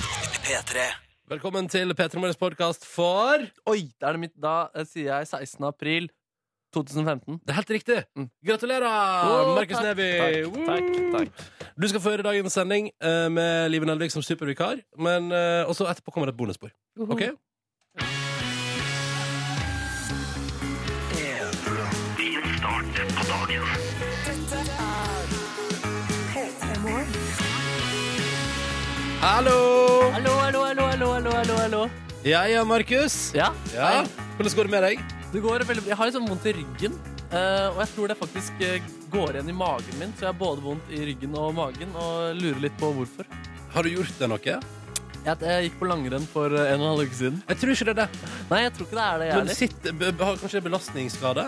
P3. Velkommen til P3 Morgens podkast for Oi, da er det mitt Da eh, sier jeg 16. april 2015. Det er helt riktig. Mm. Gratulerer, Å, Markus takk, Neby! Takk, takk, takk. Du skal få høre dagens sending eh, med Live Nelvik som supervikar. Men eh, også etterpå kommer det et bonusspor. OK? Hallo! Hallo, hallo, hallo, hallo, hallo, hallo, hallo. Jeg er Markus. Ja, Ja. hei. Hvordan går det med deg? Det går veldig bra. Jeg har litt sånn vondt i ryggen. eh, og jeg tror det faktisk eh, går igjen i magen min, så jeg har både vondt i ryggen og magen. Og lurer litt på hvorfor. Har du gjort det noe? Jeg, jeg gikk på langrenn for eh, en og en halv uke siden. Jeg tror ikke det er det. Nei, jeg tror ikke det er det, jeg Men heller. sitt, b- b- har kanskje belastningsskade?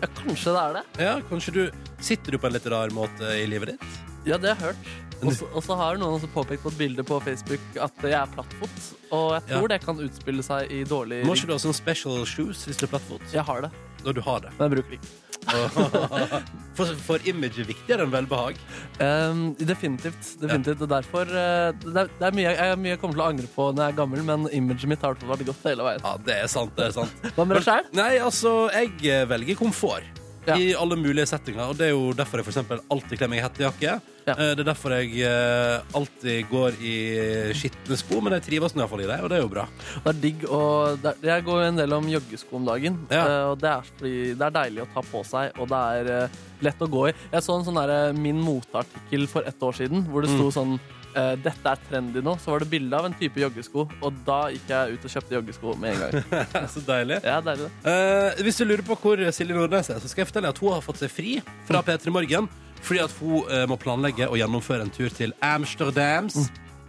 Ja, kanskje det er det. Ja, kanskje du Sitter du på en litt rar måte i livet ditt? Ja, det har jeg hørt. Og så- Og så har noen også påpekt på et bilde på Facebook at jeg er plattfot. Og jeg tror Ja. det kan utspille seg i dårlig Må ikke rygg. du ha sånn special shoes hvis du er plattfot? Jeg har det, Når du har det. men jeg bruker det ikke. For, for image er viktigere enn velbehag. Um, definitivt. definitivt. Og derfor eh, Det er, det er mye, jeg, mye jeg kommer til å angre på når jeg er gammel, men imaget mitt har i hvert fall vært godt hele veien. Ja, det er sant, det er sant. Hva med deg selv? Nei, altså, jeg eh, velger komfort. Ja. I alle mulige settinger. Og det er jo derfor jeg for eksempel alltid kler meg i hettejakke. Ja. Eh, Det er derfor jeg eh, alltid går i eh, skitne sko, men jeg trives nå iallfall i det, og det er jo bra. Det er digg å det er- Jeg går jo en del om joggesko om dagen. Ja. eh, Og det er, fordi det er deilig å ta på seg, og det er eh, lett å gå i. Jeg så en sånn derre Min moteartikkel for ett år siden, hvor det sto sånn eh, Dette er trendy nå. Så var det bilde av en type joggesko, og da gikk jeg ut og kjøpte joggesko med en gang. Så deilig. Ja, deilig det. Eh, hvis du lurer på hvor Silje Nordnes er, så skal jeg fortelle at hun har fått seg fri fra P3 Morgen fordi at hun eh, må planlegge å gjennomføre en tur til Amsterdams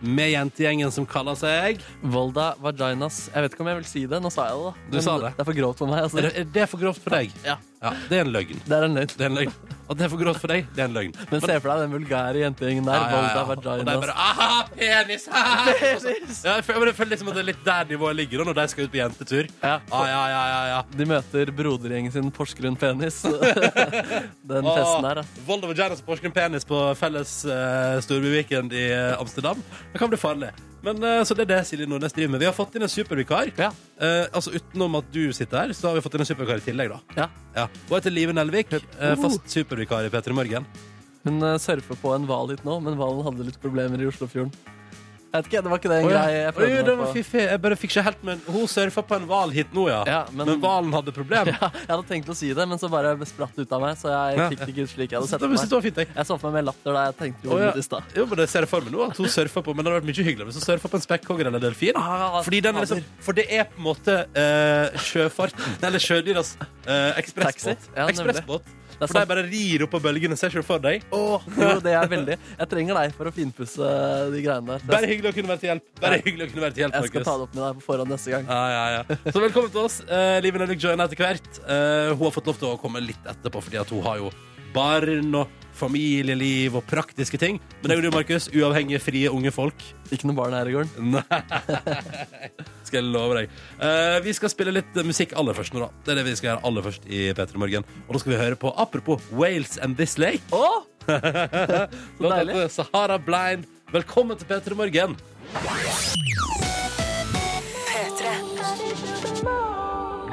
med jentegjengen som kaller seg Volda vaginas. Jeg vet ikke om jeg vil si det. Nå sa jeg det, da. Du Men sa det. er for grovt for meg. Er Altså. det, er det for grovt for deg? Ja. Ja, det er en løgn. Det er en løgn. Det er en løgn. At det er for grovt for deg, det er en løgn. Men se for deg den vulgære jentegjengen der. Volda Og de vaginas. bare Aha, penis! haha!» Ja, jeg føler, jeg føler liksom at det er litt der nivået ligger da, når de skal ut på jentetur. Ja. Ah, ja, ja, ja, ja. De møter brodergjengen sin Porsgrunn penis. Den festen der, altså. ass. Åh, Ah, Volda Vaginas og Porsgrunn Penis på felles uh, storbyweekend i eh, Amsterdam. Det kan bli farlig. Men eh, Så det er det Silje Nordnes driver med. Vi har fått inn en supervikar. Ja. Eh, altså Utenom at du sitter her, så har vi fått inn en supervikar i tillegg. da Ja. ja. Hun heter Live Nelvik. Uh. eh, fast supervikar i P3 Morgen. Hun eh, surfer på en hval hit nå, men hvalen hadde litt problemer i Oslofjorden. Jeg vet ikke, Det var ikke det en greie jeg Oi, prøvde det meg var på. fiffig. Jeg bare fikk ikke helt med Hun surfa på en hval hit nå, ja. Ja, men- men hvalen hadde problem. Ja, jeg hadde tenkt å si det, men så bare spratt det ut av meg. Så jeg Ja. fikk det ikke ut slik jeg hadde Så sett det for var- så det meg. var fint, jeg. Jeg så for meg med latter da jeg tenkte Å, ordet ja. mitt i stad. Jo, men det ser jeg for meg nå, at hun surfer på. Men det hadde vært mye hyggeligere hvis hun surfa på en spekkhogger eller delfin. Ah, Fordi den er liksom, for det er på en måte eh, sjøfarten Eller sjødyras eh, Taxi? ekspressbåt. Ja, nemlig. ekspressbåt. er For de sant. bare rir opp på bølgene. Ser ikke du for deg? Jo, det er veldig Jeg trenger deg for å finpusse de greiene der. Så Bare hyggelig å kunne være til hjelp. Bare hyggelig å kunne være til hjelp, Jeg skal Markus. ta det opp med deg på forhånd neste gang. Ja, ja, ja. Så velkommen til oss. Uh, Liven Elvik joiner etter hvert. Eh, hun har fått lov til å komme litt etterpå, fordi at hun har jo barn og familieliv og praktiske ting. Men det er jo du, Markus. Uavhengige, frie, unge folk. Ikke noe barn her i gården. Nei, skal jeg love deg. Eh, vi skal spille litt eh, musikk aller først nå, da. Det er det vi skal gjøre aller først i P3 Morgen. Og da skal vi høre på, apropos Wales and This Lake, Å! låta deilig. heter Sahara Blind. Velkommen til P3 Morgen.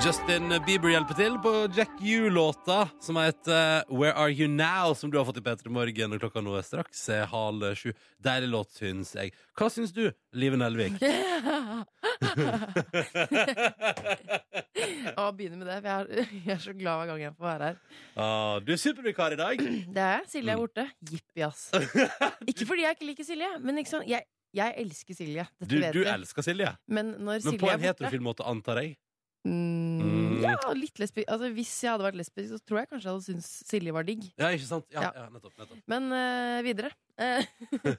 Justin Bieber hjelper til på Jack U-låta som heter Where Are You Now, som du har fått i P3 Morgen. Og klokka nå er straks eh, halv sju. Deilig låt, syns jeg. Hva syns du, Live Nelvik? Å, begynne med det. For jeg, er, jeg er så glad hver gang jeg får være her. Ah, du er supervikar i dag. Det er jeg. Silje er borte. Jippi, ass. Ikke fordi jeg ikke liker Silje, men ikke sånn, jeg, jeg elsker Silje. Dette Du, vet du jeg. elsker Silje, Men når men Silje på en er borte heterofil måte, antar jeg. mm, Mm. Ja, litt lesbisk. Altså, hvis jeg hadde vært lesbisk, så tror jeg kanskje jeg hadde syntes Silje var digg. Ja, ikke sant? Ja, ja. Ja. nettopp, nettopp. Men eh, videre. Eh,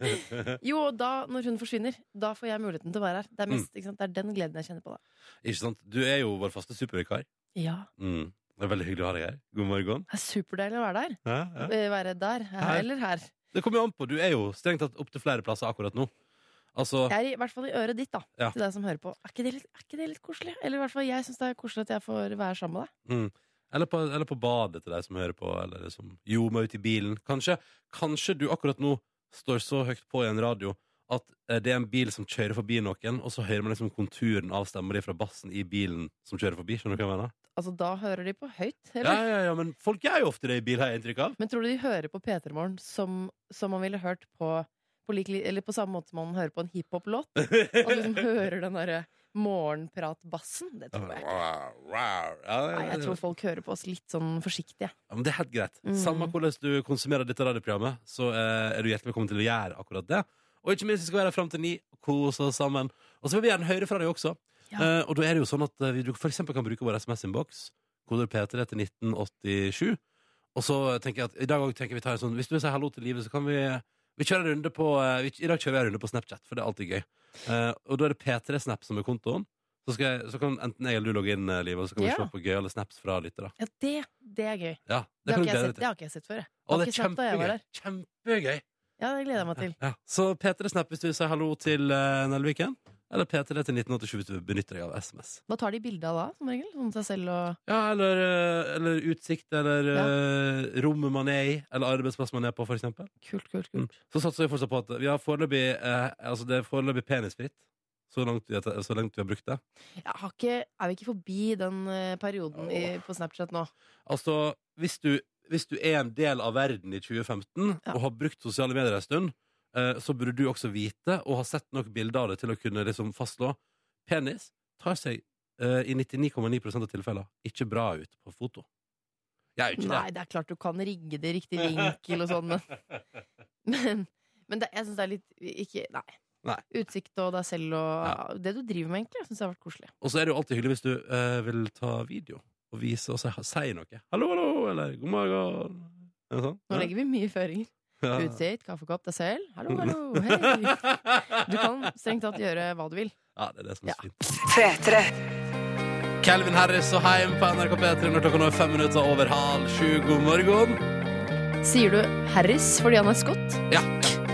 jo, og da, når hun forsvinner, da får jeg muligheten til å være her. Det er, mest, Mm. ikke sant? Det er den gleden jeg kjenner på, da. Ikke sant? Du er jo vår faste supervikar. Ja, Mm. Det er veldig hyggelig å ha deg her. God morgen. Det er superdeilig å være der. Ja, ja. Eh, Være der, her, Her. eller her. Det kommer jo an på. Du er jo strengt tatt opp til flere plasser akkurat nå. Altså, Jeg er i, i hvert fall i øret ditt, da. Ja. Til deg som hører på. Er ikke det litt, er ikke det litt koselig? Eller i hvert fall jeg syns det er koselig at jeg får være sammen med deg. mm. eller, på, eller på badet til deg som hører på, eller liksom som ljomer ut i bilen. Kanskje, kanskje du akkurat nå står så høyt på i en radio at eh, det er en bil som kjører forbi noen, og så hører man liksom konturen av stemma di fra bassen i bilen som kjører forbi. Skjønner du hva jeg mener? Altså, da hører de på høyt, Ja, eller? ja, ja, men folk er jo ofte det i bil, har jeg inntrykk av. Men tror du de hører på P3 Morgen som, som man ville hørt på på, lik, li- eller på samme måte som man hører på en hiphop-låt? At du liksom hører den derre morgenprat-bassen? Det tror jeg. Nei, jeg tror folk hører på oss litt sånn forsiktig. jeg. Ja, men det er helt greit. Mm. Samme hvordan du konsumerer dette radioprogrammet, så eh, er du hjertelig velkommen til å gjøre akkurat det. Og ikke minst, vi skal være her fram til ni, kose oss sammen. Og så vil vi gjerne høre fra deg også. Ja. Eh, og da er det jo sånn at eh, vi du for eksempel kan bruke vår SMS-innboks, koder P3 til 1987. Og så tenker jeg at i dag også tenker vi tar en sånn Hvis du vil si hallo til livet, så kan vi Vi kjører en runde på eh, vi, I dag kjører vi en runde på Snapchat, for det er alltid gøy. Eh, og da er det P3-snap som er kontoen. Så, skal jeg, så kan enten jeg eller du logge inn, eh, Liv, og så kan vi Ja. se på gøyale snaps fra lyttere. Ja, det, det er gøy. Ja, kan Det har, du ikke jeg glede deg sett, til. det har ikke jeg sett før. jeg. Og Har det er ikke sett da jeg var kjempegøy. Kjempegøy. Ja, Det gleder jeg meg til. Ja. Så P3 Snap hvis du vil si hallo til eh, Nelviken. Eller P3 til 1987 hvis du benytter deg av SMS. Hva tar de bilde av da, som regel? Sånn seg selv og Ja, eller, eh, eller utsikt, eller eh, rommet man er i, eller arbeidsplass man er på, for eksempel. Kult, kult, kult. Så satser vi fortsatt på at vi har foreløpig eh, altså det er foreløpig penisfritt. Så langt, vi har, så langt vi har brukt det. Jeg har ikke, er vi ikke forbi den eh, perioden i, på Snapchat nå? Altså, hvis du, hvis du er en del av verden i 2015 Ja. og har brukt sosiale medier en stund, eh, så burde du også vite og ha sett nok bilder av det til å kunne liksom fastslå penis tar seg eh, i 99,9 av tilfeller ikke bra ut på foto. Jeg er jo ikke Nei, det er klart du kan rigge det i riktig vinkel og sånn, men Men, men det, jeg syns det er litt ikke, Nei. Nei. Utsikt og deg selv og det du driver med, egentlig. Jeg syns det har vært koselig. det. Og så er det jo alltid hyggelig hvis du eh, vil ta video og vise og si, si noe. 'Hallo, hallo', eller 'god morgen'. Er det sånn? Nå legger vi mye føringer. Ja. Utsikt, kaffekopp, deg selv. Hallo, hallo, hei. Du kan strengt tatt gjøre hva du vil. Ja, det er det som er Ja. så fint. Calvin Harris og Heim på NRK P3 når klokka nå er fem minutter over halv sju. God morgen. Sier du Harris fordi han er skott? Ja.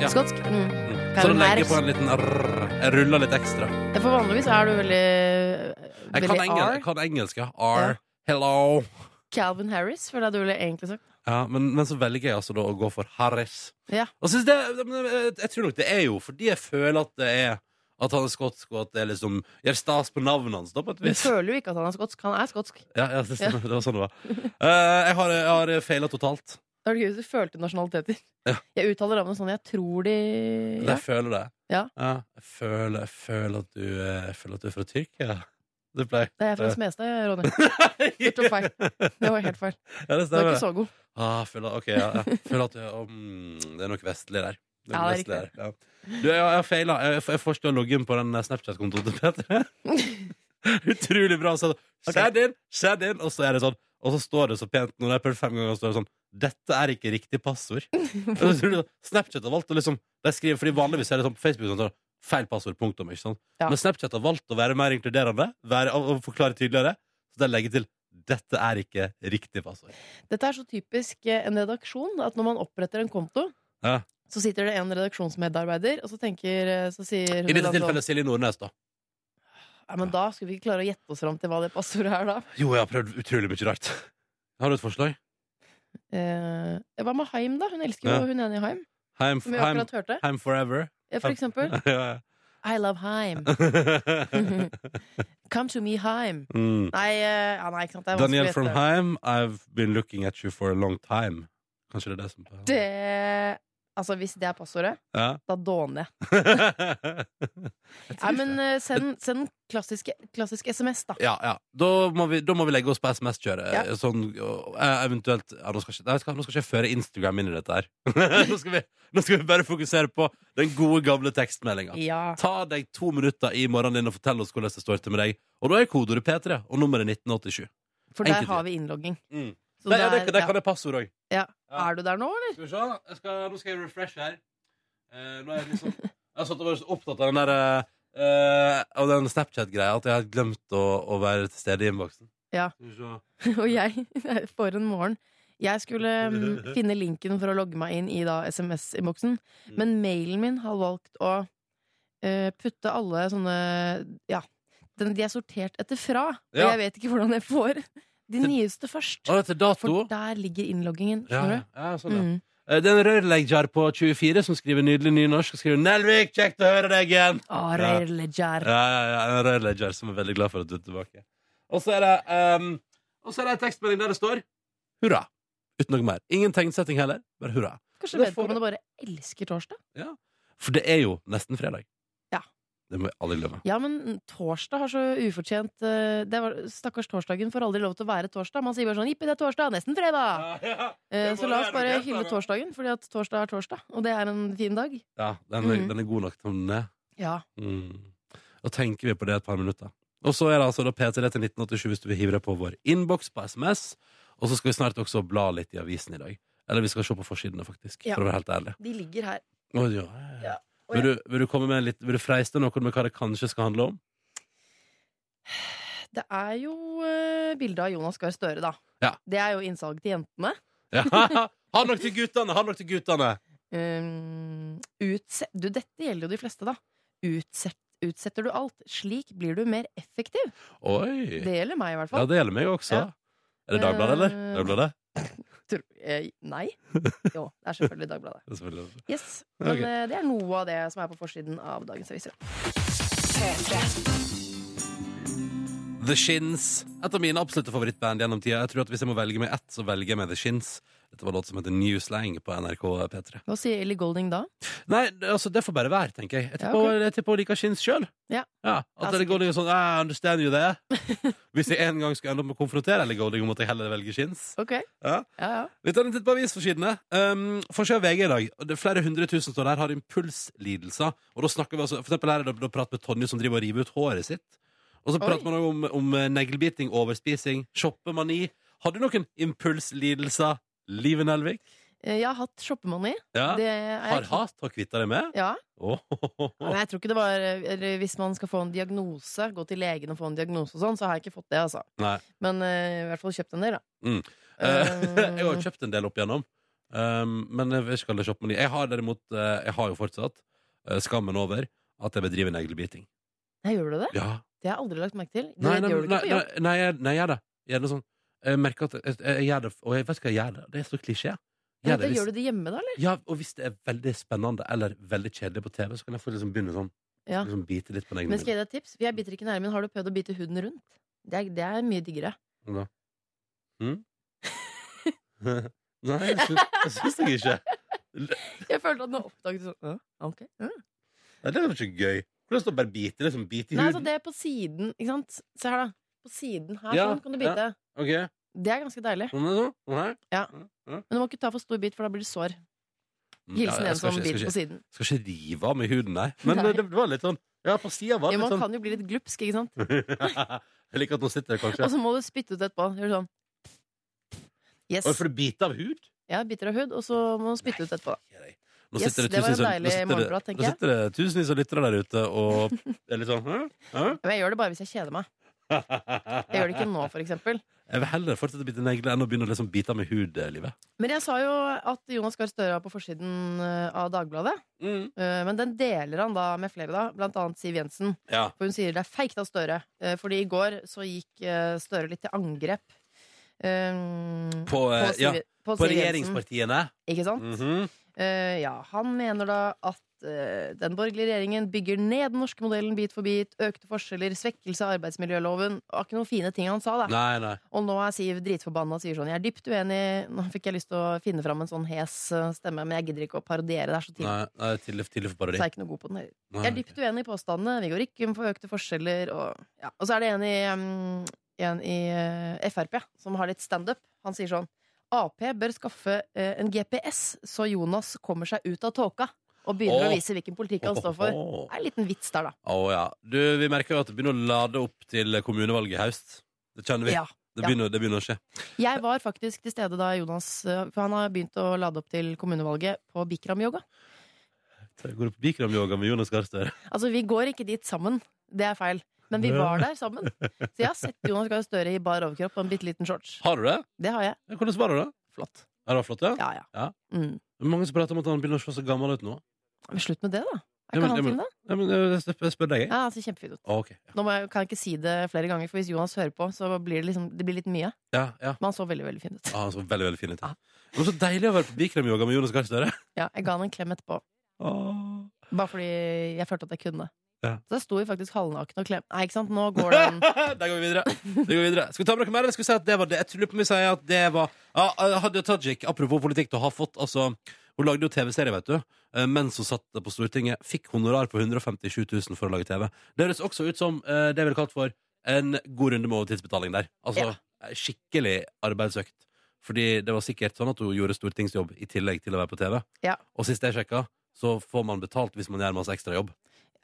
ja. Skotsk? Mm. Mm. Så Calvin da legger jeg Harris. på en liten rrr. Jeg ruller litt ekstra. Ja, For vanligvis er du veldig Jeg kan, veldig engel, jeg R. kan engelsk, ja. R. Hello. Calvin Harris, føler jeg du ville egentlig sagt. Ja, men, men så velger jeg altså da å gå for Harris. Ja. Og synes det, eh, jeg- jeg tror nok det er jo fordi jeg føler at det er at han er skotsk, og at det er liksom gjør stas på navnet hans, da, på et Du vis. føler jo ikke at han er skotsk. Han er skotsk. Ja, ja, det stemmer. Det var sånn det var. Eh, jeg har, jeg har feila totalt. Det var det gøy hvis du følte nasjonaliteter. Ja. Jeg uttaler navnet sånn jeg tror de Men ja. jeg føler det. Ja. jeg, føler, jeg, føler at du, eh, jeg føler at du er fra Tyrkia. Det pleier Det er jeg fra Smestad, jeg, Ronny. Det Det tok feil. Det var helt feil. Ja, det Du er stemmer. ikke så god. Ah, jeg føler, ok, ja, ja. føler at du er mm, Det er nok vestlig der. Det er Ja, nok det er vestlig der, ja. Du, jeg, jeg har feila. Jeg, jeg får ikke logge inn på den eh, Snapchat-kontoen til Peter. Utrolig bra. Så, Send inn, send inn, og så er det sånn. Og så står det så pent når jeg har prøvd fem ganger, så står det sånn Dette er ikke riktig passord. Og så tror du, Snapchat har valgt å liksom de skriver, fordi Vanligvis er det sånn på Facebook sånn, sånn, feil passord, punktum. ikke sant? Ja. Men Snapchat har valgt å være mer inkluderende være, og og forklare tydeligere. Så de legger til Dette er ikke riktig passord. Dette er så typisk eh, en redaksjon at når man oppretter en konto, Ja. så sitter det en redaksjonsmedarbeider, og så tenker eh, Så sier I hun dette eller annen tilfellet Silje Nordnes, da. sånn, Ja, men da skulle vi ikke klare å gjette oss fram til hva det passordet er, da. Jo, jeg har prøvd utrolig mye rart. Har du et forslag? Eh, hva med Haim, da? Hun elsker jo Ja. hun ene i Haim, Heim, som vi heim, akkurat hørte. heim forever. Ja, For eksempel Ja, I love Haim. ja. Come to me, Haim. mm. Nei, eh, ja, nei ikke sant. Det er vanskelig Daniel å from gjette. Heim, I've been looking at you for a long time. Kanskje det er det som Det Altså, hvis det er passordet, ja. da dåner jeg. Jeg tror Nei, men det. eh, send, send klassisk, klassisk SMS, da. ja, ja. Da, må vi, da må vi legge oss på SMS-kjøret. Ja. Sånn, og, eh, eventuelt ja, nå, skal ikke, nei, skal, nå skal ikke jeg føre Instagram inn i dette her. nå, skal vi, nå skal vi bare fokusere på den gode, gamle tekstmeldinga. Ja. Ta deg to minutter i morgenen din og fortell oss hvordan det står til med deg. Og da er kodeordet P3 og nummeret 1987. For der Enkelt, ja. har vi innlogging. Mm. Så Nei, ja, det, der- det ja. kan jeg passord òg. Ja. Ja. Er du der nå, eller? Skal vi se. Jeg skal, nå skal jeg refresh her. Eh, nå er jeg liksom Jeg har satt og vært så opptatt av den der eh, Av den Snapchat-greia at jeg har glemt å, å være til stede i innboksen. Ja. Skal vi se. Og jeg, for en morgen. Jeg skulle mm, finne linken for å logge meg inn i da SMS-innboksen, Mm. men mailen min har valgt å eh, putte alle sånne Ja, den, de er sortert etter fra, og Ja. jeg vet ikke hvordan jeg får de nyeste først. Å, det er til dato? For der ligger innloggingen, Ja, skjønner du? ja, sånn, ja. Mm. Eh, Det er en rørlegger på 24 som skriver nydelig nynorsk. Og skriver 'Nelvik, kjekt å høre deg igjen'. Arild Lejar. Ja, ja, ja, en rørlegger som er veldig glad for at du er tilbake. Og så er det ehm, Og så er det en tekstmelding der det står 'Hurra'. Uten noe mer. Ingen tegnsetting heller, bare hurra. Kanskje Det får vedkommende bare elsker torsdag? For det er jo nesten fredag. Ja. Det må vi aldri glemme. Ja, men torsdag har så ufortjent eh, det var, Stakkars torsdagen får aldri lov til å være torsdag. Man sier bare sånn 'jippi, det er torsdag', nesten fredag! Eh, Så la oss bare hylle torsdagen, fordi at torsdag er torsdag, og det er en fin dag. Ja, den er, Mm. den er god nok til den er. Ja. Mm. Da tenker vi på det et par minutter. Og så er det altså da P3 til 1987 hvis du vil hive deg på vår innboks på SMS. Og så skal vi snart også bla litt i avisen i dag. Eller vi skal se på forsidene, faktisk. Ja. For å være helt ærlig. De ligger her. Å, ja. Ja. Å, ja. Vil, du, vil du komme med en litt Vil du freiste noe med hva det kanskje skal handle om? Det er jo uh, bilde av Jonas Gahr Støre, da. Ja. Det er jo innsalg til jentene. Ja. Ha nok til guttene! Ha nok til guttene! Um, utse du, dette gjelder jo de fleste, da. Utsett, utsetter du alt. Slik blir du mer effektiv. Oi! Det gjelder meg, i hvert Ja, fall. det gjelder meg også. Ja. Er det Dagbladet, eller? Eh, Dagbladet? Tror- eh, nei. Jo, det er selvfølgelig Dagbladet. Det er selvfølgelig- Yes. Men Ok. eh, det er noe av det som er på forsiden av dagens aviser. The Shins. Et av mine absolutte favorittband gjennom tida. Jeg tror at Hvis jeg må velge meg ett, så velger jeg meg The Shins. Dette var låt som heter New Slang på NRK P3. Hva sier Ellie Golding da? Nei, det- altså, det får bare være, tenker jeg. Jeg Ja, tipper jeg tipper hun liker Shins sjøl. Ja. Ja, at Ellie sikkert. Golding er sånn I understand you there. Hvis jeg en gang skulle ende opp med å konfrontere Ellie Golding, måtte jeg heller velge Shins. Ok. Ja. Ja, ja. Vi tar en titt på avisforsidene. Um, Forsida av VG i dag. og det er Flere hundre tusen står der har impulslidelser. Og da snakker vi altså, For eksempel her er det da prat med Tonje som driver og river ut håret sitt. Og så Oi. prater man også om, om eh, neglebiting, overspising, shoppemani. Har du noen impulslidelser, Live Nelvik? Eh, Jeg har hatt shoppemani. Ja. Det er Har jeg- hatt? Har kvitta deg med? Ja. Åh, Men jeg tror ikke det var eller Hvis man skal få en diagnose, gå til legen og få en diagnose og sånn, så har jeg ikke fått det, altså. Nei. Men eh, i hvert fall kjøpt en del, da. Mm. Eh, jeg har jo kjøpt en del opp igjennom. Um, men jeg skal ikke shoppe meny. Jeg har derimot eh, Jeg har jo fortsatt eh, skammen over at jeg bedriver neglebiting. Nei, gjør du det? Ja, Det har jeg aldri lagt merke til. Det Nei, nei, gjør du nei, ikke på nei, jobb. nei, jeg- nei, jeg gjør det. Jeg gjør det sånn. Jeg merker at jeg, jeg, jeg gjør det, og jeg vet ikke hva jeg gjør det. Det er så klisjé. Men Gjør da det gjør hvis, du det hjemme, da, eller? ja, og hvis det er veldig spennende eller veldig kjedelig på TV, så kan jeg få liksom begynne sånn. Ja. Liksom bite litt på neglene Men skal jeg gi deg et tips? For jeg biter ikke nærmere, men har du prøvd å bite huden rundt? Det er, det er mye diggere. mine. Hm? Nei, jeg syns, jeg syns det ikke. Jeg følte at nå oppdaget du sånn «Å, ok, ja». Nei, det er jo ikke gøy. Hvordan står det bare bite? Liksom bite i Nei, altså huden? det er på siden, ikke sant? Se her, da. På siden her, Ja, sånn kan du bite. Ok, Det er ganske deilig. sånn er det sånn? Nei. Men du må ikke ta for stor bit, for da blir det sår. Mm, Ja, Hilsen jeg en skal som ikke- jeg biter skal på siden. ikke- Skal ikke rive av meg huden, nei. Men Nei. eh, det var litt sånn Ja, på sida var Ja, det litt man sånn kan jo bli litt glupsk, ikke sant? Jeg liker at nå sitter jeg kanskje Og så må du spytte ut etterpå. Gjør sånn. Yes. Oi, for du biter av hud? Ja, biter av hud, og så må du spytte ut etterpå. Nå Yes, sitter det, det var en tusenvis av- deilig nå sitter det- morgenprat, tenker Nå jeg. sitter det tusenvis av lyttere der ute og er litt sånn Hæ? Hæ? Men jeg gjør det bare hvis jeg kjeder meg. Jeg gjør det ikke nå, for eksempel. Jeg vil heller fortsette å bite negler enn å begynne å liksom bite av med hud, eh, livet. Men jeg sa jo at Jonas Gahr Støre er på forsiden eh, av Dagbladet. Eh, Men den deler han da med flere, da. Blant annet Siv Jensen. Ja. For hun sier det er feigt av Støre. Eh, Fordi i går så gikk eh, Støre litt til angrep. eh, På, eh, Siv- ja, på på Siv Jensen, regjeringspartiene. Ikke sant? Mhm. Eh, ja, han mener da at eh, den borgerlige regjeringen bygger ned den norske modellen bit for bit. Økte forskjeller, svekkelse av arbeidsmiljøloven. Det var ikke noen fine ting han sa, da. Nei, nei. Og nå er Siv dritforbanna og sier sånn Jeg er dypt uenig. Nå fikk jeg lyst til å finne fram en sånn hes eh, stemme, men jeg gidder ikke å parodiere. Det er så tidlig. nei, nei tidlig, tidlig for Så jeg parodi. er ikke noe god på den heller. Nei, Jeg er dypt uenig i påstandene. Vi går ikke inn for økte forskjeller. Og, ja. og så er det en i, mm, en i eh, Frp som har litt standup. Han sier sånn Ap bør skaffe eh, en GPS, så Jonas kommer seg ut av tåka. Og begynner Åh. å vise hvilken politikk han står for. Å, Det er en liten vits der, da. ja. Du, vi merker jo at det begynner å lade opp til kommunevalget i høst. Det kjenner vi. Ja. Det, begynner, det begynner å skje. Jeg var faktisk til stede da Jonas eh, For han har begynt å lade opp til kommunevalget på Bikram-yoga. Går du på Bikram-yoga med Jonas Gahr Støre? Altså, vi går ikke dit sammen. Det er feil. Men vi var der sammen. Så jeg har sett Jonas Gahr Støre i bar overkropp og en bitte liten shorts. Har du det? Det har jeg. Ja, Hvordan var det, da? Flott. Ja, det var flott, ja? Ja, ja. Ja. Mm. Mange som prater om at han begynner å se så gammel ut nå. Men slutt med det, da. Ja, Er men- ikke ja, han men- fin, da? Nei, men eh, jeg spør- jeg spør deg, jeg. Ah, Ja, han ser kjempefin ut. Ok. Nå må jeg, kan jeg ikke si det flere ganger, for hvis Jonas hører på, så blir det, liksom, det blir litt mye. Ja, ja. Men han så veldig veldig fin ut. Ah, han så veldig, veldig fin ut. Ja. Det var så deilig å være på bikremyoga med Jonas Gahr Støre. Ah. Ja, jeg ga han en klem etterpå, Åh. bare fordi jeg følte at jeg kunne. Ja. Så jeg sto jo faktisk halvnaken og klem. Nei, ikke sant, nå går den Der går vi videre. Der går vi videre. Skal vi ta med noe mer, eller skal vi si at det var det? Jeg tror på om vi sier at det var ja, eh, Hadia Tajik, apropos politikk, da har fått altså Hun lagde jo TV-serie, vet du, eh, mens hun satt på Stortinget. Fikk honorar på 157 000 for å lage TV. Det høres også ut som eh, det jeg ville kalt for en god runde med overtidsbetaling der. Altså eh, skikkelig arbeidsøkt. Fordi det var sikkert sånn at hun gjorde stortingsjobb i tillegg til å være på TV. Ja. Og sist jeg sjekka, så får man betalt hvis man gjør masse ekstrajobb.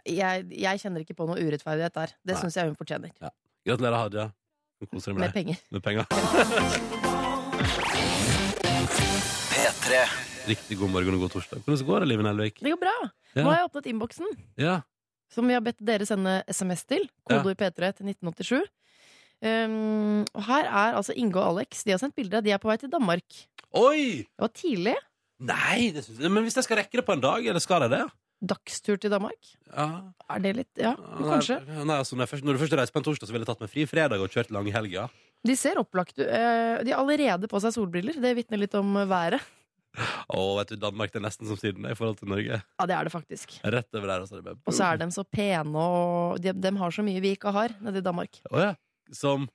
jeg, jeg kjenner ikke på noe urettferdighet der. Det Nei. syns jeg hun fortjener. Gratulerer, Hadia. Hun koser deg med Med det. penger. med penger. Riktig god morgen og god torsdag. Hvordan går det, Liven Elvik? Det går bra! Ja. Nå har jeg åpnet innboksen, Ja. som vi har bedt dere sende SMS til. Kodeord P3 til 1987. Um, og her er altså Inge og Alex. De har sendt bilder. De er på vei til Danmark. Oi! Det var tidlig. Nei, det synes jeg. men hvis jeg skal rekke det på en dag, eller skal jeg det? Dagstur til Danmark. Ja. Er det litt Ja, kanskje. Nei, nei, altså, når, jeg først, når du først reiser på en torsdag, så ville jeg tatt meg fri fredag og kjørt lange helger. De ser opplagt ut. Eh, De har allerede på seg solbriller. Det vitner litt om været. Å, vet du, Danmark det er nesten som Syden i forhold til Norge. Ja, det er det faktisk. Rett over der, altså. Og så er de så pene, og de, de har så mye vi ikke har nede i Danmark. Å ja. Som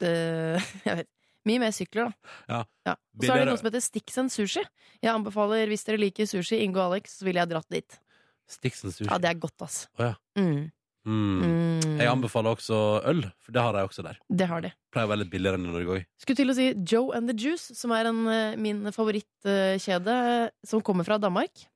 Det, jeg vet. Mye mer sykler, da. Ja. Og så er det Billigere. noe som heter Stixen sushi. Jeg anbefaler, hvis dere liker sushi, Inge og Alex, så ville jeg dratt dit. Stixen sushi. Ja, det er godt, ass. Å ja. Mm. mm. Mm. Jeg anbefaler også øl, for det har de også der. Det har de. Pleier å være litt billigere enn i Norge òg. Skulle til å si Joe and the Juice, som er en, eh, min favorittkjede, eh, som kommer fra Danmark.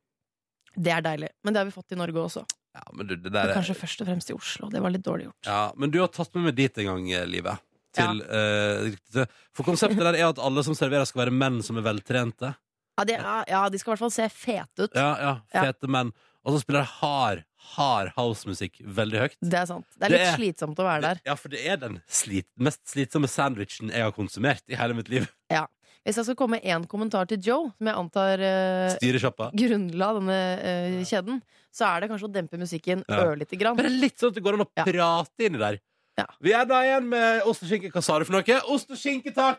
Det er deilig. Men det har vi fått i Norge også. Ja, men du, det Men der er- Kanskje først og fremst i Oslo. Det var litt dårlig gjort. Ja, men du har tatt med meg dit en gang, eh, Live. Til, eh, til- for konseptet der er at alle som serverer, skal være menn som er veltrente. Ja, det er, ja de skal i hvert fall se fete ut. Ja, ja, Ja. Fete menn. Og så spiller de hard, hard housemusikk veldig høyt. Det er sant. Det er Det litt er- slitsomt å være der. Ja, for det er den slit, mest slitsomme sandwichen jeg har konsumert i hele mitt liv. Hvis jeg skal komme med én kommentar til Joe, som jeg antar eh, Styresjappa. grunnla denne eh, kjeden, så er det kanskje å dempe musikken Ja. ørlite grann. Bare litt sånn at det går an å Ja. prate inni der. Ja. Vi er da igjen med ost og skinke. Hva sa du for noe? Ost og skinke, takk!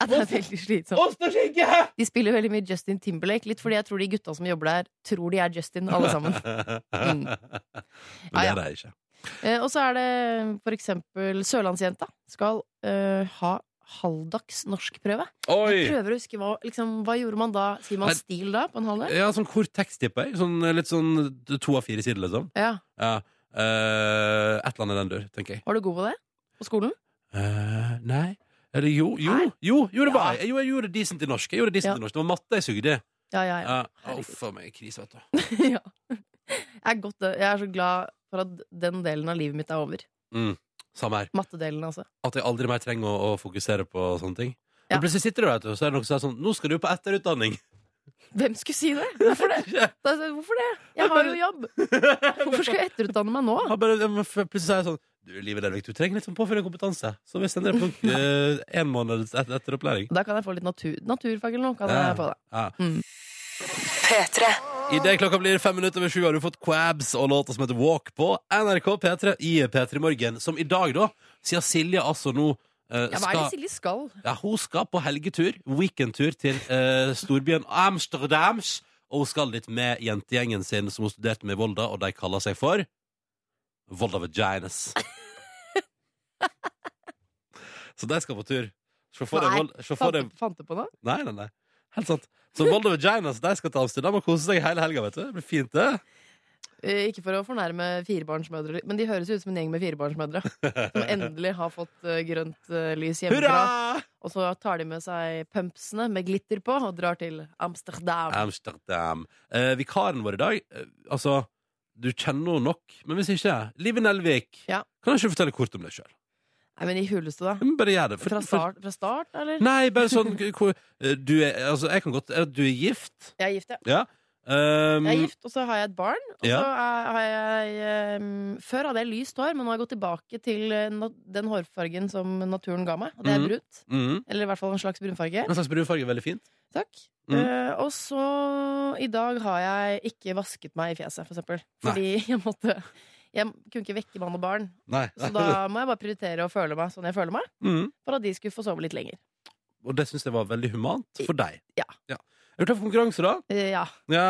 Ja, det er veldig slitsomt. Ost og skinke! De spiller veldig mye Justin Timberlake, litt fordi jeg tror de gutta som jobber der, tror de er Justin, alle sammen. Mm. Ah, Men det Ja, er ja. det ikke. Eh, og så er det for eksempel Sørlandsjenta skal eh, ha halvdags norskprøve. Jeg Oi! prøver å huske hva, liksom, hva gjorde man da? Sier Nei. man stil da, på en halv dag? Ja, sånn kort tekst, tipper jeg. Sånn, litt sånn to av fire sider, liksom. Ja. Ja. eh, et eller annet i den dur, tenker jeg. Var du god på det? På skolen? Eh, nei Eller jo, jo, Nei. jo, jo, det var Ja. jeg. Jo, jeg gjorde decent i norsk. Jeg gjorde decent Ja. i norsk Det var matte jeg sugde i. Ja, ja, ja. Ja, herregud. Uff a meg, krise, vet du. ja. Jeg er, godt, jeg er så glad for at den delen av livet mitt er over. Samme her. Mattedelen, altså. At jeg aldri mer trenger å, å fokusere på sånne ting. Ja. Men plutselig sitter du der, vet du, og så er det noen som sier sånn Nå skal du på etterutdanning. Hvem skulle si det? Hvorfor det? Da sa jeg, Hvorfor det? Jeg har jo jobb! Hvorfor skal jeg etterutdanne meg nå? Han bare, ja, men f- plutselig sier jeg sånn Du, Livet Delvik, du trenger litt sånn påfyllende kompetanse. Så vi sender deg på eh, en måned et, etter opplæring. Da kan jeg få litt natur, naturfag eller noe. Kan Ja. jeg få det. Ja. Mm. I det klokka blir fem minutter over sju har du fått Quabs og låta som heter Walk på NRK P3 i P3 Morgen, som i dag, da, siden Silje altså nå eh, Ja, hva er det skal, Silje skal? ja, hun skal på helgetur, weekendtur til eh, storbyen Amsterdams, og hun skal dit med jentegjengen sin som hun studerte med i Volda, og de kaller seg for Volda Vaginas. Så de skal på tur. Se for deg Nei, Vol- se for Fant, deg fant du på noe? Nei, nei, nei. Helt sant. Så Volda Vaginas de skal til Amsterdam og kose seg hele helga. vet du. Det blir fint, det. Eh, Ikke for å fornærme firebarnsmødre, men de høres ut som en gjeng med firebarnsmødre. Som endelig har fått eh, grønt eh, lys hjemmefra. Hurra! Og så tar de med seg pumpsene med glitter på og drar til Amsterdam. Amsterdam. Eh, vikaren vår i dag, eh, altså Du kjenner henne nok, men hvis ikke Live Nelvik, Ja. kan du ikke fortelle kort om deg sjøl? Nei, men i huleste, da. Bare gjør det. For- Fra for- start, fra start eller? Nei, bare sånn k- hvor- eh, du er, altså, Jeg kan godt eh, Du er gift. Jeg er gift, ja. Ja. Um, Jeg er gift, og så har jeg et barn. Og Ja. så er, har jeg ehm, Før hadde jeg lyst hår, men nå har jeg gått tilbake til eh, nat- den hårfargen som naturen ga meg. Og det er Mhm. brunt. mhm. Eller i hvert fall en slags brunfarge. En slags brunfarge er veldig fint. Takk. Mhm. Eh, og så I dag har jeg ikke vasket meg i fjeset, for eksempel. Fordi jeg måtte Jeg kunne ikke vekke mann og barn. Nei. Så da må jeg bare prioritere å føle meg sånn jeg føler meg, Mhm. for at de skulle få sove litt lenger. Og det syns jeg var veldig humant for deg. Ja. Er du klar for konkurranse, da? Eh, ja. Ja.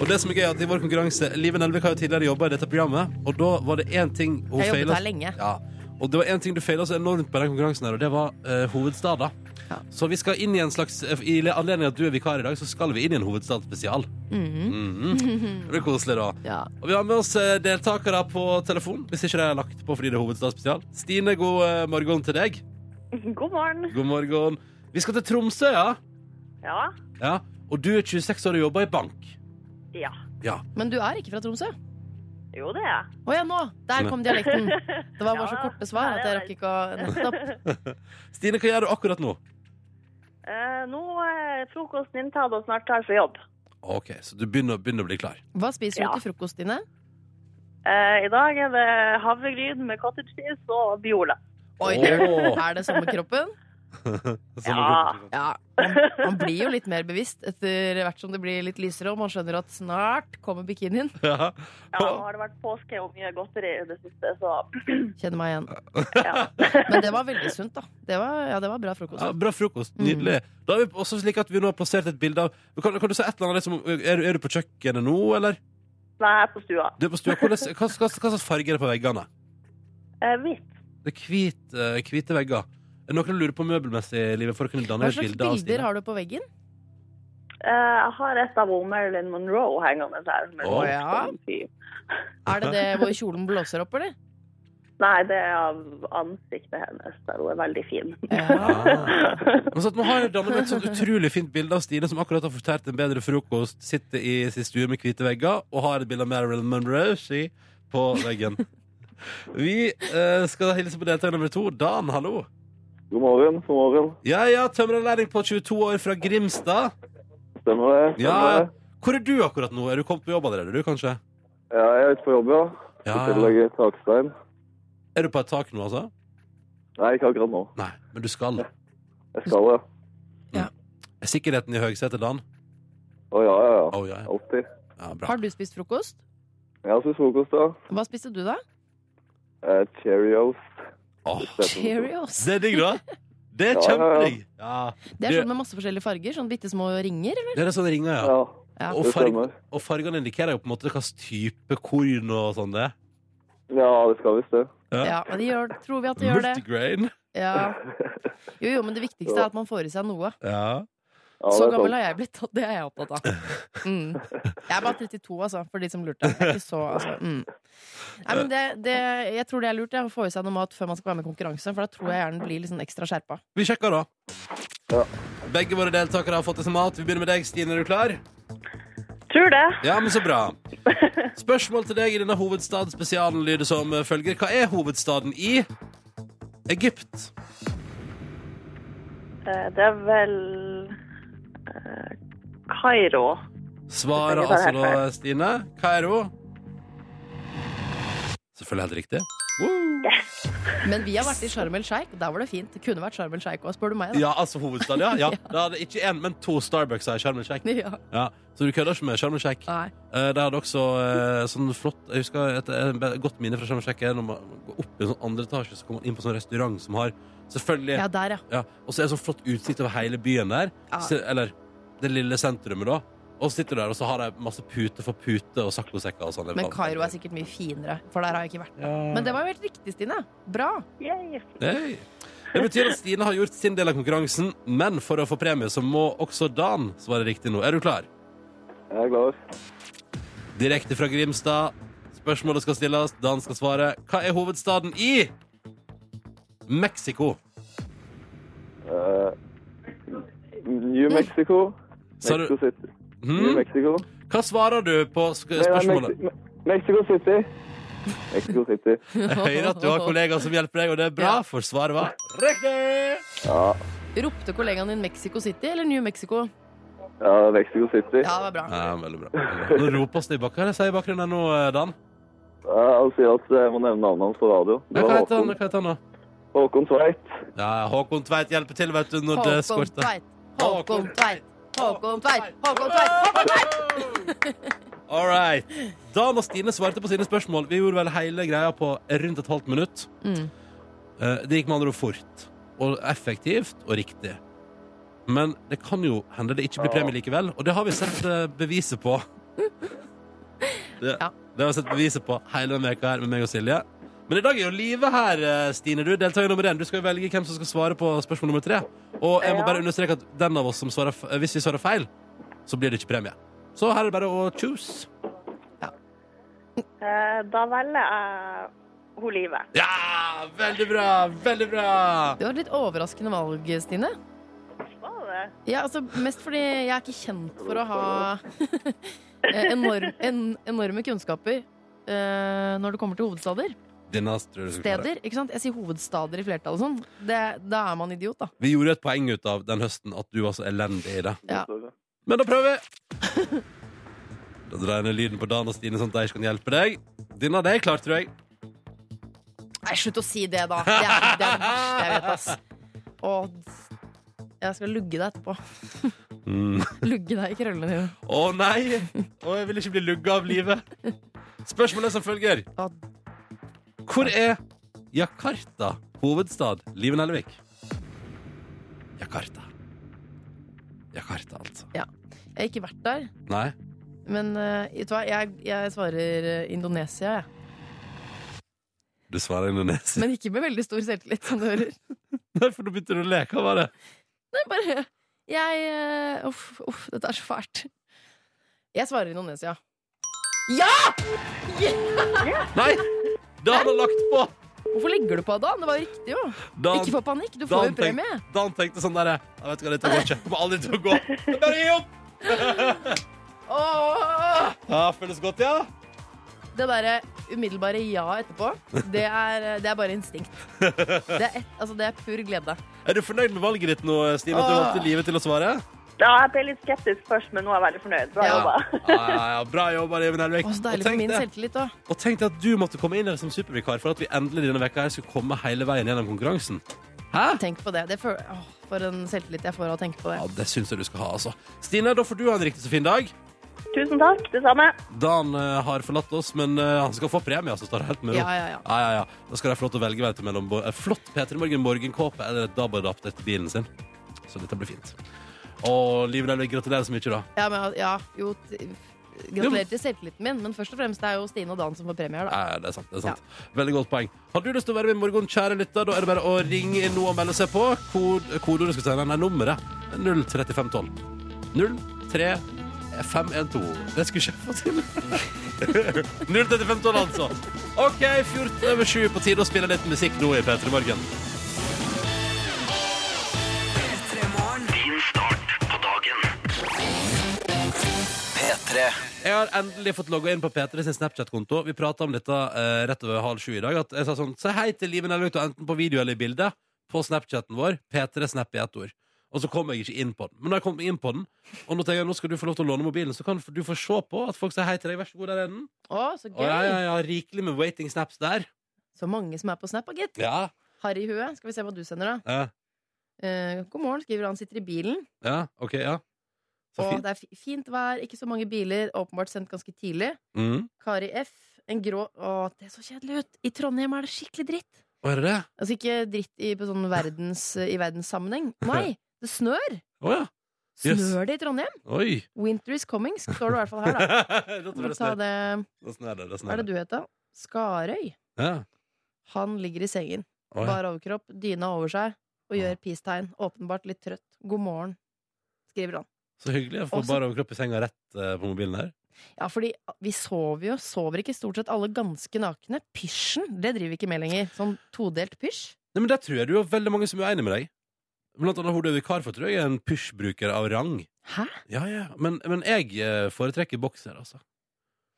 Og det som er gøy, er at i vår konkurranse Live Nelvik har jo tidligere jobba i dette programmet, og da var det én ting hun Jeg jobbet feila her lenge. ja. Og det var én ting du feila så enormt på den konkurransen, her og det var eh, hovedstader. Ja. Så vi skal inn i en slags eh, I anledning at du er vikar i dag, så skal vi inn i en hovedstadsspesial. Mhm. Mhm. Det blir koselig, da. Ja. Og vi har med oss eh, deltakere på telefon, hvis ikke det er lagt på fordi det er hovedstadsspesial. Stine, god eh, morgen til deg. God morgen. God morgen. Vi skal til Tromsø, ja. Ja. ja. Og du er 26 år og jobber i bank. ja. Men du er ikke fra Tromsø? Jo, det er jeg. Å ja, nå! Der kom dialekten. Det var bare Ja, så korte svar at jeg rakk ikke å Nettopp. Stine, hva gjør du akkurat nå? Eh, nå er frokosten inntatt og snart klar for jobb. Ok, så du begynner, begynner å bli klar. Hva spiser du Ja. til frokost, Stine? Eh, I dag er det havregryn med cottage cheese og biola. Oi, Åh. Er det sommerkroppen? Sånn Ja. at du- Ja. Man, man blir jo litt mer bevisst etter hvert som det blir litt lysere, og man skjønner at snart kommer bikinien. Ja. Ja, nå har det vært påske og mye godteri i det siste, så Kjenner meg igjen. ja. Men det var veldig sunt, da. Det var, ja, det var bra frokost. Ja, bra frokost. Mm. Nydelig. Da er vi også slik at vi nå har plassert et bilde av Kan, kan du si et eller annet liksom, er, du- er du på kjøkkenet nå, eller? Nei, jeg er på stua. Du er på stua. Hvordan, hva, hva, hva slags farge er det på veggene? Eh, hvitt. Det er hvit, eh, hvite vegger. Er det noen som lurer på møbelmessig, livet, for å kunne danne Hva et slags bilde av bilder Stine? har du på veggen? Eh, jeg har et av Marilyn Monroe hengende her. men- Å, ja. Fy. Er det det hvor kjolen blåser opp, eller? Nei, det er av ansiktet hennes, der hun er veldig fin. Ah. Men sånn at nå har jeg dannet meg et sånt utrolig fint bilde av Stine som akkurat har fortært en bedre frokost, sitter i sin stue med hvite vegger og har et bilde av Marilyn Monroe ski på veggen. Vi eh, skal hilse på deltaker nummer to. Dan, hallo. God morgen, god morgen. Ja, ja, tømrerlærling på 22 år fra Grimstad. Stemmer det? Stemmer Ja, det? Hvor er du akkurat nå? Er du kommet på jobb allerede, du, kanskje? ja, jeg er ute på jobb, ja. Ja, Sitter og ja. legger takstein. Er du på et tak nå, altså? Nei, ikke akkurat nå. Nei, men du skal. Jeg skal det. Er sikkerheten i høgsetet, Dan? Å ja, ja, Å ja. ja, ja. Alltid. ja. Bra. Har du spist frokost? Jeg har spist frokost, ja. Hva spiste du, da? Eh, Cheerios. Åh, sånn- Cheerios. Det er digg, da. Det er Ja, ja, ja. kjempedigg. Ja. Det er sånn med masse forskjellige farger. Sånn bitte små ringer. eller? Det er sånn ringer, ja. Ja, Ja. Og, det farg, stemmer. og fargene indikerer jo på en måte hvilken type korn og sånn det. er. Ja, det skal visst det. Ja, men de gjør, tror vi at de gjør det. Multigrain. Ja. Jo, jo, men det viktigste er at man får i seg noe. Ja. Ja, Så det er gammel sant. har jeg blitt, og det er jeg opptatt av. Mm. Jeg er bare 32, altså, for de som lurte. Jeg er ikke så, altså, mm. Nei, men det, det, jeg tror det er lurt jeg, å få i seg noe mat før man skal være med i konkurranse, for da tror jeg hjernen blir litt sånn ekstra skjerpa. Vi sjekker, da. Ja. Begge våre deltakere har fått i seg mat. Vi begynner med deg, Stine. Er du klar? Tror det. Ja, men så bra. Spørsmål til deg i denne hovedstadsspesialen lyder som eh, følger. Hva er hovedstaden i Egypt? Eh, Det er vel eh, Kairo. Svarer altså da Stine. Kairo. Selvfølgelig helt riktig. Woo! Men vi har vært i Sharm el Sheikh, der var det fint. Det kunne vært Sharm el Sheikh òg, spør du meg. Da. Ja, altså hovedstaden, ja. ja. Da hadde ikke én, men to Starbucks i Sharm el Sheikh. Ja. Ja. Så du kødder ikke med Sharm el Sheikh? Nei. Eh, Det hadde også eh, sånn flott Jeg husker et, et godt minne fra Sharm el Sheikh er når man går opp i en sånn andre etasje, så kommer man inn på en sånn restaurant som har Selvfølgelig. ja, Ja. der, ja. og så er det sånn flott utsikt over hele byen der. Ja. Se- Eller det lille sentrumet, da. Og så sitter du der, og så har de masse pute for pute og saccosekker og sånn. Men Kairo er sikkert mye finere, for der har jeg ikke vært. ja. Men det var jo helt riktig, Stine. Bra. Yay. Hei. Det betyr at Stine har gjort sin del av konkurransen, men for å få premie så må også Dan svare riktig nå. Er du klar? Jeg er klar. Direkte fra Grimstad. Spørsmålet skal stilles, Dan skal svare. Hva er hovedstaden i Mexico? Eh, New Mexico. Sa du- Mexico City. New Hm? Mexico. Hva svarer du på sk Nei, nei, spørsmålet? Mexi- Me- Mexico City. Mexico City. Jeg hører at du har kollegaer som hjelper deg, og det er bra, Ja. for svaret var riktig! Ja. Ropte kollegaen din Mexico City eller New Mexico? Ja, Mexico City. Ja, det var bra. Ja, veldig bra. Nå ropes det i bakgrunnen. Hva er det jeg sier i bakgrunnen her nå, Dan? Ja, han sier at jeg må nevne navnet hans på radio. Ja, Det hva var heter han, Håkon, hva heter han da? Håkon Tveit. Ja, Håkon Tveit hjelper til, vet du, når det Håkon skorter. Tveit. Håkon Tveit. Håkon Tveit. Håkon Tveit. Håkon Tveit. All right. Dan og Stine svarte på sine spørsmål. Vi gjorde vel hele greia på rundt et halvt minutt. Mm. Eh, Det gikk med andre ord fort og effektivt og riktig. Men det kan jo hende det ikke blir premie likevel, og det har vi sett eh, beviset på. Det, Ja. det har vi sett beviset på hele denne veka her med meg og Silje. Men i dag er jo livet her, eh, Stine. Du er deltaker nummer én. Du skal jo velge hvem som skal svare på spørsmål nummer tre. Og jeg må Ja. bare understreke at den av oss som svarer, f- eh, hvis vi svarer feil, så blir det ikke premie. Så her er det bare å choose. Eh, Da velger jeg hun Live. Ja! Veldig bra! Veldig bra! Det var et litt overraskende valg, Stine. Var det det? Ja, altså Mest fordi jeg er ikke kjent for å ha enorm, en, enorme kunnskaper eh, når det kommer til hovedstader. Denne tror jeg du skal klare. Steder, ikke sant? Jeg sier hovedstader i flertall og sånn. Det, da er man idiot, da. Vi gjorde et poeng ut av den høsten at du var så elendig i det. Ja. Men da prøver vi! Da drar jeg ned lyden på Dan og Stine, sånn at de ikke kan hjelpe deg. Din av deg er klar, tror jeg. Nei, slutt å si det, da! Det er det, er det verste jeg vet, ass. Og jeg skal lugge deg etterpå. Mm. Lugge deg i krøllene dine. Å nei! Å, jeg vil ikke bli lugga av livet. Spørsmålet er som følger. Å. Hvor er Jakarta hovedstad Live Nellevik? Jakarta. Jakarta, altså. Jeg har ikke vært der, Nei? men eh, vet du hva? Jeg, jeg svarer eh, Indonesia, jeg. Du svarer Indonesia. Men ikke med veldig stor selvtillit, som du hører. Nei, for nå begynte du å leke, hva var det? Nei, bare Jeg eh, Uff, uff, dette er så fælt. Jeg svarer Indonesia. Ja! Nei! Dan har lagt på! Hvorfor legger du på, Dan? Det var jo riktig, jo. Dan Ikke få panikk, du Dan får jo tenk- premie. Dan tenkte sånn derre Jeg vet ikke hva dette går ikke. Kommer aldri til å gå. Jeg Bare gi opp! Åh! Ja, føles godt, ja. Det derre umiddelbare ja etterpå, det er, eh, det er bare instinkt. Det er, et, altså, det er pur glede. Er du fornøyd med valget ditt nå, Stine? At du Åh. valgte livet til å svare? Ja, jeg ble litt skeptisk først, men nå er jeg veldig fornøyd. Bra Ja. jobba. Ja, ja, ja. Bra jobba, Liven Elvik. Og så deilig for tenk min det- selvtillit òg. og tenk deg at du måtte komme inn her som supervikar for at vi endelig denne veka her skulle komme hele veien gjennom konkurransen. Hæ? Tenk på det. det føl- åh, for en selvtillit jeg får av å tenke på det. Ja, Det syns jeg du skal ha, altså. Stine, da får du ha en riktig så fin dag. Tusen takk, det samme. Dan eh, har forlatt oss, men eh, han skal få premie, altså. Står det helt med ro. Ja, ja, ja. Ja, ja, ja. Da skal de få lov til å velge vet du, mellom bo- eh, flott P3 Morgen morgenkåpe eller et DAB-adapter til bilen sin. Så dette blir fint. Og Liv Nelvik, gratulerer så mye, da. ja, men, ja jo, t- gratulerer til selvtilliten min, men først og fremst det er jo Stine og Dan som får premier, da. Eh, det er sant. det er sant. Veldig godt poeng. Har du lyst til å være med i morgen, kjære lytter, da er det bare å ringe inn nå og melde seg på. Kod, kodeordet skal jeg si, nei, nummeret 03512. 03512. Det skulle ikke jeg få til. 03512, altså. OK, 14 over 7 på tide å spille litt musikk nå i P3 Morgen. Jeg har endelig fått logga inn på P3 sin Snapchat-konto. Vi prata om dette eh, rett over halv sju i dag. At jeg sa sånn Se hei til Liven Elvik, enten på video eller i bilde, på Snapchaten vår. P3 Snap i ett ord. Og så kom jeg ikke inn på den. Men da jeg kom inn på den, og nå tenker jeg nå skal du få lov til å låne mobilen, så kan du få se på at folk sier hei til deg. Vær så god, der er den. Å, så Og ja, ja, gøy! ja, rikelig med waiting snaps der. Så mange som er på Snap, da, gitt. Ja, Harry Hue, skal vi se hva du sender, da. ja, Eh, god morgen, skriver han. Sitter i bilen. ja ok, ja. Så Og fint. det er fi- fint vær, ikke så mange biler. Åpenbart sendt ganske tidlig. Mm. Kari F. En grå Å, det så kjedelig ut! I Trondheim er det skikkelig dritt. Å, er det det? Altså ikke dritt i, på sånn verdens, i verdenssammenheng. Nei, det snør! Å ja. Yes. Snør det i Trondheim? Oi. Winter is coming, står det i hvert fall her, da. da Vi må tror jeg det ta snør. det. Da snør det. Da Hva er snør det det. du heter? Skarøy. Ja. Han ligger i sengen. Å, ja. Bare overkropp, dyna over seg, og gjør peace-tegn. Åpenbart litt trøtt. God morgen, skriver han. Så hyggelig å få Også- bare overkropp i senga rett eh, på mobilen her. Ja, fordi vi sover jo, sover ikke stort sett alle ganske nakne. Pysjen, det driver vi ikke med lenger. Sånn todelt pysj. Nei, men Der tror jeg du har veldig mange som er enig med deg. Blant annet hun du er vikar for, tror jeg er en pysjbruker av rang. Hæ? Ja, ja, Men, men jeg eh, foretrekker bokser, altså.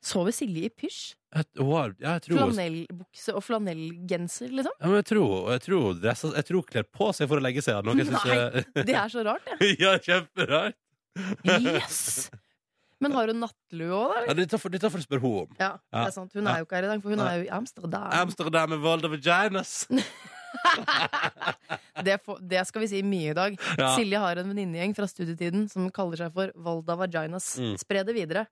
Sover Silje i pysj? Jeg, hun har- ja, jeg tror hun Flanellbukse og flanellgenser, liksom? ja, men jeg tror, jeg tror, hun dresser- jeg tror hun kler på seg for å legge seg. Noe jeg synes, Nei. Det er så rart, det. ja, kjemperart! Yes! Men har hun nattlue òg, da? eller? Ja, dette får dette får du spørre henne om. Ja, det Ja. er sant. Hun er jo ikke her i dag, for hun er jo i Amsterdam. Amsterdam med Volda Vaginas. Det, får- det skal vi si mye i dag. Ja. Silje har en venninnegjeng fra studietiden som kaller seg for Volda Vaginas. Mm. Spre det videre.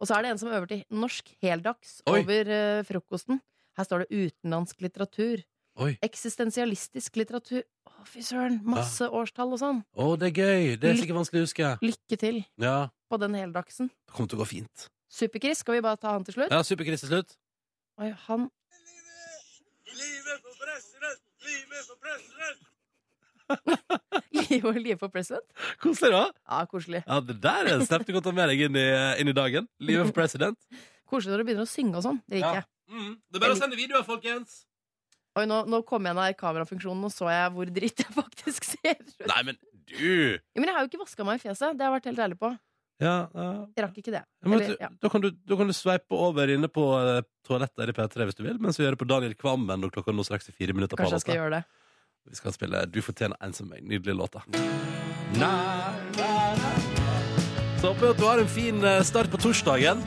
Og så er det en som øver til norsk heldags Oi. over eh, frokosten. Her står det utenlandsk litteratur. Oi. Ah. Eksistensialistisk litteratur. Å, fy søren! Masse årstall og sånn. Å, det er gøy. Det er sikkert vanskelig å huske. Lykke til Ja, på den heldagsen. det kommer til å gå fint. Super-Chris, skal vi bare ta han til slutt? Ja, Super-Chris til slutt. Oi, han Live live for president? Koselig, da. Ja, koselig. Ja, Det der er en snap du kan ta med deg inn i, eh, inn i dagen. Livet for president. Koselig når du begynner å synge og sånn. Det Ja. liker jeg. Mm. Det er bare å sende videoer, folkens. Oi, nå, nå kom jeg ned i kamerafunksjonen, og så jeg hvor dritt jeg faktisk ser ut. Nei, men du Ja, men jeg har jo ikke vaska meg i fjeset. Det har jeg vært helt ærlig på. Ja, ja. Jeg rakk ikke det. Ja, men vet du, Eller, ja. da, kan du, da kan du sveipe over inne på eh, toalettet her i P3 hvis du vil, mens vi gjør det på Daniel Kvammen når klokka nå straks er fire minutter på Kanskje jeg skal halv åtte. gjøre det. Vi skal spille Du fortjener en som meg. Nydelige låter. Nei, nei, nei. Så håper jeg at du har en fin eh, start på torsdagen.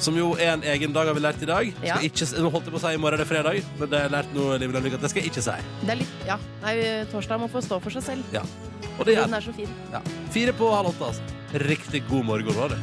Som jo er en egen dag, har vi lært i dag. Ja. Skal ikke, s- nå holdt jeg på å si i morgen er det fredag, men det har jeg lært nå, Liv Landvik, at det skal jeg ikke si. Det er litt, ja. Nei, torsdag må få stå for seg selv. Og det Den gjør jeg. er så fin. Ja. Fire på halv åtte, altså. Riktig god morgen, var det.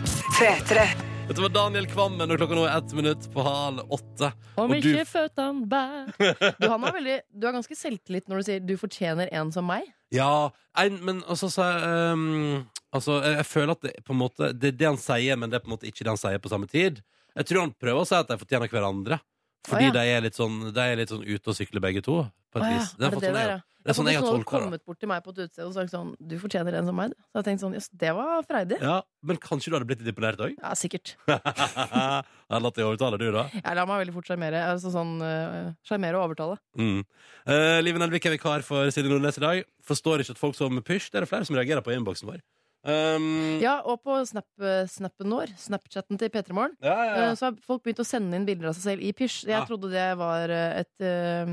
Dette var Daniel Kvammen, og klokka nå er ett minutt på halv åtte. Om Og du- ikke føttene bær Du, han er veldig, du har ganske selvtillit når du sier 'du fortjener en som meg'. Ja, en, men altså, så, jeg, ehm, altså jeg, jeg føler at det er på en måte Det er det han sier, men det er på en måte ikke det han sier på samme tid. Jeg tror han prøver å si at de fortjener hverandre. Fordi Å, ja. de er litt sånn De er litt sånn ute og sykler begge to. På et Å ja, vis. Det er, er det fått det sånn jeg- der, ja? det er sånn jeg har Hvis noen hadde tolka det. kommet bort til meg på et utested og sagt sånn 'du fortjener en som meg', da. så hadde jeg tenkt sånn 'jøss, det var freidig'. Ja, men kanskje du hadde blitt litt imponert òg? Ja, sikkert. Eller at jeg overtaler du, da? Jeg lar meg veldig fort sjarmere. Altså sånn øh, sjarmere og overtale. Mm. Eh, Liven Elvik er vikar for Silje Nordnes i dag. Forstår ikke at folk som pysj Det er det flere som reagerer på i innboksen vår. Um, Ja, og på snap, eh, snappen vår, Snapchatten til P3 Morgen, ja, ja, ja. eh, så har folk begynt å sende inn bilder av seg selv i pysj. Jeg Ja. trodde det var eh, et eh,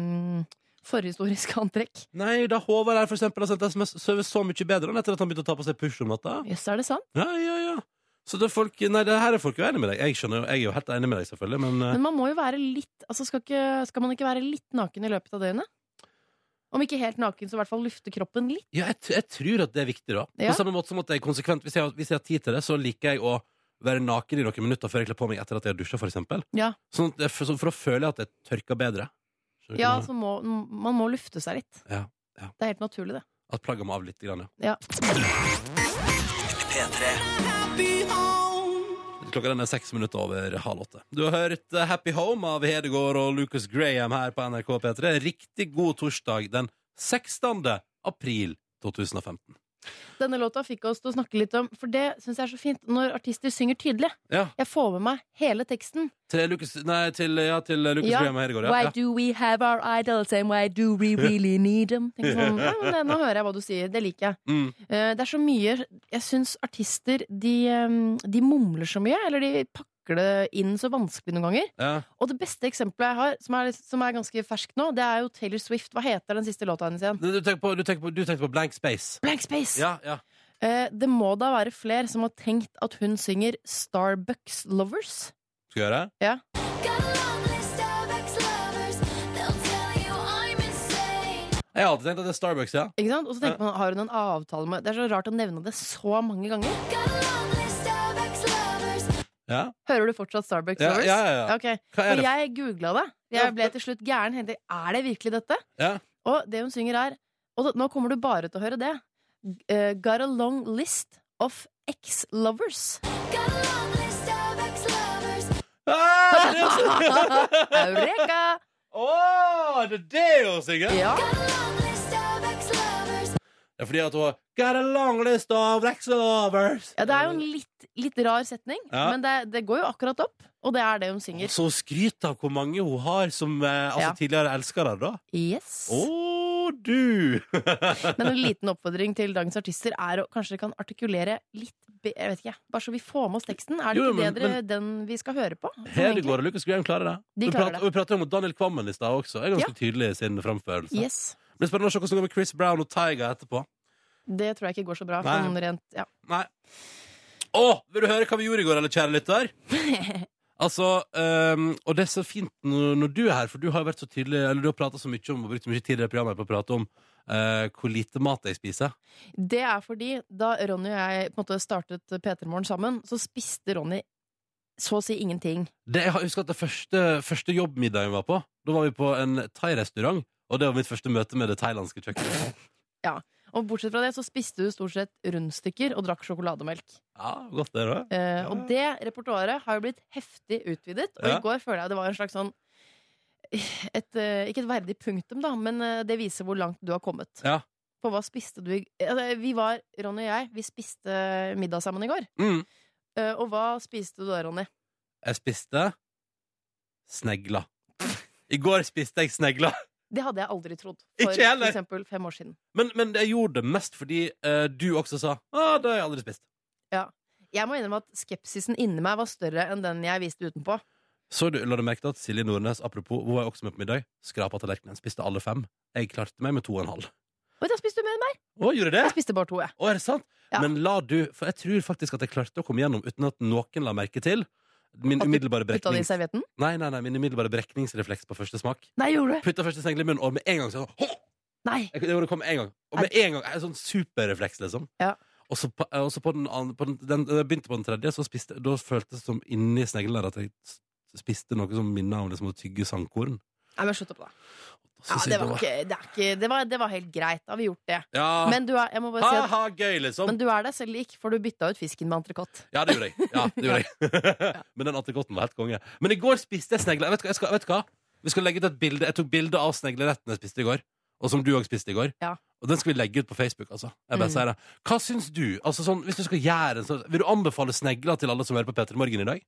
forhistorisk antrekk. Nei, da Håvard her for eksempel har sendt SMS, sover så mye bedre enn etter at han begynte å ta på seg push om natta. Jøss, er det sant? Ja, ja, ja. Så det er folk, nei, det her er folk jo enig med deg. Jeg skjønner jo, jeg er jo helt enig med deg selvfølgelig, men, eh, Men man må jo være litt altså skal, ikke, skal man ikke være litt naken i løpet av døgnet? Om ikke helt naken, så i hvert fall lufte kroppen litt. ja, jeg, t- jeg tror at det er viktig da. Ja. På samme måte som at jeg konsekvent, hvis jeg, har- hvis jeg har tid til det, så liker jeg å være naken i noen minutter før jeg kler på meg etter at jeg har dusjet for eksempel. Ja. Sånn at jeg, for, så- for å føle at jeg tørker bedre. Skjønner du Ja, hva jeg mener? så må, Man må lufte seg litt. Ja, ja. Det er helt naturlig, det. At plagget må av litt, grann, ja. Ja. Klokka den er seks minutter over halv åtte. Du har hørt eh, Happy Home av Hedegaard og Lucas Graham her på NRK P3. Riktig god torsdag den 16. april 2015. Denne låta fikk oss til å snakke litt om, for det syns jeg er så fint, når artister synger tydelig. Ja, Jeg får med meg hele teksten. til Lucas, nei, til, ja, til Lucas Ja, Graham og Hedegaard. Why Ja. do we have our idols and why do we really need them? Tenk Sånn, ja, men det, nå hører jeg hva du sier. Det liker jeg. Ja. Mm. Eh, det er så mye Jeg syns artister de, eh, de mumler så mye, eller de pakker det inn så vanskelig noen ganger. Ja. Og det beste eksempelet jeg har, som er, som er ganske ferskt nå, det er jo Taylor Swift. Hva heter den siste låta hennes igjen? Du, du tenkte på, du tenker på, du tenker på Blank Space. Blank Space! Ja, ja. Eh, det må da være flere som har tenkt at hun synger Starbucks Lovers. Skal vi gjøre det? Jeg har alltid tenkt at det er Starbucks, ja. Ikke sant? Og så tenker man, har hun en avtale med Det er så rart å nevne det så mange ganger. ja. Hører du fortsatt Starbucks Ja, Lovers? ja, ja, ja. Ok. Hva er For det? jeg googla det. Jeg ble til slutt gæren. Tenkte, er det virkelig dette? Ja. Og det hun synger er Og nå kommer du bare til å høre det. eh, got a long list of ex-lovers. Ah, det er så- Eureka! Åh, det er det hun synger! Ja. Det er fordi at hun har Got a long list of Rexlovers. ja, det er jo en litt, litt rar setning, Ja. men det, det går jo akkurat opp. Og det er det hun synger. Så hun skryter av hvor mange hun har som eh, altså, Ja. tidligere elskere, da. Yes. Å, du! Men en liten oppfordring til dagens artister er å kanskje dere kan artikulere litt be- jeg vet ikke, Bare så vi får med oss teksten. Er det Jo, jo, ikke men- det dere, den vi skal høre på? sånn egentlig? Hedegaard og Lucas Graham klarer det. De vi, klarer prater, vi prater om Daniel Kvammen i stad også. Er ganske tydelig i sin framførelse. Yes. Det blir spennende å se hvordan det går med Chris Brown og Tyga etterpå. Det tror jeg ikke går så bra. Nei. Sånn rent, ja. Nei. Å, vil du høre hva vi gjorde i går, eller kjære lytter? Altså, ehm, og det er så fint når, når du er her, for du har jo vært så tydelig Eller du har prata så mye om og brukt så mye tid i det programmet på å prate om eh, hvor lite mat jeg spiser. Det er fordi da Ronny og jeg på en måte startet P3 Morgen sammen, så spiste Ronny så å si ingenting. Det, jeg husker at det første, første jobbmiddagen vi var på, da var vi på en thai-restaurant. Og det var mitt første møte med det thailandske kjøkkenet. Og bortsett fra det så spiste du stort sett rundstykker og drakk sjokolademelk. Ja, godt det da Eh, og det repertoaret har jo blitt heftig utvidet, og Ja. i går føler jeg det var en slags sånn et, eh, Ikke et verdig punktum, da, men eh, det viser hvor langt du har kommet. Ja. På hva spiste du i altså, Vi var, Ronny og jeg, vi spiste middag sammen i går. Mm. Eh, og hva spiste du da, Ronny? Jeg spiste snegla. I går spiste jeg snegla. Det hadde jeg aldri trodd Ikke for jeg heller. for eksempel fem år siden. Men, men jeg gjorde det mest fordi eh, du også sa ah, det har jeg aldri spist. Jeg må innrømme at skepsisen inni meg var større enn den jeg viste utenpå. Så du, la du merke til at Silje Nordnes, apropos, hun var jo også med på middag, skrapa tallerkenen, spiste alle fem. Jeg klarte meg med to og en halv. Oi, da spiste du mer enn meg! Å, gjorde det? Jeg spiste bare to, jeg. Å, er det sant? Ja. Men la du For jeg tror faktisk at jeg klarte å komme gjennom uten at noen la merke til min At du umiddelbare Putta det i breknings... servietten? Nei, nei, nei, min umiddelbare brekningsrefleks på første smak. Nei, gjorde du? Putta første snegl i munnen, og med en gang sånn «Hå!» Nei! Jeg- Det var- det kom med en gang. Og med en gang, en sånn superrefleks, liksom. Ja. Og så på, og så på den andre på den, den, Jeg begynte på den tredje, så spiste, da føltes det som inni sneglen der at jeg s- spiste noe som minna om liksom, å tygge sandkorn. Nei, men slutt opp, da. Og så Ja, sier det, jeg var bare, ikke, det, er ikke, det, var, det var helt greit. Da har vi gjort det. Ja, Men du er, jeg må bare si at, ha-ha, gøy, liksom. men du er deg selv lik, for du bytta ut fisken med entrecôte. Ja, det gjorde jeg. Ja, det gjorde jeg. men den entrecôten var helt konge. Men i går spiste jeg snegler. Vet du hva? Jeg skal, vet du hva? Vi skal legge ut et bilde. Jeg tok bilde av snegleretten jeg spiste i går. Og som du òg spiste i går. Ja. Og den skal vi legge ut på Facebook. altså Jeg bare Mm. sier det Hva syns du? Altså sånn, hvis du skal gjøre en sånn Vil du anbefale snegler til alle som hører på Peter Morgen i dag?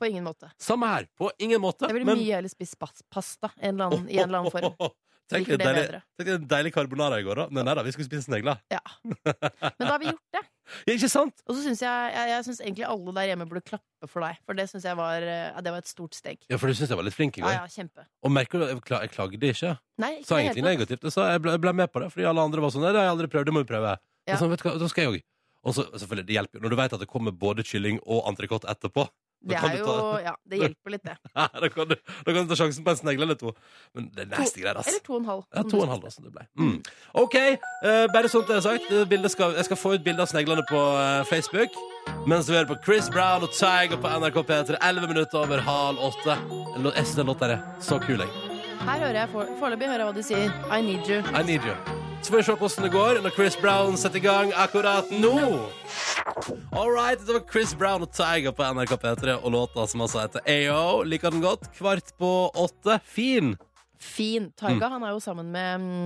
På ingen måte. Samme her. På ingen måte. Jeg ville mye heller spist spas- pasta i en eller annen, i en eller annen form. Tenk Liker deg det deilig, bedre. tenk deg en deilig carbonara i går, da. Men nei da, vi skulle spise snegler. Ja. Men da har vi gjort det. Ja, ikke sant? Og så syns jeg, jeg, jeg synes egentlig alle der hjemme burde klappe for deg, for det syns jeg var, eh, ja, det var et stort steg. Ja, for du syns jeg var litt flink i Ja, går. ja, kjempe. Og merker du at jeg, kla- jeg klagde ikke? Nei, ikke sa i det ingenting hele tatt. negativt. Jeg, sa, jeg, ble, jeg ble med på det, fordi alle andre var sånn Nei, det har jeg aldri prøvd, det må vi prøve. Ja. Og så, vet du hva, da skal jeg òg. Og så, selvfølgelig, det hjelper jo når du vet at det kommer både kylling og entrecôte etterpå. Det kan er du jo, ta- ja, det hjelper litt, det. da, kan du, da kan du ta sjansen på en snegle eller to. Men det er nasty greier, ass. Eller to og en halv. Ja, om to og du en halv, spiste. da, som det ble. Mm. OK, eh, bare sånn at det er sagt. det bildet Skal, jeg skal få ut bilde av sneglene på eh, Facebook. Mens vi hører på Chris Brown og Tiger på NRK P3, 11 minutter over halv åtte. En lå- Jeg synes den låta her er så kul, jeg. Her hører jeg for, foreløpig hører jeg hva de sier. I need you. I need you. Så får vi se hvordan det går når Chris Brown setter i gang akkurat nå. All right, det var Chris Brown og Tiger på NRK P3 og låta som altså heter AO. Liker den godt. Kvart på åtte. Fin. Fin. Taiga han er jo sammen med mm,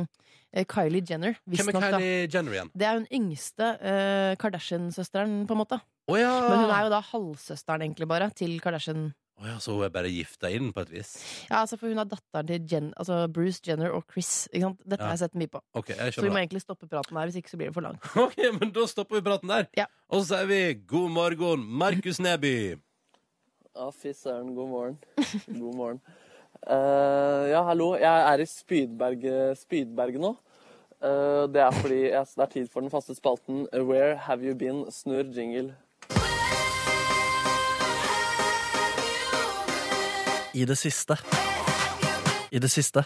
eh, Kylie Jenner. Hvem er Visstnok, da. Kylie Jenner igjen? Det er hun yngste eh, Kardashian-søsteren, på en måte. Å ja. Men hun er jo da halvsøsteren, egentlig, bare, til Kardashian. Å ja, så hun er bare gifta inn på et vis? Ja, altså, for hun er datteren til Jen, altså Bruce Jenner og Chris. Ikke sant? Dette Ja. har jeg sett mye på. Ok, jeg Så vi må skjønner. det. egentlig stoppe praten her, hvis ikke så blir det for langt. Ok, men Da stopper vi praten der. Ja. Og så sier vi god morgen, Markus Neby. Ja, fy søren. God morgen. God morgen. Eh, ja, hallo. Jeg er i Spydberget, Spydberget nå. Eh, det er fordi jeg, det er tid for den faste spalten Where have you been? Snurr jingle. I det siste. I det siste.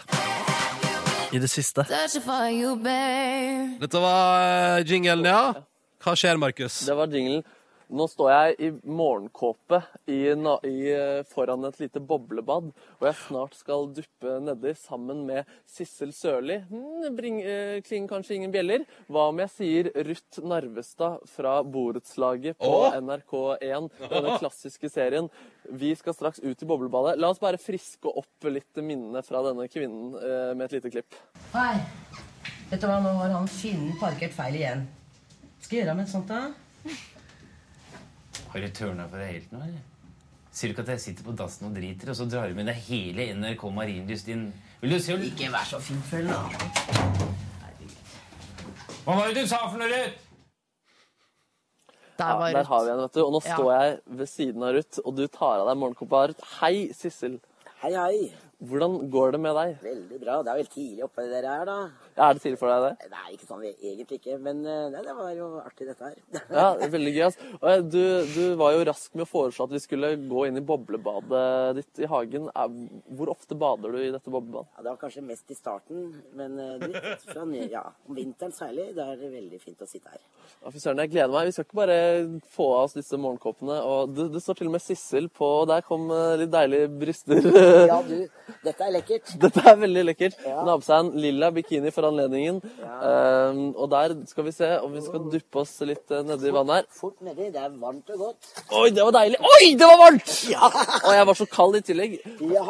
I det siste. Dette var eh, jinglen, ja. Hva skjer, Markus? Det var jinglen. Nå står jeg i morgenkåpe i, na- i, eh, foran et lite boblebad, og jeg snart skal duppe nedi sammen med Sissel Sørli. Hmm, bring- eh, Klinger kanskje ingen bjeller. Hva om jeg sier Ruth Narvestad fra borettslaget på Åh! NRK1, denne klassiske serien. Vi skal straks ut i boblebadet. La oss bare friske opp litt minnene fra denne kvinnen eh, med et lite klipp. Hei. Vet du hva, nå har han finnen parkert feil igjen. Skal jeg gjøre med et sånt, da? Har du tørna for deg helt nå, eller? Sier du ikke at jeg sitter på dassen og driter, og så drar du med deg hele NRK Marienlyst inn? Vil du se hvor Ikke vær så finføl, da. Hva var det du sa for noe, Ruth? Der Ja, var der har vi Ruth. en, vet du. Og nå Ja. står jeg ved siden av Ruth, og du tar av deg morgenkåpa, Ruth. Hei, Sissel. Hei, hei. Hvordan går det med deg? Veldig bra. Det er vel tidlig oppe dere er, da. Er det tidlig for deg, det? Nei, ikke sånn egentlig ikke, men eh, nei, det var jo artig, dette her. Ja, veldig gøy. ass. Og, eh, Du, du var jo rask med å foreslå at vi skulle gå inn i boblebadet ditt i hagen. Er- Hvor ofte bader du i dette boblebadet? Ja, det var kanskje mest i starten, men eh, litt fra ny- ja, om vinteren særlig, da er det veldig fint å sitte her. Ja, Fy søren, jeg gleder meg. Vi skal ikke bare få av oss disse morgenkåpene. Og det, det står til og med Sissel på, og der kom eh, litt deilige bryster. Ja, du, dette er lekkert. Dette er veldig lekkert. Hun har på seg en lilla bikini for anledningen. Ehm, og der skal vi se om vi skal duppe oss litt eh, nedi vannet her. Fort nedi, det er varmt og godt. Oi, det var deilig! Oi, det var varmt! Og jeg var så kald i tillegg. Ja,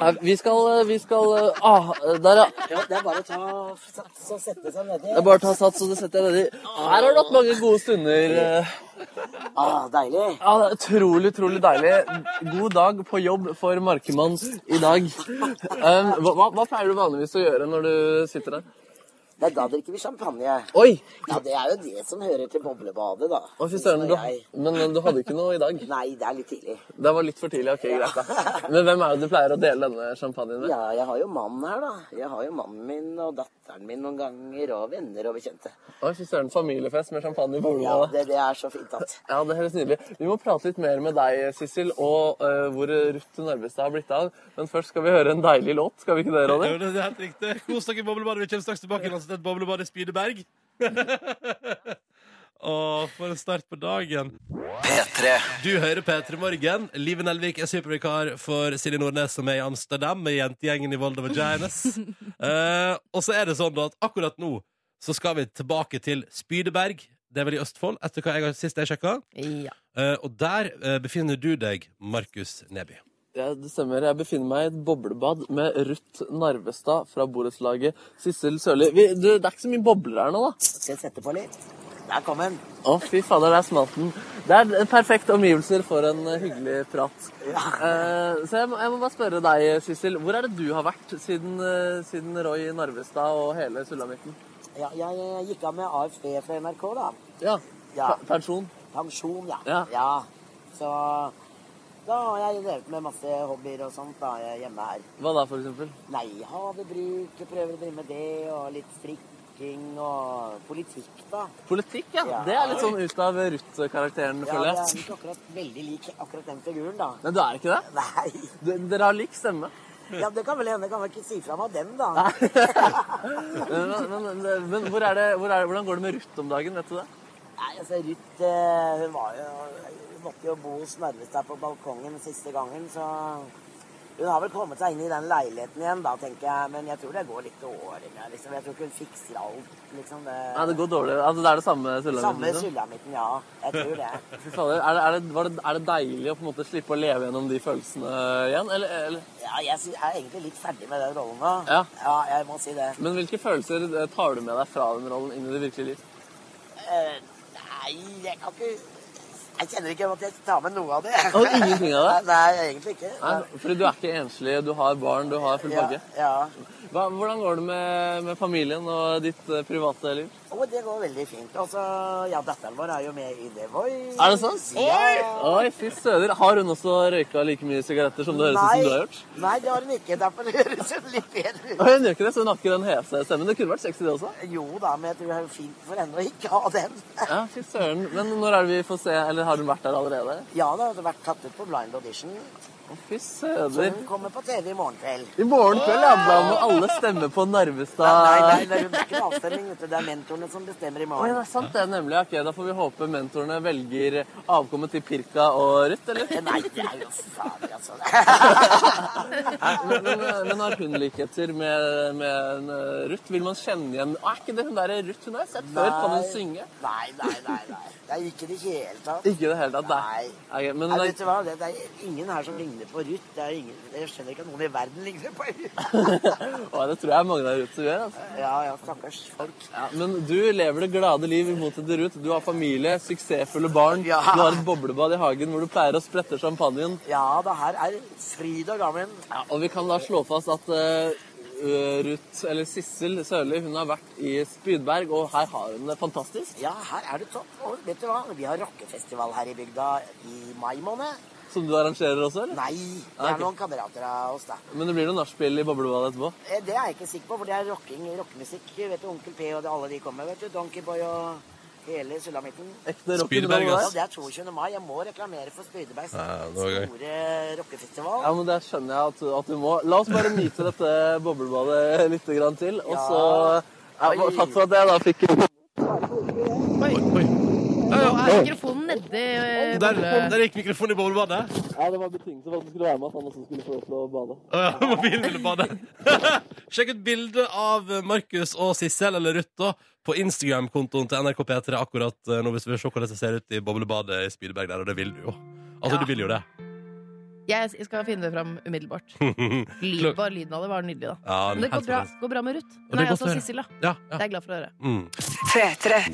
Nei, Vi skal, eh, vi skal eh, ah, Der, ja. ja det er bare å ta sats og sette seg nedi. Det er bare å ta sats, og det setter jeg nedi. Her har du hatt mange gode stunder. eh. Ah, deilig. Ja, det er Utrolig, utrolig deilig. God dag på jobb for Markemann i dag. Um, hva, hva- hva pleier du vanligvis å gjøre når du sitter der? Det er da drikker vi champagne. Oi! Ja, det er jo det som hører til boblebadet, da. Å, fy søren. Du, Nå er jeg- men eh, du hadde ikke noe i dag? Nei, det er litt tidlig. Det var litt for tidlig. ok, greit da. Men hvem er det du pleier å dele denne champagnen med? Ja, jeg har jo mannen her, da. Jeg har jo mannen min og datteren min noen ganger, og venner og bekjente. Å, fy søren, familiefest med champagne i Ja, bobla. det, det er så fint at Ja, det høres nydelig ut. Vi må prate litt mer med deg, Sissel, og eh, hvor Ruth Narvestad har blitt av. Men først skal vi høre en deilig låt, skal vi ikke det, Ronny? Jo, det er helt riktig. Kos dere i boblebadet. Vi kommer straks tilbake til et boblebad i Spydeberg. Å, for en start på dagen. Du hører P3 Morgen. Liv Nelvik er supervikar for Silje Nordnes, som er i Amsterdam med jentegjengen i Volda Vaginas. Eh, og så er det sånn da at akkurat nå så skal vi tilbake til Spydeberg. Det er vel i Østfold, etter hva jeg har sist jeg sjekka. Ja. Eh, og der eh, befinner du deg, Markus Neby. Ja, det stemmer. Jeg befinner meg i et boblebad med Ruth Narvestad fra borettslaget Sissel Sørli. Vi, du, det er ikke så mye bobler her nå, da. Skal jeg sette på litt? Der kom den. Å, fy fader, der smalt den. Det er perfekte omgivelser for en eh, hyggelig prat. Eh, så jeg må, jeg må bare spørre deg, Sissel. Hvor er det du har vært siden, eh, siden Roy Narvestad og hele sulamitten? Ja, jeg, jeg gikk av med AFP fra NRK, da. Ja. Ja. pe- Pensjon. Pensjon, ja. Ja. Så da har jeg drevet med masse hobbyer og sånt da, jeg er hjemme her. Hva da, for eksempel? Nei, havebruk, jeg prøver å drive med det, og litt strikking og politikk, da. Politikk, ja. Ja. Det er litt sånn ut av Ruth-karakteren, Ja, føler jeg er jeg. ikke akkurat veldig lik akkurat den figuren, da. Men du er ikke det? Nei. Du, dere har lik stemme. Ja, det kan vel hende. Kan vel ikke si fra meg den, da. Men, men, men, men hvor er det, hvor er det, hvordan går det med Ruth om dagen? vet du det? Nei, altså, Ruth eh, hun var jo Hun måtte jo bo hos Narvestad på balkongen siste gangen, så Hun har vel kommet seg inn i den leiligheten igjen, da, tenker jeg. Men jeg tror det går litt årene, liksom. Jeg tror ikke hun fikser alt, liksom. Det, Nei, Det går liksom. dårlig. Altså, det er det samme Samme sulamitten? sulamitten, ja. Jeg tror det. Fy fader, Er, det- er, det- var det- er det deilig å på en måte slippe å leve gjennom de følelsene igjen? Eller, eller? Ja, jeg sy- er egentlig litt ferdig med den rollen nå. Ja. ja, jeg må si det. Men hvilke følelser eh, tar du med deg fra den rollen inn i det virkelige liv? Eh, nei, jeg kan ikke Jeg kjenner ikke at jeg tar med noe av det. Og ingenting av det? Nei, egentlig ikke. Nei, fordi du er ikke enslig, du har barn, du har full pakke. Ja, ja. Hva- Hvordan går det med, med familien og ditt eh, private liv? Og det går veldig fint. Og så, ja, datteren vår er jo med i The Voice. Er det sant? Ja. Oi, fy søder. Har hun også røyka like mye sigaretter som det høres ut Nei. som du har gjort? Nei, det har hun ikke. Derfor høres hun litt bedre ut. Oi, hun gjør ikke det, så hun har ikke den hese stemmen. Det kunne vært sexy, det også. Jo da, men jeg tror det er fint for henne å ikke ha den. Ja, fy søren. Men når er det vi får se, eller har hun vært der allerede? Ja, det har vært tatt ut på Blind Audition. Å, fy Så søder. hun kommer på TV i morgen kveld. I morgen kveld, ja. Da må alle stemme på Narvestad. Nei, nei, det er jo ikke en avstemning, vet du. Det er mentorene som bestemmer Oi, i det morgen. er sant, det. er Nemlig. Ok, Da får vi håpe mentorene velger avkommet til Pirka og Ruth, eller? Eh, Nei, det er jo fader, altså. Men, men, men har hun likheter med, med eh, Ruth? Vil man kjenne igjen Å, Er ikke det hun derre Ruth hun har sett før? Kan hun Nei. synge? Nei, nei, nei. nei. Det er ikke i det hele tatt. Ikke i det hele tatt. Nei. Ok, men Nei, hun er, vet du hva? Det, det er ingen her som ligner på Ruth. Det er ingen, jeg skjønner ikke at noen i verden ligner på Ruth. Å, det tror jeg mange av Ruth som gjør. altså. Ja, ja, stakkars folk. Ja, men du lever det glade liv i motsetning til Ruth. Du har familie, suksessfulle barn. Ja. Du har et boblebad i hagen hvor du pleier å sprette champagnen. Ja, det her er fryd og gammen. Ja, og vi kan da slå fast at eh, ø, Ruth, eller Sissel Sørli, hun har vært i Spydberg, og her har hun det fantastisk. Ja, her er det topp. Og vet du hva? Vi har rockefestival her i bygda i mai måned. som du arrangerer også, eller? Nei, det Ah, ok. er noen kamerater av oss, da. Men det blir noe nachspiel i boblebadet etterpå. Eh, Det er jeg ikke sikker på, for det er rocking, rockemusikk. Vet du, Onkel P og det, alle de kommer, vet du. Donkeyboy og hele sulamitten. Ekte Spydeberg, rock'n'roll der. Ja, ass. det er 22. mai. Jeg må reklamere for Spydebergs Ja, det var gøy. store rockefestival. Ja, men Det skjønner jeg at, at du må. La oss bare nyte dette boblebadet litt grann til. Og så ja, Oi. Takk for at jeg da fikk Nå er mikrofonen nedi eh, Der, boble- der gikk mikrofonen i boblebadet. Ja, Det var betingelse for at du skulle være med, at han også skulle få lov til å bade. Åja, Mobilen ville bade. Sjekk ut bildet av Markus og Sissel eller Ruth da, på Instagram-kontoen til NRK P3 akkurat eh, nå hvis du vil se hvordan det ser ut i boblebadet i Spydeberg der, og det vil du jo. Altså, Ja. du vil jo det. Jeg jeg skal finne det fram umiddelbart. Lyd, Klok- bare lyden av det var nydelig, da. Ja, Men det går helt bra, fantastisk. går bra med Ruth. det er Nei, godt å altså høre. Sissel, da. Ja, Det ja. er jeg glad for å høre. Mm.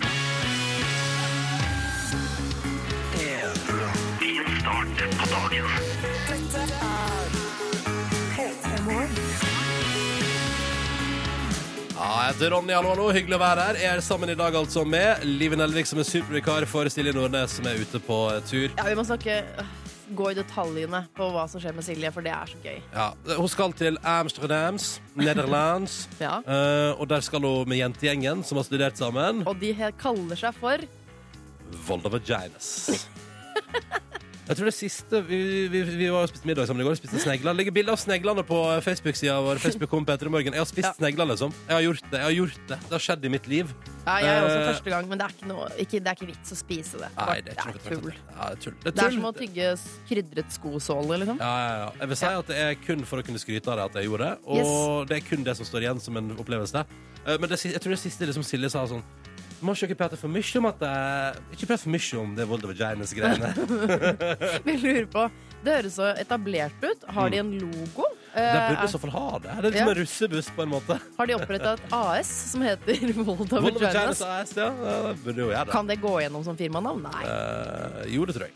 Ja, jeg heter Ronny, hallo, hallo. Hyggelig å være her. Jeg er sammen i dag altså med Live Nelvik, som er supervikar for Silje Nordnes, som er ute på eh, tur. Ja, vi må snakke øh, Gå i detaljene på hva som skjer med Silje, for det er så gøy. Ja, Hun skal til Amsterdams, Nederlands, Ja. eh, og der skal hun med jentegjengen, som har studert sammen. Og de he- kaller seg for Volda Vaginas. Jeg tror det siste Vi, vi, vi var og spiste middag sammen i går. Spiste snegler. Legger bilde av sneglene på Facebook-sida vår. Facebook kom Peter i morgen. Jeg har spist Ja. snegler, liksom. Jeg har gjort det. jeg har gjort Det Det har skjedd i mitt liv. Ja, jeg er også Eh. første gang, men det er ikke, noe, ikke, det er ikke vits å spise det. Nei, det er Bare- ikke noe tull. tull. Ja, det er tull. Det er Det er tull. som å tygge s- krydret skosåle, liksom. Ja, ja, ja. Jeg vil si at det er kun for å kunne skryte av det at jeg gjorde det. Og Yes. det er kun det som står igjen som en opplevelse. Eh, Men det, si- jeg tror det siste liksom Silje sa sånn Må ikke dere prate for mye om at det, Ikke prate for mye om det Volda Vaginas-greiene. Vi lurer på Det høres så etablert ut. Har de en logo? De Eh, Mm. burde i så fall ha det. Det er liksom Ja. en russebuss, på en måte. har de oppretta et AS som heter Volda Volda Vaginas Vaginas? AS, ja. ja, det Burde jo gjøre det. Kan det gå gjennom som firmanavn? Nei. Eh, jo, det tror jeg.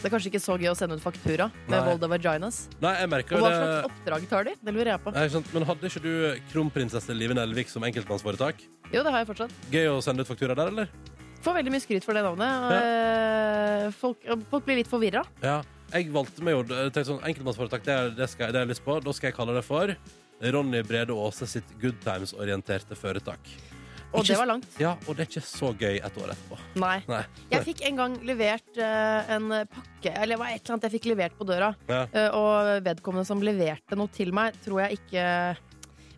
Det er kanskje ikke så gøy å sende ut faktura med Nei. Volda Vaginas. Nei, jeg merker Og jo hva det. slags oppdrag tar de? Det lurer jeg på. Nei, ikke sant? Men hadde ikke du kronprinsesse Live Nelvik som enkeltmannsforetak? Jo, det har jeg fortsatt. Gøy å sende ut faktura der, eller? Får veldig mye skryt for det navnet. og, eh, Folk, og folk blir litt forvirra. Ja, jeg valgte meg jo jeg tenkte sånn, Enkeltmannsforetak, det, er- det, skal, jeg- det har jeg lyst på Da skal jeg kalle det for Ronny Brede Aase sitt Good Times-orienterte foretak Og Ikke det s- var langt. Ja, og det er ikke så gøy et år etterpå Nei. Nei Jeg fikk en gang levert eh, en pakke, eller det var et eller annet jeg fikk levert på døra. Ja. Eh, og vedkommende som leverte noe til meg, tror jeg ikke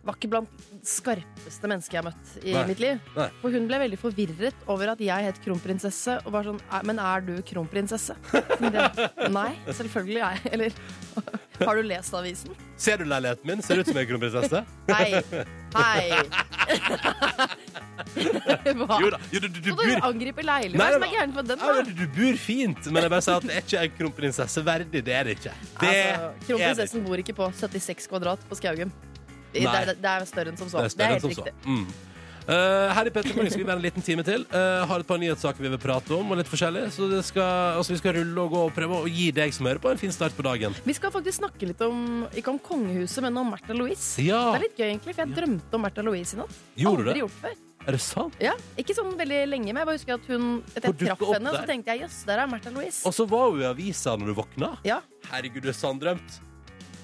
var ikke blant skarpeste mennesker jeg har møtt i Nei. mitt liv. Nei. For hun ble veldig forvirret over at jeg het kronprinsesse, og var sånn "Er- Men er du kronprinsesse? Det- Nei, selvfølgelig er jeg Eller har du lest avisen? Ser du leiligheten min? Ser du ut som en kronprinsesse? Hei! Hei! Hva? Jo da, jo, du, du, du Og du bor angriper leiligheten. Nei, Hva er det som men- er gærent med den? ja, da? men du bor fint, men jeg bare sier at det er ikke en kronprinsesse verdig, det er det ikke Det er altså, det ikke Kronprinsessen bor ikke på 76 kvadrat på Skaugum. Det Nei. er, det er større enn som så. Det er større enn helt som så. riktig. Mm. Eh, her i Petter Morgen skal vi være en liten time til. Eh, har et par nyhetssaker vi vil prate om, og litt forskjellig. Så det skal, altså, vi skal rulle og gå og prøve å gi deg som hører på, en fin start på dagen. Vi skal faktisk snakke litt om ikke om kongehuset, men om Märtha Louise. Det Ja, er litt gøy, egentlig, for jeg drømte om Märtha Louise i natt. gjorde du Aldri det? gjort før. Er det sant? Ja, ikke sånn veldig lenge, men jeg bare husker at hun Etter Hun jeg dukket traff opp henne, der. så tenkte jeg jøss, der er Märtha Louise. Og så var hun i avisa når du våkna. Ja. Herregud, du er sanndrømt.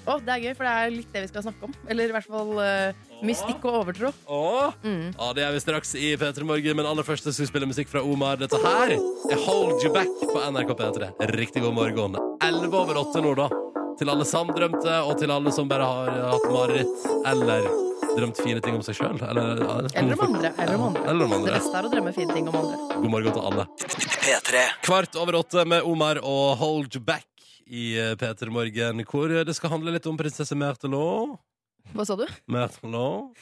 Å, det er gøy, for det er litt det vi skal snakke om. Eller i hvert fall eh, mystikk og overtro. Åh. Mm. Ja, det er vi straks i P3 Morgen, men aller først skal vi spille musikk fra Omar. Dette her er Hold You Back på NRK P3. Riktig god morgen. 11 over 8 nå, da. Til alle sanndrømte, og til alle som bare har hatt mareritt eller drømt fine ting om seg sjøl. Eller, Eller om andre. Eller om andre. Eller om Det andre. beste er å drømme fine ting om andre. God morgen til alle. Kvart over åtte med Omar og Hold You Back i eh, P3 Morgen, hvor det skal handle litt om prinsesse Mertelot. Hva sa du? Mertelot.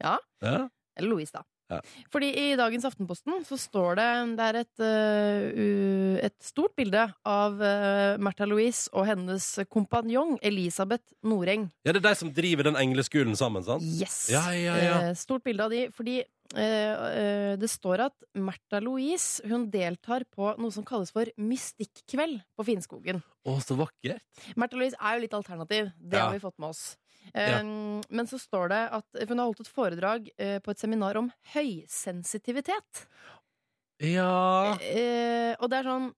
Ja. ja. Eller Louise, da. Ja. Fordi i dagens Aftenposten så står det Det er et, øh, u- et stort bilde av uh, Märtha Louise og hennes kompanjong Elisabeth Noreng. Ja, det er de som driver den engleskolen sammen, sant? Yes! Ja, ja, ja. Eh, stort bilde av de. Fordi eh, eh, det står at Märtha Louise hun deltar på noe som kalles for Mystikkveld på Finnskogen. Å, så vakkert. Märtha Louise er jo litt alternativ. Det Ja. har vi fått med oss. Um, Men så står det at for hun har holdt et foredrag eh, på et seminar om høysensitivitet. Ja. Eh, og det er sånn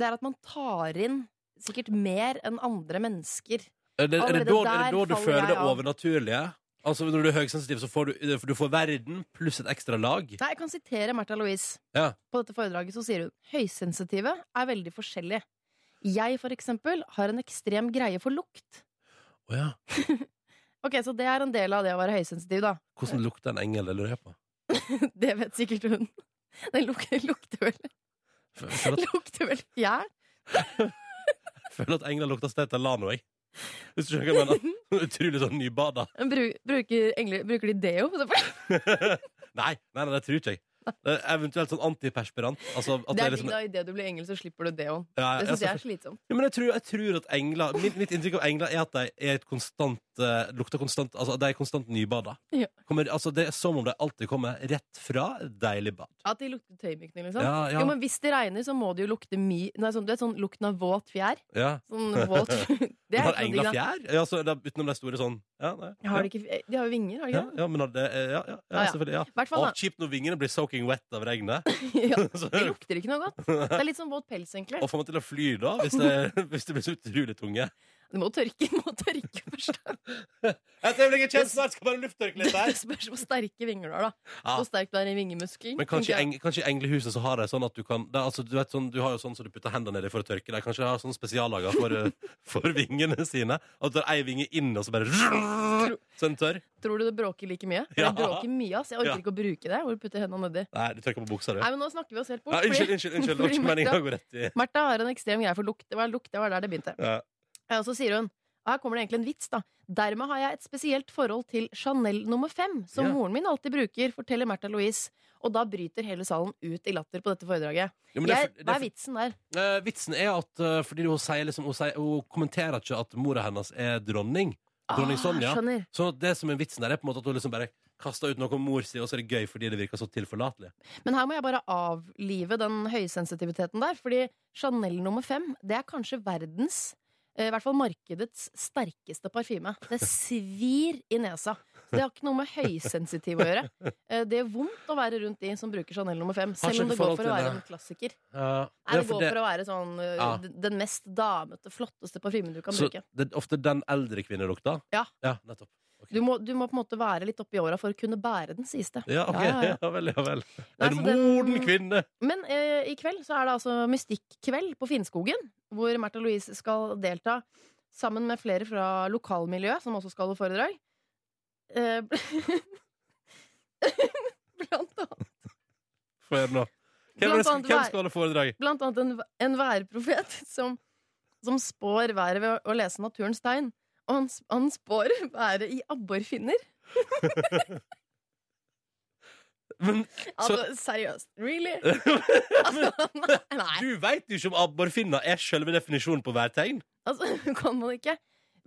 Det er at man tar inn sikkert mer enn andre mennesker. Er det, er det, Allerede da, er det da der du faller føler jeg det av. overnaturlige? Altså Når du er høysensitiv, så får du, for du får verden pluss et ekstra lag. Nei, jeg kan sitere Märtha Louise. Ja. På dette foredraget så sier hun høysensitive er veldig forskjellige. Jeg, for eksempel, har en ekstrem greie for lukt. Å ja. Ok, Så det er en del av det å være høysensitiv, da. Hvordan lukter en engel? Det lurer jeg på. Det vet sikkert hun. Den luk lukter vel Jeg føler at, Lukter vel fjær? jeg føler at engler lukter Stettelano, jeg. Hvis du skjønner hva jeg mener. Utrolig sånn nybada. Bru bruker, engler, bruker de deo? Det nei, nei, nei, det tror ikke jeg. Det er eventuelt sånn antiperspirant. Altså, at det er er digg, liksom, da. Idet du blir engel, så slipper du deoen. ja, Det syns ser jeg er slitsomt. Ja, men jeg tror, jeg tror at engler mitt, mitt inntrykk av engler er at de er et konstant, eh, lukter konstant Altså, de er konstant nybada. Ja. Kommer, altså, det er som om de alltid kommer rett fra et deilig bad. At de lukter tøymykning, liksom. Ja, ja, Jo, men hvis det regner, så må det jo lukte my... Nei, sånn, du vet sånn lukten av våt fjær? ja. Sånn våt Men Det er har ikke noe engler digg, da. fjær? Ja, altså, da, utenom de store sånn ja, nei, Har de, ikke, de har jo vinger, har de ja, ikke? det? Ah, ja, men har det, eh, ja, ja, ja, Ja, ja. selvfølgelig. Ja. I hvert fall, Å, kjipt når vingene blir soaking wet av regnet. da. Ja, Så, det lukter ikke noe godt. Det er litt sånn våt pels, egentlig. og får man til å fly da, hvis det, hvis det blir så utrolig tunge. Det må tørke, må tørke først. da. Et øyeblikk, jeg kjenner snart skal bare lufttørke litt Det her. spørs hvor sterke vinger du har, da. Ja. Hvor sterk du er i vingemuskel. Men kanskje, i tenker jeg. eng, kanskje i englehuset så har de sånn at du kan det er, altså, du, vet, sånn, du har jo sånn som du putter hendene nedi for å tørke deg. Kanskje de har sånn spesiallaga for, eh, for vingene sine. At du tar ei vinge inn, og så bare Så den tørr. Tror du det bråker like mye? Ja. Det bråker mye, ass. Jeg orker Ja. ikke å bruke det. Hvor du putter hendene nedi. Nei, du tørker på buksa, du. Nei, men nå snakker vi oss helt bort. Ja, unnskyld, fordi- unnskyld. unnskyld. Det var fordi ikke meningen å Martha, gå rett i Martha har en ekstrem greie for lukt. Det var lukt, det var der det begynte. ja. Ja, Og så sier hun og her kommer det egentlig en vits, da. Dermed har jeg et spesielt forhold til Chanel nummer fem, som Ja. moren min alltid bruker, forteller Märtha Louise. Og da bryter hele salen ut i latter på dette foredraget. Jo, men det er Jeg, for- det er hva for- er vitsen der? Eh, vitsen er at eh, fordi hun, sier liksom, hun, sier, hun kommenterer ikke at mora hennes er dronning. Dronning Sonja. Ah, skjønner. Så det som er vitsen der, er på en måte at hun liksom bare kaster ut noe om mor si, og så er det gøy fordi det virker så tilforlatelig. Men her må jeg bare avlive den høysensitiviteten der, fordi Chanel nummer fem, det er kanskje verdens eh, i hvert fall markedets sterkeste parfyme. Det svir i nesa. Så Det har ikke noe med høysensitiv å gjøre. Eh, Det er vondt å være rundt de som bruker Chanel nummer fem, ikke selv om det forhold går for til å være det. en klassiker. Ja, Nei, Eh, det for går for å være sånn uh, Ja. d- den mest damete, flotteste parfymen du kan så bruke. det er ofte den eldre kvinnelukta? Ja. ja. Nettopp. Du må, du må på en måte være litt oppi åra for å kunne bære den, sies det. Ja, ok. Ja, Ja, ja, ja. vel, ja vel. Nei, en så den- moden kvinne! Men eh, i kveld så er det altså Mystikkveld på Finnskogen, hvor Märtha Louise skal delta sammen med flere fra lokalmiljøet, som også skal holde foredrag. Eh, blant, annet, Få høre nå. Hvem, Blant er det som- annet hvem vær- skal holde foredrag? blant annet en, en værprofet som, som spår været ved å lese naturens tegn. Og han, han spår været i abborfinner. Men så, Altså, seriøst. Really? Altså, nei. du veit jo ikke om abborfinna er selve definisjonen på værtegn? Altså, kan man ikke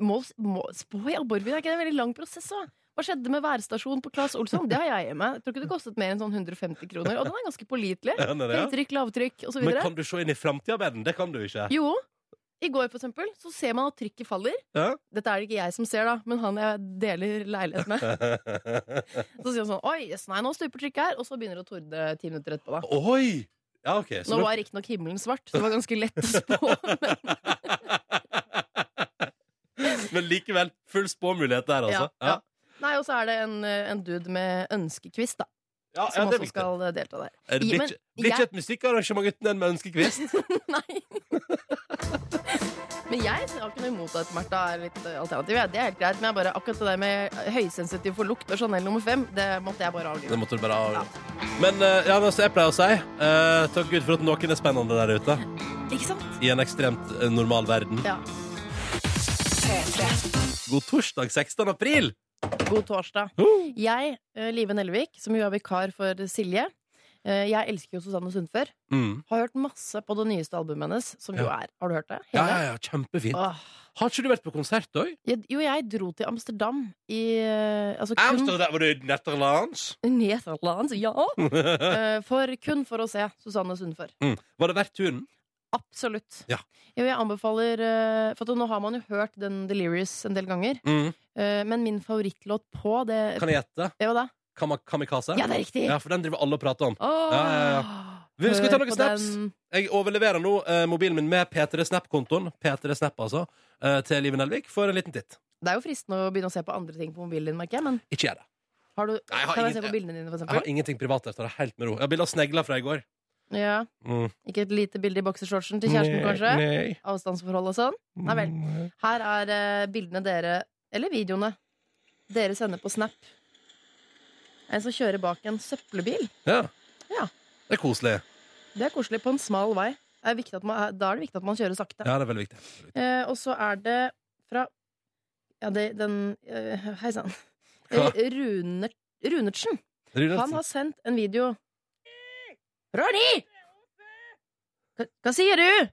må, må, Spå i abborvin er ikke det en veldig lang prosess? da? Hva skjedde med værstasjonen på Claes Olsson? Det har jeg hjemme. Jeg tror ikke det kostet mer enn sånn 150 kroner. Og den er ganske pålitelig. Ja, den er det, ja. Høytrykk, lavtrykk osv. Men kan du se inn i framtida med den? Det kan du ikke. Jo. I går, for eksempel, så ser man at trykket faller. Ja. Dette er det ikke jeg som ser, da, men han jeg deler leilighet med. Så sier han sånn Oi, jøss, nei, nå stuper trykket her. Og så begynner det å tordne ti minutter etterpå, da. Oi! Ja, ok. Nå da- var riktignok himmelen svart, så det var ganske lett å spå. Men Men likevel, full spåmulighet der, altså. Ja, ja. Nei, og så er det en, eh, en dude med ønskekvist, da. Ja, ja, Som det er også viktig. skal eh, delta der. Er det Ja, blir men ikke, blir ikke jeg- et musikkarrangement uten en med ønskekvist? Nei! men jeg har ikke noe imot at Martha er litt eh, alternativ. jeg. Det er helt greit, men jeg bare, akkurat det der med høysensitiv for lukt og Chanel nummer fem, det måtte jeg bare Det avlive. måtte du bare ha. Men eh, ja, men altså, jeg pleier å si eh, takk Gud for at noen er spennende der ute. Ikke sant? I en ekstremt eh, normal verden. Ja. God torsdag 16. april! God torsdag. Jeg, eh, Live Nelvik, som jo er vikar for Silje eh, Jeg elsker jo Susanne Sundfør. Mm. Har hørt masse på det nyeste albumet hennes, som jo Ja. er Har du hørt det? Ja, Hele? ja, ja, kjempefint. Åh. Har ikke du vært på konsert òg? Jeg- Jo, jeg dro til Amsterdam i eh, altså kun, Amsterdam, var du netterlands? Nederland, ja. Eh, for, kun for å se Susanne Sundfør. Mm. Var det verdt turen? Absolutt. Ja. Jo, Jeg anbefaler eh, For at nå har man jo hørt den Delirious en del ganger. Mm. eh, Men min favorittlåt på det Kan jeg gjette? Ja, hva da? Kama- Kamikaze? Ja, det er riktig! Ja, for den driver alle og prater om. Åh. Ja, ja, Vi skal vi ta Hør noen på snaps? den. Jeg overleverer nå eh, mobilen min med P3 Snap-kontoen P3 Snap altså eh, til Liven Elvik for en liten titt. Det er jo fristende å begynne å se på andre ting på mobilen din, merker jeg, men Ikke gjør det. har du, Nei, jeg har kan jeg ingen- se på bildene dine, for Jeg har eksempel? ingenting privat der. Tar det helt med ro. Jeg har bilde av snegler fra i går. Ja. Mm. Ikke et lite bilde i boksershortsen til kjæresten, kanskje? Avstandsforhold og sånn? Nei vel. Her er eh, bildene dere, eller videoene, dere sender på Snap. En som kjører bak en søppelbil. Ja. Ja. Det er koselig. Det er koselig på en smal vei. Det er viktig at man, da er det viktig at man kjører sakte. Ja, det er veldig viktig. Eh, og så er det fra ja, det, den eh, Hei sann. Hva? Eh, Runer, Runertsen. Rune, Han har sendt en video. Ronny! Hva, hva sier du?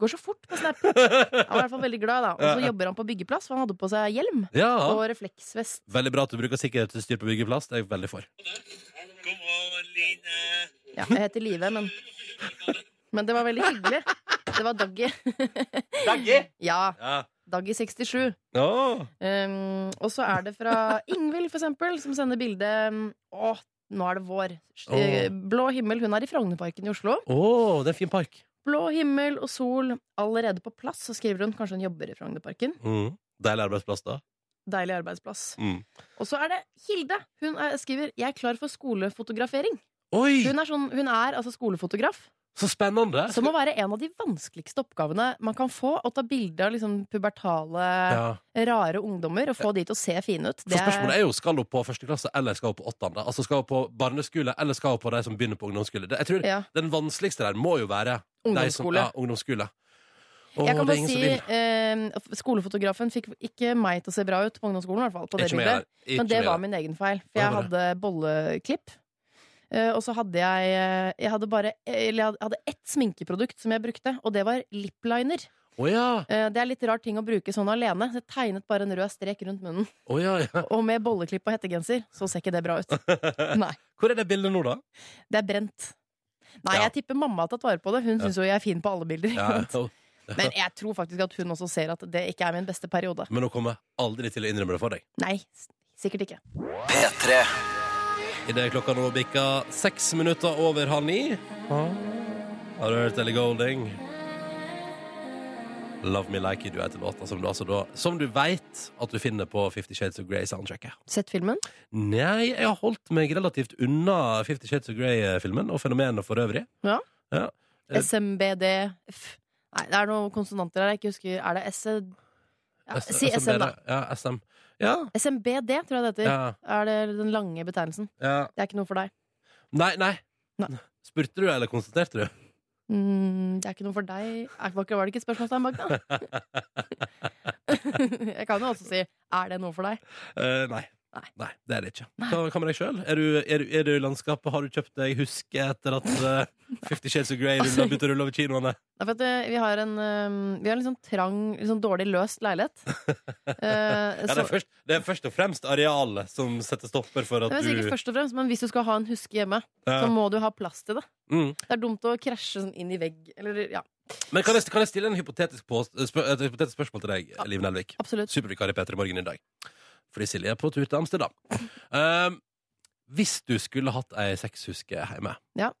Går så fort på Snap. Han var i hvert fall veldig glad, da. Og så Ja. jobber han på byggeplass, for han hadde på seg hjelm ja. og refleksvest. Veldig bra at du bruker sikkerhetsutstyr på byggeplass. Det er jeg veldig for. Ja, jeg heter Live, men Men det var veldig hyggelig. Det var Daggy. Daggy! Ja. Ja. Daggy67. Åh. Um, og så er det fra Ingvild, for eksempel, som sender bilde um, Å, nå er det vår. Eh, Blå himmel. Hun er i Frognerparken i Oslo. Åh, det er en fin park. Blå himmel og sol allerede på plass, så skriver hun. Kanskje hun jobber i Frognerparken. Mm. Deilig arbeidsplass, da. Deilig arbeidsplass. Mm. Og så er det Hilde. Hun er, skriver 'Jeg er klar for skolefotografering'. Oi, Hun er, sånn, hun er altså skolefotograf. så spennende! Som må være en av de vanskeligste oppgavene man kan få. Å ta bilde av liksom pubertale, ja. rare ungdommer og få de til å se fine ut. For spørsmålet er jo skal hun på første klasse eller skal hun på åttende. Altså skal hun på barneskole eller skal hun på de som begynner på ungdomsskole. Det- Jeg tror ja, Den vanskeligste der må jo være de som, ungdomsskole. ja, ungdomsskole. Åh, jeg det kan er bare ingen si som vil. eh, at Skolefotografen fikk ikke meg til å se bra ut på ungdomsskolen. I hvert fall, på det Ikke meg bildet. der. Ikke Men det meg var der. min egen feil, for Ja, jeg var det. hadde bolleklipp. Eh, Og så hadde jeg eh, Jeg hadde bare Eller jeg hadde- hadde ett sminkeprodukt som jeg brukte, og det var lipliner. Å ja. Eh, Det er litt rar ting å bruke sånn alene. Så jeg tegnet bare en rød strek rundt munnen. Å ja, ja. Og med bolleklipp og hettegenser så ser ikke det bra ut. Nei. Hvor er det bildet nå, da? Det er brent. Nei, Ja. jeg tipper mamma har tatt vare på det. Hun syns jo jeg er fin på alle bilder. Ja, ikke sant? ja. Men jeg tror faktisk at hun også ser at det ikke er min beste periode. Men hun kommer aldri til å innrømme det for deg. Nei, s- sikkert ikke. Idet klokka nå bikker seks minutter over halv ni Har du hørt Ellie Golding? Love Me Like You Du heter låta som du, altså da, som du vet at du finner på Fifty Shades of Grey soundtracket. Sett filmen? Nei, jeg har holdt meg relativt unna Fifty Shades of Grey-filmen og fenomenet for øvrig. Ja. Ja. Eh. SMBDF Nei, det er noen konsonanter her jeg ikke husker. Er det S... Ja, S- si SM, da. Ja, SM. Ja, SMBD, tror jeg det heter. ja, Er det den lange betegnelsen? ja. Det er ikke noe for deg. Nei, nei. Nei. Spurte du, eller konstaterte du? Mm, det er ikke noe for deg. Er, var ikke- var det ikke et spørsmålstegn bak, da? jeg kan jo også si 'er det noe for deg'? Eh, nei. Nei. det er det ikke. Hva, hva med deg sjøl? Er, du- er, du- er du i landskapet? Har du kjøpt deg huske etter at eh, Fifty Shades of Grey Altså- ruller, begynte å rulle over kinoene? Det er for at eh, vi har en, eh, vi har en litt sånn trang, litt sånn dårlig løst leilighet. Ja, Eh, det, er så- først, det er først og fremst arealet som setter stopper for at det er du sikkert først og fremst, men hvis du skal ha en huske hjemme, så Ja. må du ha plass til det. Mm. Det er dumt å krasje sånn inn i vegg. Eller, ja, Men kan jeg, kan jeg stille en hypotetisk påst- spør, et hypotetisk spørsmål til deg, Liv Nelvik? absolutt. Supervikar i P3 Morgen i dag. Fordi Silje er på tur til Amsterdam. Ehm, hvis du skulle hatt ei sexhuske hjemme, Ja.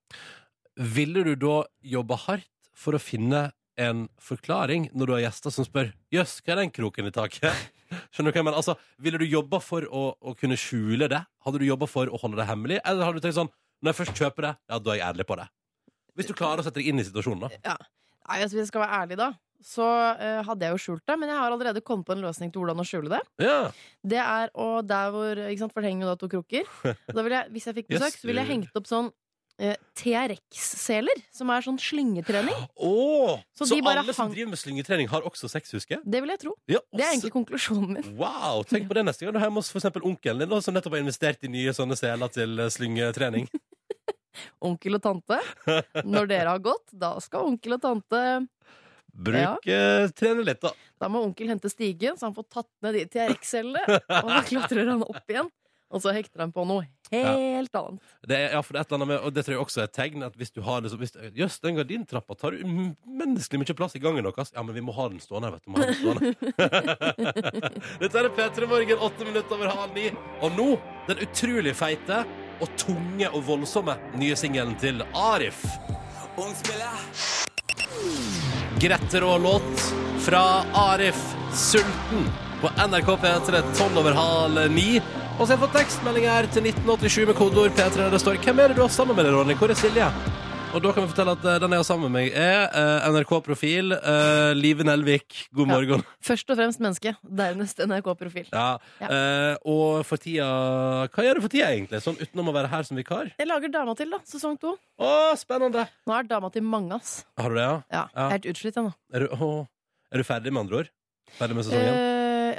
ville du da jobbe hardt for å finne en forklaring når du har gjester som spør 'jøss, hva er den kroken i taket'? Skjønner du hva jeg mener? Altså, Ville du jobba for å, å kunne skjule det? Hadde du jobba for å holde det hemmelig? Eller hadde du tenkt sånn 'når jeg først kjøper det, ja, da er jeg ærlig på det'? Hvis du klarer å sette deg inn i situasjonen, da. Nei, altså, hvis jeg skal være ærlig, da, så eh, hadde jeg jo skjult det. Men jeg har allerede kommet på en løsning til hvordan å skjule det. Ja. Det er å der hvor ikke sant, For det henger jo da to krukker. Da ville jeg, hvis jeg fikk besøk, Yes, så ville jeg du- hengt opp sånn eh, TRX-seler, som er sånn slyngetrening. Åh, så Så de bare alle som hang- driver med slyngetrening, har også sexhuske? Det vil jeg tro. Ja, Det er også- egentlig konklusjonen min. Wow, tenk på det neste gang du er hjemme hos for eksempel onkelen din, da, som nettopp har investert i nye sånne seler til eh, slyngetrening. onkel og tante. Når dere har gått, da skal onkel og tante Bruk eh, trene litt, da. Da må onkel hente stigen, så han får tatt ned de TRX-cellene. Og så klatrer han opp igjen, og så hekter han på noe helt annet. Det er, ja, for det er et eller annet med, og det tror jeg også er et tegn at hvis du har liksom, hvis, Jøss, den gardintrappa tar jo menneskelig mye plass i gangen deres. Ja, men vi må ha den stående, vet du. Må ha den stående. Dette er P3 Morgen, åtte minutter over halv ni. Og nå den utrolig feite og tunge og voldsomme nye singelen til Arif. Gretter og låt fra Arif Sulten på NRK P3 12 over halv ni. Og så har jeg fått tekstmelding her til 1987 med kodeord P3 der det står Hvem er det du har sammen med deg, Ronny? Hvor er Silje? Og da kan vi fortelle at eh, den jeg har sammen med meg, er eh, NRK-profil eh, Live Nelvik. God Ja. morgen. Først og fremst menneske, dernest NRK-profil. Ja. Ja. Eh, og for tida Hva gjør du for tida, egentlig? Sånn utenom å være her som vikar? Jeg lager Dama til, da. Sesong to. Å, spennende! Nå er Dama til mange, ass. Har du det, ja? Ja, Jeg er helt utslitt ennå. Er du, å, er du ferdig, med andre ord? Ferdig med sesongen? Uh,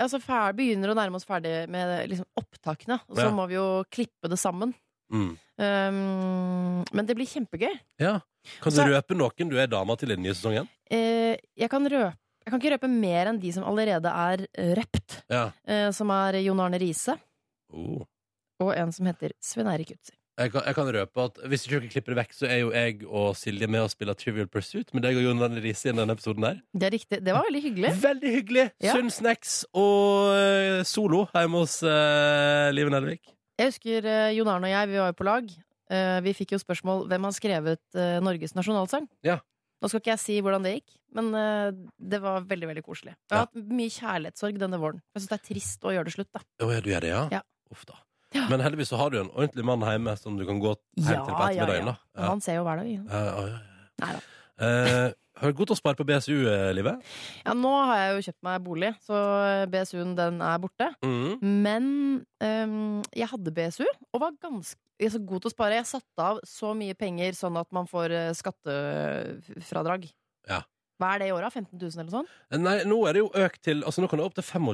altså, fer- begynner å nærme oss ferdig med liksom, opptakene, og så Ja. må vi jo klippe det sammen. Mm. Um, men det blir kjempegøy. Ja. Kan du Så- røpe noen du er dama til i den nye sesongen? Eh, jeg, kan røpe, jeg kan ikke røpe mer enn de som allerede er eh, røpt, Ja. eh, som er Jon Arne Riise Oh. og en som heter Svein Erik Utsi. Jeg, kan, jeg kan røpe at hvis ikke dere klipper det vekk, så er jo jeg og Silje med og spiller Trivial Pursuit med deg og Jon Arne Riise i denne episoden der. Det er riktig. Det var veldig hyggelig. Veldig hyggelig! Ja. Sunn snacks og eh, solo hjemme hos uh, Liven Elvik. Jeg husker eh, Jon Arne og jeg, vi var jo på lag. Eh, vi fikk jo spørsmål hvem har skrevet eh, Norges nasjonalsang. Ja. Nå skal ikke jeg si hvordan det gikk, men eh, det var veldig veldig koselig. Jeg Ja. har hatt mye kjærlighetssorg denne våren. Jeg syns det er trist å gjøre det slutt. da Å ja, du gjør det, ja? Ja. Uff da. Ja. Men heldigvis så har du en ordentlig mann hjemme som du kan gå hjem til på ettermiddagen. da. Men Han ser jo hver dag. ikke sant? Ja. Ja, ja, ja. Neida. Eh, har du god til å spare på BSU-livet? Ja, nå har jeg jo kjøpt meg bolig, så eh, BSU-en den er borte. Mm. Men øhm, jeg hadde BSU og var ganske altså, god til å spare. Jeg satte av så mye penger sånn at man får eh, skattefradrag. Ja. Hva er det i året? 15 000 eller sånn? noe sånt? Nei, nå er det jo økt til Altså nå kan du opp til 25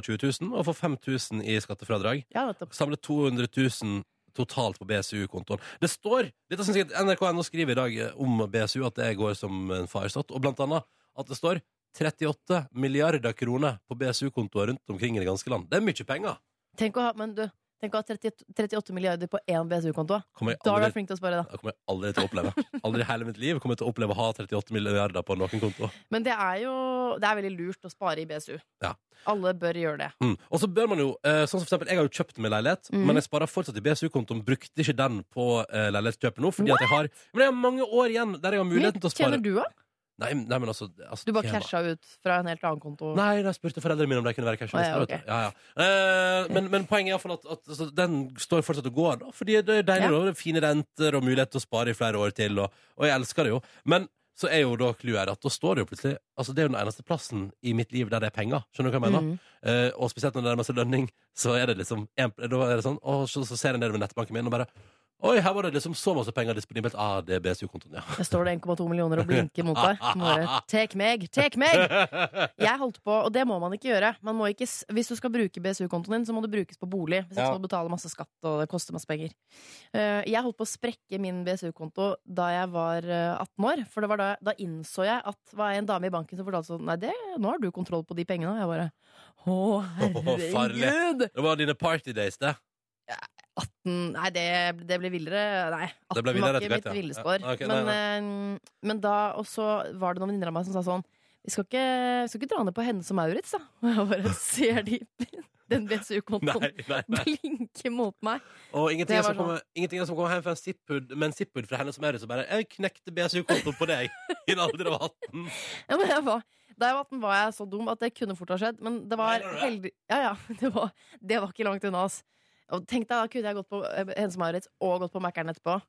000 og få 5000 i skattefradrag. Ja, nettopp. Samle 200 000 totalt på BSU-kontoen. Det står Dette synes jeg at NRK.no skriver i dag eh, om BSU, at det går som en farsott. Og blant annet at det står 38 milliarder kroner på BSU-kontoer rundt omkring i det ganske land. Det er mye penger. Tenk å ha, men du, tenk å ha 30, 38 milliarder på én BSU-konto. Kommer jeg Da er du aldri, flink til å spare, da. det kommer jeg aldri til å oppleve. Aldri i hele mitt liv kommer jeg til å oppleve å ha 38 milliarder på noen konto. Men det er jo det er veldig lurt å spare i BSU. Ja. Alle bør gjøre det. Mm. Og så bør man jo, eh, sånn som for eksempel, Jeg har jo kjøpt meg leilighet, Mhm. men jeg sparer fortsatt i BSU-kontoen. Brukte ikke den på eh, leilighetskjøpet nå. Fordi at jeg har, men jeg har mange år igjen der jeg har Mye muligheten til å spare. tjener du, da? Nei, nei, men altså, altså Du bare tjener- casha ut fra en helt annen konto? Nei, da spurte foreldrene mine om de kunne være Å, ja, cashionister. vet du. ja, ja. Eh, men, men poenget er i hvert fall at, at altså, den står fortsatt og går, da. Fordi det er deilig, Ja. da. Det er Fine renter og mulighet til å spare i flere år til, og, og jeg elsker det jo. Men så er jo da clouet her at da står det jo plutselig Altså, det er jo den eneste plassen i mitt liv der det er penger. Skjønner du hva jeg mener? Mhm. Eh, og spesielt når det nærmer seg lønning, så er det liksom en, Da er det sånn, og så, så ser jeg nedover nettbanken min og bare Oi, her var det liksom så masse penger disponibelt. Ah, det er BSU-kontoen, ja. Der står det 1,2 millioner og blinker mot deg. Som bare, Tek meg! Tek meg! Jeg holdt på, og det må man ikke gjøre. Man må ikke, s- hvis du skal bruke BSU-kontoen din, så må det brukes på bolig. Hvis ikke Ja. så må du betale masse skatt, og det koster masse penger. Eh, Jeg holdt på å sprekke min BSU-konto da jeg var eh, 18 år. For det var da, da innså jeg at var en dame i banken som fortalte sånn Nei, det, nå har du kontroll på de pengene. Og jeg bare Å, farlig. herregud! det var dine party days, det. 18 Nei, det, det ble villere. Nei, 18 Det ble var villere ikke etter hvert, mitt ja. villespår. Ja, ok, nei, men, eh, men da Og så var det noen venninner av meg som sa sånn Vi skal ikke, vi skal ikke dra ned på henne som Maurits, da. Og jeg bare ser de den Nei, BSU-kontoen nei, nei. blinke mot meg. Og ingenting er, Det som var sånn. kommer, ingenting er som kommer hjem fra en zip-hood med en zip-hood fra henne som er det, så bare 'Jeg knekte BSU-kontoen på deg i en alder av 18'. Ja, men jeg var, da jeg var 18, var jeg så dum at det kunne fort ha skjedd. Men det var Mener du det? heldig Ja, ja. Det var, det var ikke langt unna, ass. Og tenk deg, da kunne jeg gått på eh, Hense Maurits og gått på Mækkern etterpå.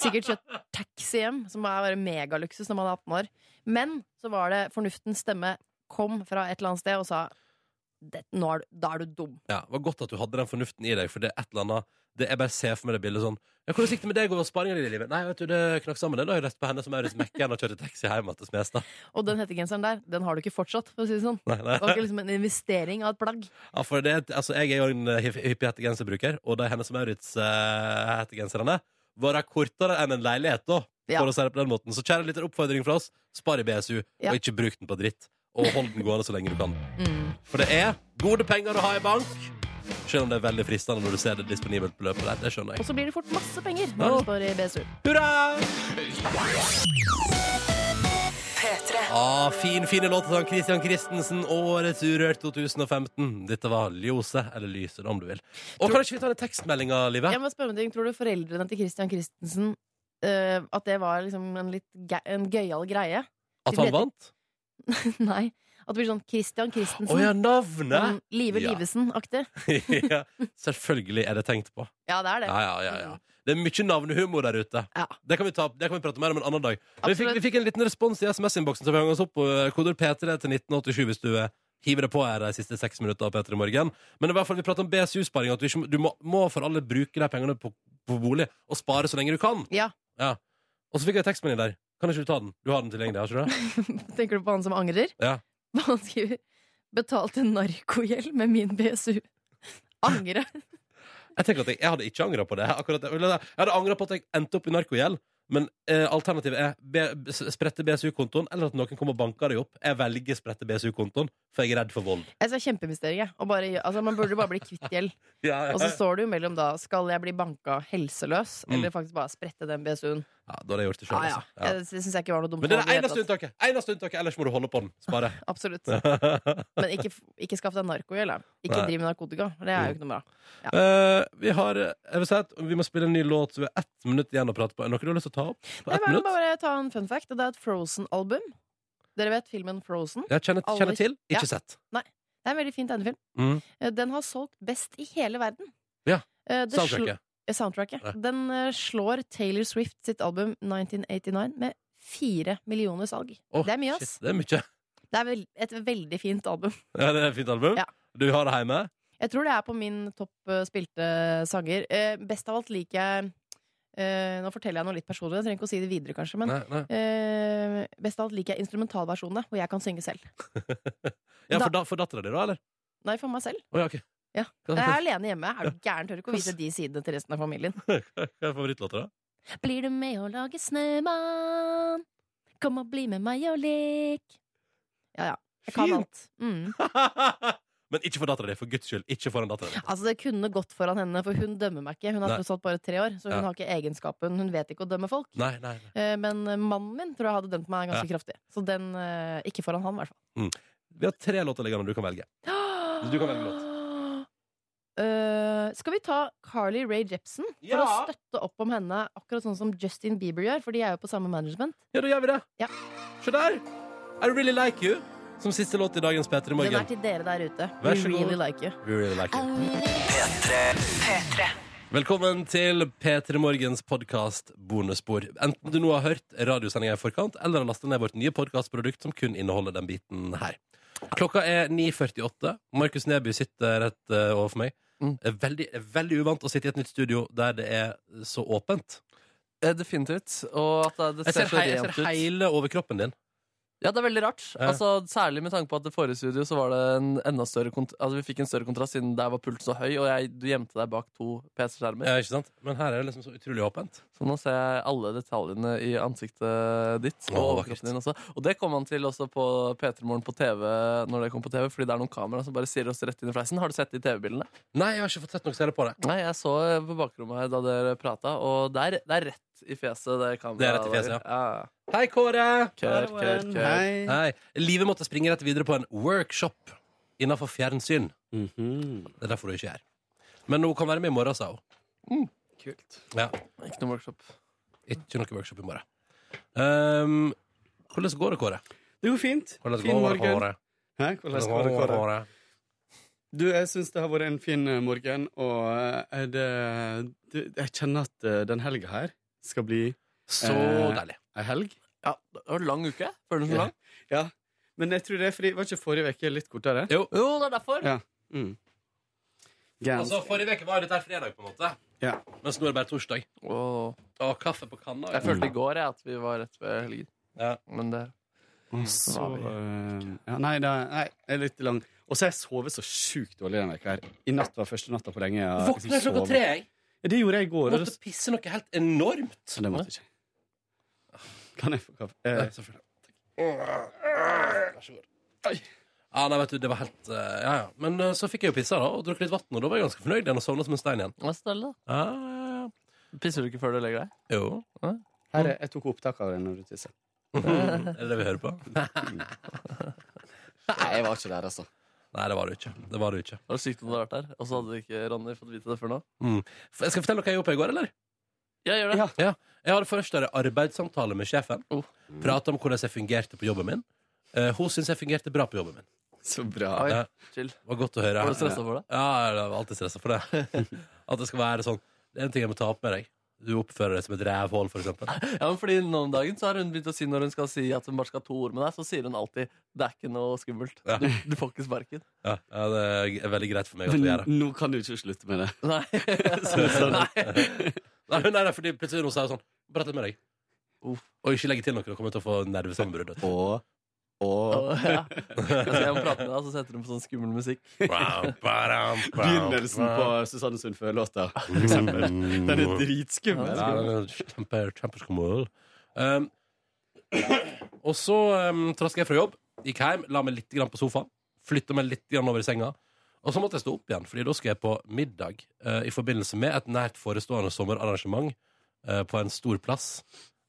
Sikkert kjørt taxi hjem, som er bare megaluksus når man er 18 år. Men så var det fornuftens stemme kom fra et eller annet sted og sa det, nå er du, Da er du dum. Ja, det var godt at du hadde den fornuften i deg, for det er et eller annet det, Jeg bare ser for meg det bildet sånn ja, 'Hvordan gikk det med deg og sparingen din i livet?' Nei, vet du, det knakk sammen. Det lå jo rett på henne som Maurits Mekken og kjørte taxi hjem til Smestad. Og den hettegenseren der, den har du ikke fortsatt, for å si det sånn. Nei, Det var nei. ikke liksom en investering av et plagg. Ja, for det, er et- altså, jeg er jo en eh, hypp- hyppig hettegenserbruker, og de Hennes Maurits-hettegenserne var da kortere enn en leilighet, da. Ja. For å si det på den måten. Så kjære liten oppfordring fra oss, spar i BSU, Ja. og ikke bruk den på dritt. Og hold den gående så lenge du kan. Mm. For det er gode penger å ha i bank. Selv om det er veldig fristende når du ser det disponibelt beløpet der. Det skjønner Og jeg. så blir det fort masse penger Ja. når du står i BSU. Hurra! Ah, fin, fine låter som Christian Christensen, Årets Urørt 2015. Dette var Ljose, eller Lyse, om du vil. Og kan ikke vi ta den tekstmeldinga, Live? Jeg må spørre om en ting. Tror du foreldrene til Christian Christensen eh, at det var liksom en litt ge- en gøyal greie. At han vant? Nei. At det blir sånn Christian Å Christensen. ja, navnet! sånn Live Ja. Livesen-aktig. ja, selvfølgelig er det tenkt på. Ja, det er det. Ja, ja, ja, ja. Det er mye navnehumor der ute. Ja. Det kan vi, ta, det kan vi prate mer om en annen dag. Men vi fikk, Absolutt. vi fikk en liten respons i SMS-innboksen, så vi hang oss opp på eh, koder P3 til 1987 hvis du eh, hiver det på her de siste seks minutter av P3 Morgen. Men i hvert fall vi prater om BSU-sparing, at du, ikke, må- du må, må for alle bruke de pengene på, på bolig, og spare så lenge du kan. Ja. Og så fikk jeg en tekstmelding der. Kan ikke du ta den? Du har den tilgjengelig, har ikke du det? Tenker du på han som angrer? Ja. Han skriver 'Betalte narkogjeld med min BSU'. Angre. Jeg tenker at jeg, jeg hadde ikke angra på det. Akkurat, det. Eller, jeg hadde angra på at jeg endte opp i narkogjeld. Men eh, alternativet er be, s- sprette BSU-kontoen, eller at noen kommer og banker deg opp. Jeg velger sprette BSU-kontoen, for jeg er redd for vold. Jeg sa kjempeinvestering, jeg. Og bare, altså, man burde jo bare bli kvitt gjeld. Ja, ja. Og så står det jo mellom da 'Skal jeg bli banka helseløs?' Mm. eller faktisk bare sprette den BSU-en. ja, da hadde jeg gjort det sjøl. Ja, ja. Altså. Ja. Jeg- Det syns jeg ikke var noe dumt. Men det er valg i det hele eneste tatt. unntaket! Eneste unntaket, Ellers må du holde på den. Spare. Absolutt. Men ikke, ikke skaff deg narkogjeld. da. Ikke Nei. Mm. driv med narkotika. Det er jo ikke noe bra. Eh, vi har eh, Jeg vil si at vi må spille en ny låt, så vi har ett minutt igjen å prate på. Er det noe du har lyst til å ta opp? På Nei, ett bare, minutt? bare ta en fun fact. og Det er et Frozen-album. Dere vet filmen Frozen? Jeg kjenner, Alle- kjenner til, Ja. ikke sett. Det er en veldig fin tegnefilm. Mm. Eh, Den har solgt best i hele verden. Ja. Eh, det slo- Soundtracket. eh, soundtracket. Ja. Den eh, slår Taylor Swift sitt album 1989 med fire millioner salg. Åh, det er mye, shit, ass. Det er mye. Det er vel, et veldig fint album. Ja, det er et fint album. Ja. Du har det hjemme? Jeg tror det er på min topp eh, spilte sanger. Eh, best av alt liker jeg eh, Nå forteller jeg noe litt personlig, jeg trenger ikke å si det videre, kanskje, men Nei, nei. eh, best av alt liker jeg instrumentalversjonene, hvor jeg kan synge selv. Ja, Da- for, da, for dattera di, da, eller? Nei, for meg selv. Å, ja, ok. Ja. Hva, Jeg hva, er alene hjemme. Er du gæren? Tør ikke å vise de sidene til resten av familien. hva er favorittlåta, da? Blir du med å lage snømann? Kom og bli med meg og lek. Ja, ja. Jeg kan Fint. alt. Mm. Men ikke for dattera di, for guds skyld. Ikke foran dattera di. Altså, det kunne gått foran henne, for hun dømmer meg ikke. Hun er Nei. tross alt bare tre år, så hun Ja. har ikke egenskapen. Hun vet ikke å dømme folk. Nei, nei, nei. Eh, Men mannen min tror jeg hadde dømt meg ganske kraftig. Så den eh, Ikke foran han, i hvert fall. Vi har tre låter liggende du kan velge. du kan velge låt. Eh, skal vi ta Carly Rae Jepsen for Ja. å støtte opp om henne, akkurat sånn som Justin Bieber gjør? For de er jo på samme management. Ja, da gjør vi det. Ja. Se der! I Really Like You som siste låt i dagens Petter i Den er morgen. til dere der ute. Vær We så god. really like you. We Really Like You. Velkommen til P3 Morgens podkast Bonusspor. Enten du nå har hørt radiosendinga i forkant, eller har lasta ned vårt nye podkastprodukt som kun inneholder den biten her. Klokka er 9.48. Markus Neby sitter rett eh, overfor meg. Mm. Er veldig, er veldig uvant å sitte i et nytt studio der det er så åpent. Eh, Definitivt. Og at det- det Jeg ser ser, så hei, jeg rent ser ut. hele overkroppen din. Ja, det er veldig rart. Ja. Altså, særlig med tanke på at det forrige studio så var det en enda større kont altså, vi fikk en større kontrast siden der var pulten så høy, og jeg, du gjemte deg bak to PC-skjermer. Ja, ikke sant? Men her er det liksom så utrolig åpent. Så nå ser jeg alle detaljene i ansiktet ditt og Å, overkroppen vakkert. din også. Og det kom man til også på P3 Morgen på TV, når det kom på TV, fordi det er noen kamera som bare stirrer oss rett inn i fleisen. Har du sett de TV-bildene? Nei, jeg har ikke fått sett noe særlig på det. Nei, jeg så på bakrommet her da dere prata, og det er, det er rett i fjeset, det kameraet. Det er rett i fjeset, ja. Hei, Kåre! Kør, kør, kør. Hei. Livet måtte springe rett videre på en workshop innenfor fjernsyn. Det er derfor du ikke er her. Men hun kan være med i morgen, sa hun. Mm. Kult. Ja, Ikke noe workshop. ikke noe workshop i morgen. Um, hvordan går det, Kåre? Det går fint. Hvordan fin går det, morgen. Kåre? Hæ? Hvordan går det, Kåre? Du, jeg syns det har vært en fin eh, morgen, og eh, det, det, jeg kjenner at eh, den helga her skal bli Så Eh, deilig. ei helg. Ja, det var en lang uke. Føler du den som lang? Ja. Men jeg tror det er fordi Var ikke forrige uke litt kortere? Jo. Jo, det er derfor. Ja. Mm. Gans. Altså, forrige uke var jo dette her fredag, på en måte. Ja. Mens nå er det bare torsdag. Åh. Å, kaffe på kanna. Jeg følte i går jeg, at vi var rett ved helgen. Mm. Ja. Men det Mm. Så eh, ja, Nei, det er, nei, det er litt lang. Og så har jeg sovet så sjukt dårlig denne veka her. I natt var første natta på lenge. Jeg har Våkna liksom klokka sovet. tre, jeg. Ja, det gjorde jeg i går. og Måtte pisse noe helt enormt. Så det måtte jeg ikke. Kan jeg få kaffe? Eh, Ja, selvfølgelig. Vær så god. Oi. Ja, nei, vet du, det var helt eh, Ja, ja. Men eh, så fikk jeg jo pissa, da, og drakk litt vann, og da var jeg ganske fornøyd igjen og sovna som en stein igjen. Hva er stille, da? Ja, ja, ja. Pisser du ikke før du legger deg? Jo. Her, er- jeg tok opptak av det når du tisset. Er det det vi hører på? Nei, jeg var ikke der, altså. Nei, det var det jo ikke. Det var det jo ikke. Var det sykt om du hadde vært der? Og så hadde ikke Ronny fått vite det før nå? Mm. F- Jeg skal fortelle dere hva jeg gjorde på i går, eller? Jeg gjør det. Ja. Jeg hadde først en arbeidssamtale med sjefen. Oh. Prata om hvordan jeg fungerte på jobben min. Eh, hun syntes jeg fungerte bra på jobben min. Så bra. Oi, Ja. chill. Det var godt å høre. Var du stresset for det? Ja, jeg var alltid stressa for det. At det skal være sånn Det er en ting jeg må ta opp med deg. Du oppfører deg som et rævhål, for eksempel. Ja, men fordi nå om dagen så har hun begynt å si når hun skal si at hun bare skal ha to ord med deg, så sier hun alltid 'det er ikke noe skummelt'. Ja. Du, du får ikke sparken. Ja, ja, det er veldig greit for meg at Men vi gjør det. nå kan du ikke slutte med det. Nei. Nei. Nei, nei, nei, fordi plutselig hun sa sånn Prat litt med deg. Uff. Og ikke legge til noe. Du kommer til å få nervesammenbrudd. vet du. Og, og Og, ja. Jeg skal hjem og prate med deg, og så setter hun på sånn skummel musikk. Bam, badam, bam, Begynnelsen bam. Mm. på Susanne Sundfø-låta, for eksempel. Den er dritskummel. Ja, den er kjempe, kjempeskummel. Um, og så um, traska jeg fra jobb, gikk hjem, la meg litt grann på sofaen. Flytta meg litt grann over i senga. Og så måtte jeg stå opp igjen, Fordi da skal jeg på middag eh, i forbindelse med et nært forestående sommerarrangement eh, på en stor plass,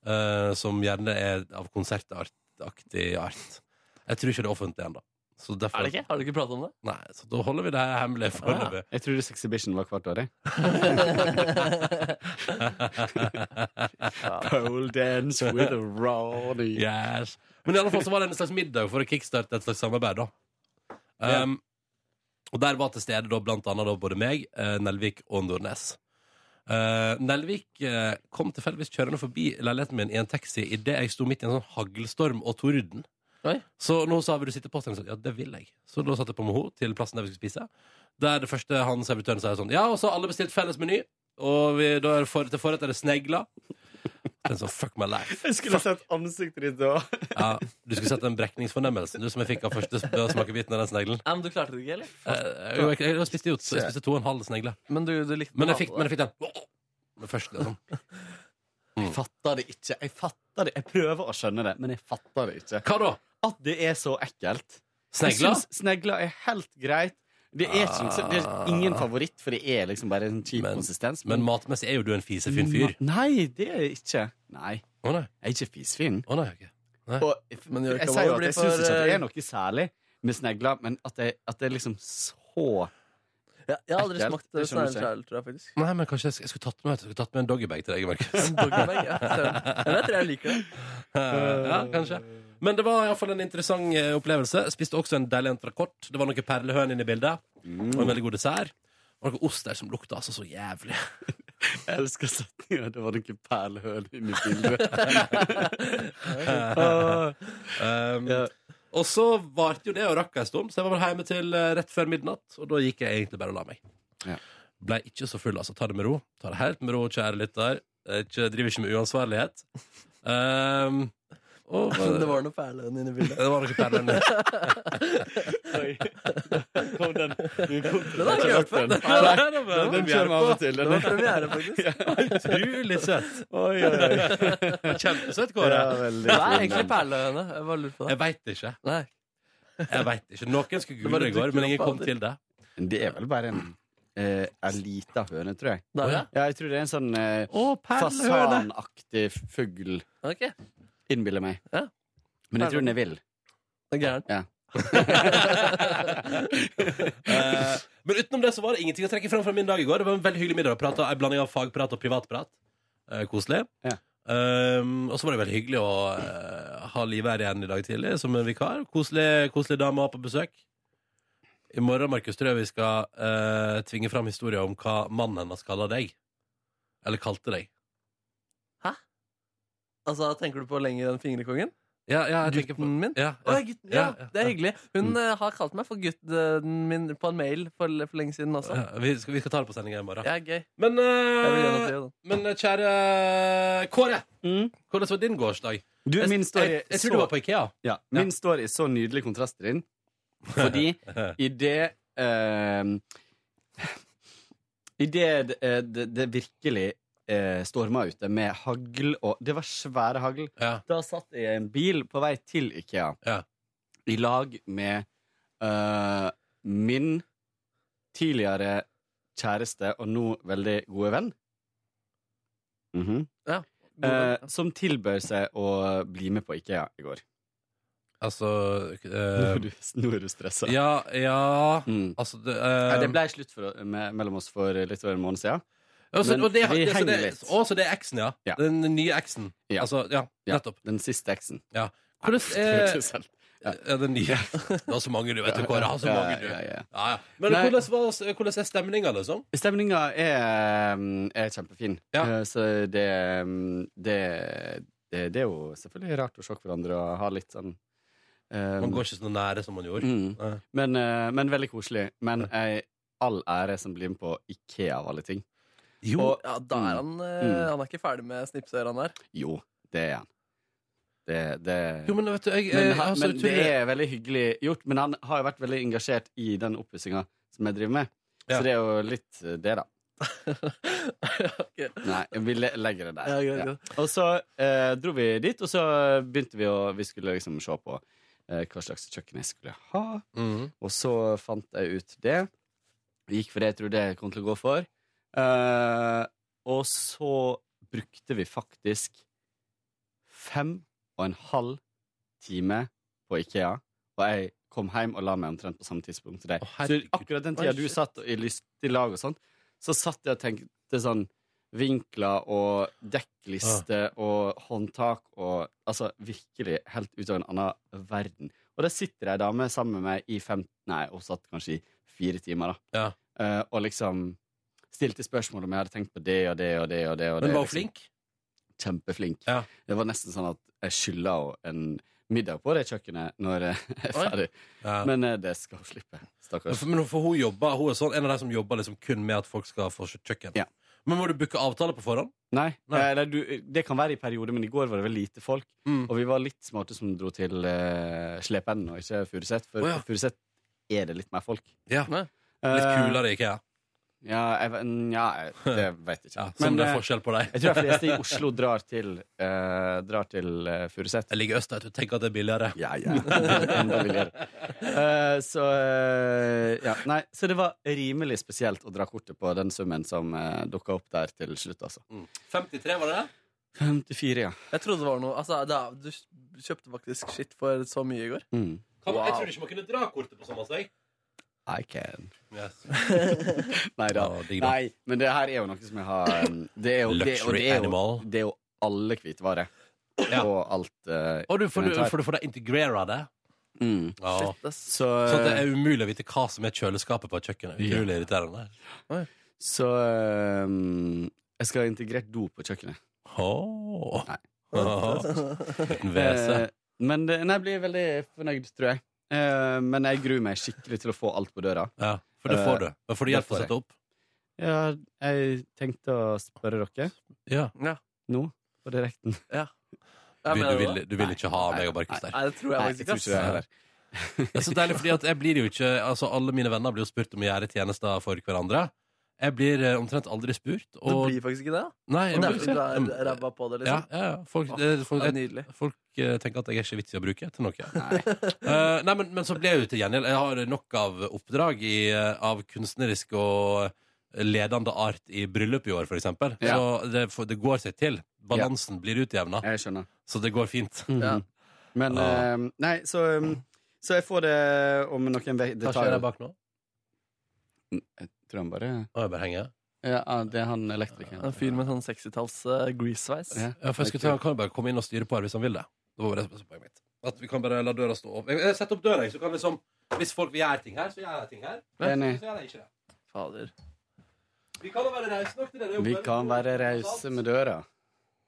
eh, som gjerne er av konsertartaktig art. Jeg tror ikke det er offentlig ennå. Så derfor- Er det ikke? Har du ikke pratet om det? Nei, så da holder vi det her hemmelig foreløpig. Jeg trodde Sexhibition var hvert år, jeg. Pole dance with a Ronny. Yes. Men i alle fall så var det en slags middag for å kickstarte et slags samarbeid. da um, Og der var til stede da blant annet da både meg, eh, Nelvik og Nordnes. Eh, Nelvik eh, kom tilfeldigvis kjørende forbi leiligheten min i en taxi idet jeg sto midt i en sånn haglstorm og torden. Oi. Så nå sa vi du sitter på til Ja, det vil jeg. Så da satte jeg på med henne til plassen der vi skulle spise. Der det første han servitøren sa sånn Ja, og så har alle bestilt felles meny. Og vi, da er det for, til forrett er det snegler. Den sånn, fuck my life. Jeg skulle sett ansiktet ditt da. Ja, du skulle sett den brekningsfornemmelsen du som jeg fikk av første smakebiten av den sneglen. Nei, men du klarte det ikke, eller? Eh, jo, jeg, jeg spiste jo jeg spiste to og en halv snegle, Men du, du likte men jeg å fikk, ha men det. jeg fikk den. Men først, liksom. Jeg fatter det ikke. Jeg fatter det. Jeg prøver å skjønne det, men jeg fatter det ikke. Hva da? At det er så ekkelt. Jeg Snegler? synes Snegler er helt greit. Det er, ikke, noe- det er ingen favoritt, for det er liksom bare en kjip Men- konsistens. Men matmessig er jo du en fisefin fyr. Nei, det er jeg ikke. Nei, Å nei. jeg er ikke fisfin. Å nei, ok. Og Men Jørka, jeg hva sier blir jo at jeg for, syns ikke at det eh, er noe særlig med snegler, men at det, at det er liksom så Ja, jeg har aldri Ekkelt, smakt det skjønner du snegler, tror jeg faktisk. Nei, men kanskje jeg, sk- jeg skulle tatt med, jeg skulle tatt med en doggybag til deg, Markus. En doggybag, ja. Søren. Men jeg tror jeg liker det. ja, kanskje. Men det var iallfall en interessant eh, opplevelse. Jeg Spiste også en deilig entrecôte. Det var noe perlehøn inne i bildet. Og en veldig god dessert. Og noe ost der som lukta altså så jævlig. Jeg elsker setninga 'det var noen perlehøl inni bildet'. Um, Ja. Og så varte jo det og rakk en stund, så jeg var vel hjemme til eh, rett før midnatt. Og da gikk jeg egentlig bare og la meg. Ja. Blei ikke så full, altså. Ta det med ro. Ta det helt med ro, kjære lytter. Eh, Ikke, driver ikke med uansvarlighet. Um, og, Det var noe perlehøne inni bildet. det var noe perlende. Kom Den den. har jeg ikke hørt før. Den den kommer av og til. Det Den var er premiere, faktisk. Utrolig søtt. Oi, oi, oi. Kjempesøtt, Kåre. Ja, veldig Hva er fin, egentlig den. perlehøne? Jeg bare lurer på det. Jeg veit ikke. Nei. Jeg vet ikke. Noen skulle Det google bare det i går, dukker men ingen opp kom aldri. til det. Det er vel bare en, eh, en lita høne, tror jeg. Der, ja. Ja, jeg tror det er en sånn eh, Å, perlehøne! fasanaktig fugl, Ok, det innbiller meg. Ja. Men jeg tror den er vill. er gærent. Eh, men utenom det så var det ingenting å trekke fram fra min dag i går. Det var en veldig hyggelig middag. Prata, en blanding av fagprat og privatprat. Eh, koselig. Ja. Ehm, og så var det veldig hyggelig å eh, ha livet her igjen i dag tidlig som en vikar. Koselig, koselig dame å ha på besøk. I morgen Markus, tror jeg vi skal eh, tvinge fram historien om hva mannen hennes kaller deg. Eller kalte deg. Altså, Tenker du på lenger enn fingerkongen? Ja, ja, jeg tenker på Gutten min? ja, Å, ja. gutten, ja, ja, Det er ja. hyggelig. Hun eh, har kalt meg for gutten min på en mail for, for lenge siden også. Ja, vi, skal, vi skal ta det på sendinga i morgen. Det er gøy. Men, sånn. Jeg vil eh, gjennom det, da. men eh, kjære eh, Kåre, hvordan var din gårsdag? Du, min story jeg, jeg så- tror du var på Ikea. Ja, min står i så nydelig kontrast til din. Fordi i det eh, I det eh, det, det virkelig eh, storma ute med hagl og Det var svære hagl. Ja. Da satt jeg i en bil på vei til Ikea Ja. i lag med eh, min tidligere kjæreste og nå veldig gode venn. Mhm. Eh, som tilbød seg å bli med på Ikea i går. Altså Nå eh, er du, nå er du stressa. Ja, ja Mm. Altså, det, Nei, eh, det ble slutt for, me, mellom oss for litt over en måned siden. ja, Altså, Men og det, vi det, så, det, henger litt. å, så det er eksen, ja. Ja. Den nye eksen. Ja. Altså, ja, Ja, nettopp. den siste eksen. Ja. Hvordan eh, er ja, den nye? Du har så mange, du. Vet du, Kåre. Har så Ja, mange, du. ja, ja. Ja, ja. Men Nei. hvordan, var, hvordan er stemninga, liksom? Stemninga er, mm, er kjempefin. Ja. Eh, Så det, mm, det, det Det er jo selvfølgelig rart å se hverandre og ha litt sånn eh, Man går ikke så nære som man gjorde. mm, Nei. men, eh, men veldig koselig. Men jeg, all ære som blir med på Ikea av alle ting. Jo, Og- Ja, da er han eh, Mm. Han er ikke ferdig med snipsørene her. Jo, det er han. Det, det jo men vet du, jeg, Men, jeg, han, altså, men jeg det tror det- er veldig hyggelig gjort. Men han har jo vært veldig engasjert i den oppussinga som jeg driver med. Ja. Så det er jo litt eh, det, da. Ok. Nei, vi le- legger det der. Ja, greit, Ja. greit. Og så eh, dro vi dit, og så begynte vi å Vi skulle liksom se på eh, hva slags kjøkken jeg skulle ha. Mhm. Og så fant jeg ut det. Jeg gikk for det jeg trodde jeg kom til å gå for. Eh, og så brukte vi faktisk fem og en halv time på Ikea. Og jeg kom hjem og la meg omtrent på samme tidspunkt som deg. Å, så herregud. akkurat den tida Oi, du shit. satt i lystig lag og sånt, så satt jeg og tenkte sånn Vinkler og dekkliste og håndtak og Altså virkelig helt ut av en annen verden. Og der sitter ei dame sammen med meg i fem Nei, hun satt kanskje i fire timer, da. Ja. Eh, og liksom stilte spørsmål om jeg hadde tenkt på det og det og det og det. Og Men det, var hun liksom. flink? Kjempeflink. Ja. Det var nesten sånn at jeg skylda henne en middag på det kjøkkenet når eh, jeg er Oi. ferdig. Ja. Men, Men eh, det skal hun slippe. Stakkars. for- men for hun jobber Hun er sånn, en av de som jobber liksom kun med at folk skal få kjøkken. Ja. Men må du booke avtale på forhånd? Nei, Nei. eh, nei du, det kan være i perioder, men i går var det vel lite folk. Mm. Og vi var litt smarte som dro til eh, Slepen og ikke Furuset, for Å, ja. på Furuset er det litt mer folk. Ja. Litt Eh, kulere, ikke jeg? Ja, jeg, vet- ja, jeg- det vet jeg ikke. Ja, som men det er eh, forskjell på deg. jeg tror de fleste i Oslo drar til, eh, drar til eh, Furuset. Jeg ligger øst, vet du. Tenk at det er billigere. Ja, ja. Enda billigere. Eh, så eh, ja, nei, så det var rimelig spesielt å dra kortet på den summen som uh, dukka opp der til slutt, altså. 53, var det det? 54, ja. Jeg trodde det var noe altså, det er, Du kjøpte faktisk skitt for så mye i går. Mm. Kan, Jeg Wow. trodde ikke man kunne dra kortet på sånn hos deg. I can. Yes. Nei da. Ja, digg da. Nei, men det her er jo noe som jeg har um, Det er jo, det, og Luxury det er jo, animal. det er jo alle hvitvarer. Ja. Og alt eh, Og du får, du, får, du får da integrere det. mm. Ja. Shit, ass. Så, Sånn at det er umulig å vite hva som er kjøleskapet på et kjøkken. Utrolig irriterende. så um, jeg skal ha integrert do på kjøkkenet. Oh. Nei. Liten WC. Eh, men det, nei, jeg blir veldig fornøyd, tror jeg. Eh, men jeg gruer meg skikkelig til å få alt på døra. Ja, for det eh, får du. Men får du det hjelp til å får jeg. sette opp? Ja, jeg tenkte å spørre dere Ja. nå på direkten. Ja, Du, mener det? du, vil, du vil ikke ha meg og Markus der. Nei, det tror jeg Nei, faktisk jeg ikke. tror ikke det ass. heller. Det er så deilig, fordi at jeg blir jo ikke Altså, alle mine venner blir jo spurt om å gjøre tjenester for hverandre. Jeg blir eh, omtrent aldri spurt. Du Og blir faktisk ikke det? da? Nei, jeg Og blir derfor du ikke- er ræva på det, Ja, liksom? ja, ja. Folk, Åh, det- folk, Det er jeg, nydelig. folk eh, tenker at jeg er ikke vits i å bruke til noe. Nei. Eh, nei, men, men så ble jeg jo til gjengjeld. Jeg har nok av oppdrag i, eh, av kunstnerisk og eh, ledende art i bryllup i år, for eksempel. Ja. Så det, for, det går seg til. Balansen blir utjevna, Jeg skjønner. så det går fint. Ja. Men Ah. eh, Nei, så, um, så jeg får det om noen ve- Det Hva tar skjer jo der bak nå? Tror han bare Å, jeg bare henger. Ja, ah, det er han En elektrikeren. fyr med sånn 60-talls eh, grease-sveis. Ja. Ja, for jeg skulle ta, han kan jo bare komme inn og styre på her hvis han vil det. Det var bare det som var poenget mitt. At vi kan bare la døra stå opp. Jeg- Jeg setter opp døra, jeg, så kan liksom Hvis folk vil gjøre ting her, så gjør jeg ting her. Enig. Så gjør jeg ikke det. Fader. Vi kan jo være rause nok til det. det er jo Vi bare- kan være rause med døra.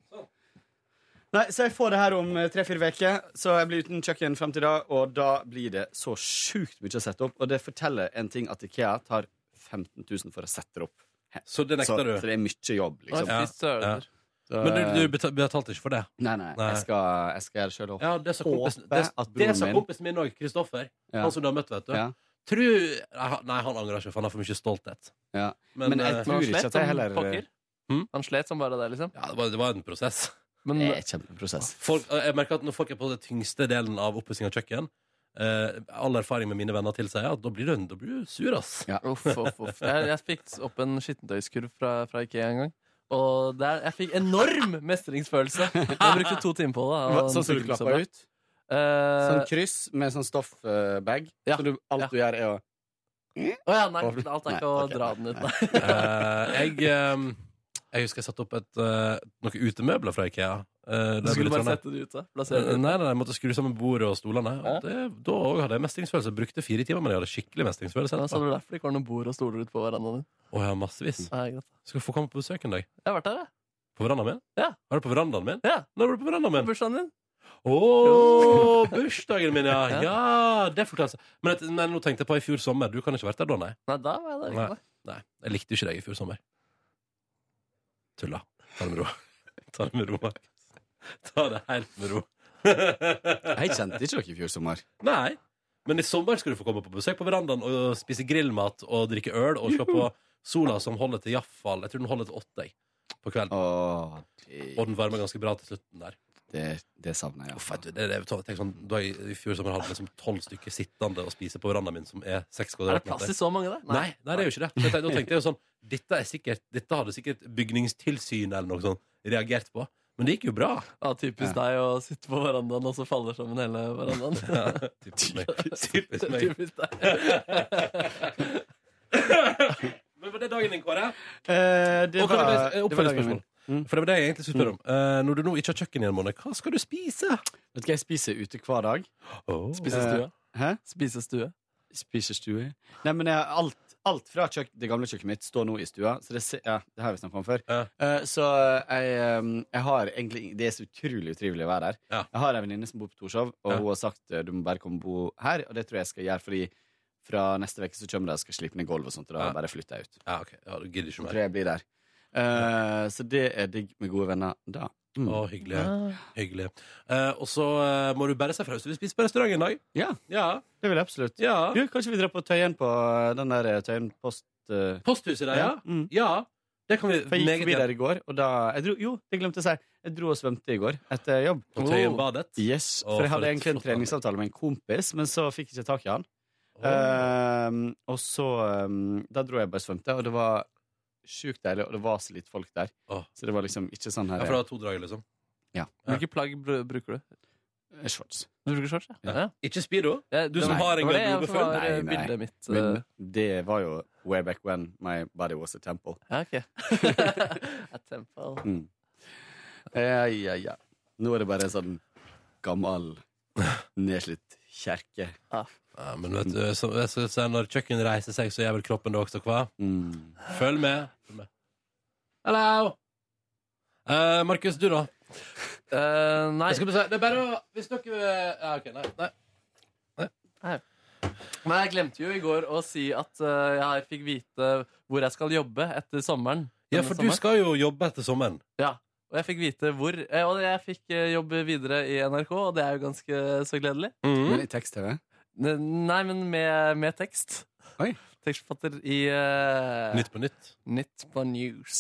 Sånn. Nei, så jeg får det her om eh, tre-fire uker, så jeg blir uten kjøkken frem til da, og da blir det så sjukt mye å sette opp, og det forteller en ting at Ikea tar 15 000 for å sette det opp. Så det Så, nekter så du. det er mye jobb, Å, liksom. Ja, Fy søren. Så, eh, Men du, du betal- betalte ikke for det? Nei, nei, Nei. jeg skal, jeg skal gjøre det sjøl opp. Ja, det sa Håper kompisen, det, at det broren sa min- kompisen min òg, Kristoffer. Ja. Han som du har møtt, vet du. Ja. Tror Nei, han- Nei, han angrer ikke, for han har for mye stolthet. Ja. Men, Men jeg eh, Men tror- han ikke at jeg slet som heller- pokker. Hm? Han slet som bare det, liksom. ja, det, var, det var en prosess. Men Det er kjempeprosess. Folk, eh, jeg merker at Når folk er på den tyngste delen av oppussing av kjøkken eh, All erfaring med mine venner tilsier at da blir du, da blir du sur, ass. Ja. Uff, uff, uff. Jeg, jeg fikk opp en skittentøyskurv fra, fra Ikea en gang. Og der, jeg fikk enorm mestringsfølelse. Jeg brukte to timer på det. og Sånn som du den funket så klappa bra. ut? Eh, Sånn kryss med sånn stoffbag. Ja. Så du, alt Ja. du gjør, er å Å ja, nei, alt er Nei, ikke å ok, dra nei, den ut, ok, nei. nei. Eh, jeg eh, Jeg husker jeg satte opp et, eh, noen utemøbler fra Ikea. eh, da jeg Du skulle bodde i sånn, bare Trondheim. sette det ute. Eh, Plassere Nei, det. nei, nei, jeg måtte skru sammen bordet og stolene. Og det, da også hadde jeg mestringsfølelse. Jeg brukte fire timer, men jeg hadde skikkelig mestringsfølelse. Ja, så Mm. etterpå. det er derfor det ikke var noe bord og stoler ute på verandaen din. Å, ja, massevis. Ja, greit. Skal få komme på besøk en dag. Jeg har vært der, jeg. På verandaen min? Ja. Var det på verandaen min? Ja. Når var du på verandaen min? Bursdagen din. Å, bursdagen min, ja! Ja. Ja, det forklarer seg. Men, et- nei, nå tenkte jeg på i fjor sommer. Du kan ikke ha vært der da, nei? Nei, da var jeg der. Nei. Ikke, da. Nei, jeg likte jo ikke deg i fjor sommer. Tulla. Ta det med ro. Ta det med ro, Markus. Ta det helt med ro. Jeg kjente ikke dere i fjor sommer. Nei. Men i sommer skal du få komme på besøk på verandaen og spise grillmat og drikke øl og se på sola som holder til iallfall Jeg tror den holder til åtte jeg, på kvelden. Å, Og den varmer ganske bra til slutten der. det, det savner jeg. Uff, vet du, det, det, tenk sånn, da jeg I fjor sommer hadde jeg liksom tolv stykker sittende og spise på verandaen min, som er Er det plass seks kvadratmeter. til så mange der? Nei, nei, det er jo ikke det. Så jeg tenkte, da tenkte jeg jo sånn dette, er sikkert, dette hadde sikkert bygningstilsynet eller noe sånt reagert på. Men det gikk jo bra. Ja, typisk deg å sitte på verandaen, og så faller sammen hele verandaen. Typisk meg. Typisk meg. typisk deg. Men var det dagen din, Kåre? det Og kan jeg bare- eh, oppfølgingsspørsmål? Mm. For det var det jeg egentlig skulle spørre om. Eh, når du nå ikke har kjøkken i en måned, hva skal du spise? Vet du hva jeg spiser ute hver dag? Spisestue. Hæ? Spisestue. Spiser stue. Nei, men jeg, alt, alt fra kjøk, det gamle kjøkkenet mitt står nå i stua. Så det, se- ja, det har vi snakket om før. Ja. Eh, så jeg, eh, jeg har egentlig Det er så utrolig utrivelig å være her. Ja. Jeg har en venninne som bor på Torshov, og Ja. hun har sagt eh, du må bare komme og bo her. Og det tror jeg jeg skal gjøre, fordi fra neste uke så kommer de og skal slipe ned gulvet og sånt. Og da Ja. bare flytter jeg ut. Ja, ok. Ja, du gidder ikke Så mer. tror jeg jeg blir der. Eh, så det er digg med gode venner da. Mm. Å, hyggelig. hyggelig. Eh, og så eh, må du bare si fra hvis du vil spise på restaurant en dag. Ja, Ja. det vil jeg absolutt. ja. Du, kanskje vi drar på Tøyen på eh, den der eh, Tøyen post... eh, Posthuset der, ja. Mm. Ja. Det kan vi For jeg gikk meget forbi gjerne. der i går, og da jeg dro, Jo, det glemte jeg å si. Jeg dro og svømte i går etter jobb. Oh. På Tøyenbadet. Yes, Å, For jeg for hadde et egentlig en flott anlegg. treningsavtale med en kompis, men så fikk jeg ikke tak i han. Å. Ehm, og så ehm, Da dro jeg bare og svømte, og det var sjukt deilig, og det var så litt folk der. Å. Så det var liksom ikke sånn Ja, her for du har to drag, liksom. Hvilke plagg br- bruker du? eh, shorts. Du bruker shorts, ja? ja. Ikke Speedo? Jeg- Du som nei, har en det var det jeg garderobe som full. var, eh, Nei, nei. Bildet mitt. eh, Men det var jo way back when my body was a temple. Ja, ok. Et tempel. Ja, ja, ja. Nå er det bare en sånn gammel, nedslitt kjerke. Ja, men vet du, så, jeg synes jeg når kjøkkenet reiser seg, så gjør vel kroppen det også, hva? Mm. Følg med. Følg med. Hello! Eh, Markus, du, da? Eh, nei, Jeg skal bare si, det er bare å Hvis dere Ja, OK, nei. nei. men jeg glemte jo i går å si at eh, jeg fikk vite hvor jeg skal jobbe etter sommeren. Ja, Denne for du sommeren. skal jo jobbe etter sommeren. Ja, og jeg fikk vite hvor. eh, Og jeg fikk eh, jobbe videre i NRK, og det er jo ganske eh, så gledelig. Mhm. Men i tekst-TV? Ne- Nei, men med, med tekst. Oi. Tekstforfatter i eh, Nytt på nytt. Nytt på news.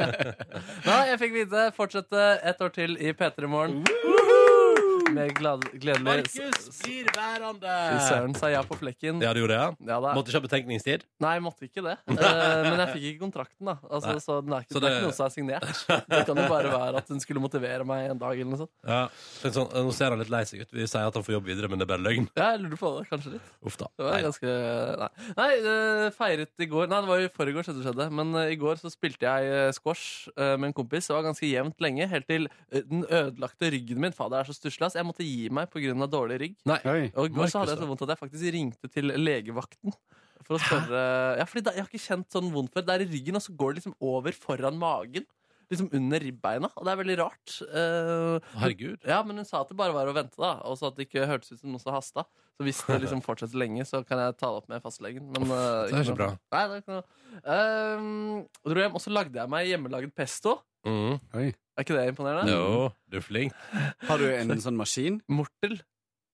Nei, jeg fikk vite. Fortsette et år til i P3 Morgen. Med glad, gledelig blir værende! Fy Søren sa ja på flekken. Ja, du gjorde det? ja. Ja da. Måtte ikke ha betenkningstid? Nei, jeg måtte ikke det. Eh, men jeg fikk ikke kontrakten, da. Altså, Nei. så den er ikke, Så det er det- ikke noe som er signert. Det kan jo bare være at den skulle motivere meg en dag eller noe sånt. Ja. Tenk sånn, nå ser han litt lei seg ut. Vi sier at han får jobb videre, men det er bare løgn. Ja, jeg lurer på det kanskje litt. Uff da. Det var Nei. ganske Nei, nei eh, feiret i går Nei, det var jo i forrige skjedde det skjedde. Men eh, i går så spilte jeg eh, squash eh, med en kompis. Det var ganske jevnt lenge, helt til eh, den ødelagte ryggen min. Fader, jeg er så stusslig, ass. Jeg måtte gi meg pga. dårlig rygg. Nei. Oi. Og i går så Markus, hadde jeg da? så vondt at jeg faktisk ringte til legevakten. For å spørre Ja, fordi da, Jeg har ikke kjent sånn vondt før. Det er i ryggen, og så går det liksom over foran magen. Liksom under ribbeina. Og det er veldig rart. Eh, Herregud. ja, men hun sa at det bare var å vente, da. Og så at det ikke hørtes ut som noe som hasta. Så hvis det liksom fortsetter lenge, så kan jeg ta det opp med fastlegen. Men, eh, Det ikke er ikke noe- bra. Nei, det er ikke noe. Ehm, og dro hjem, og så lagde jeg meg hjemmelaget pesto. Mm. Er ikke det imponerende? Jo, du er flink. Har du en sånn maskin? Mortel.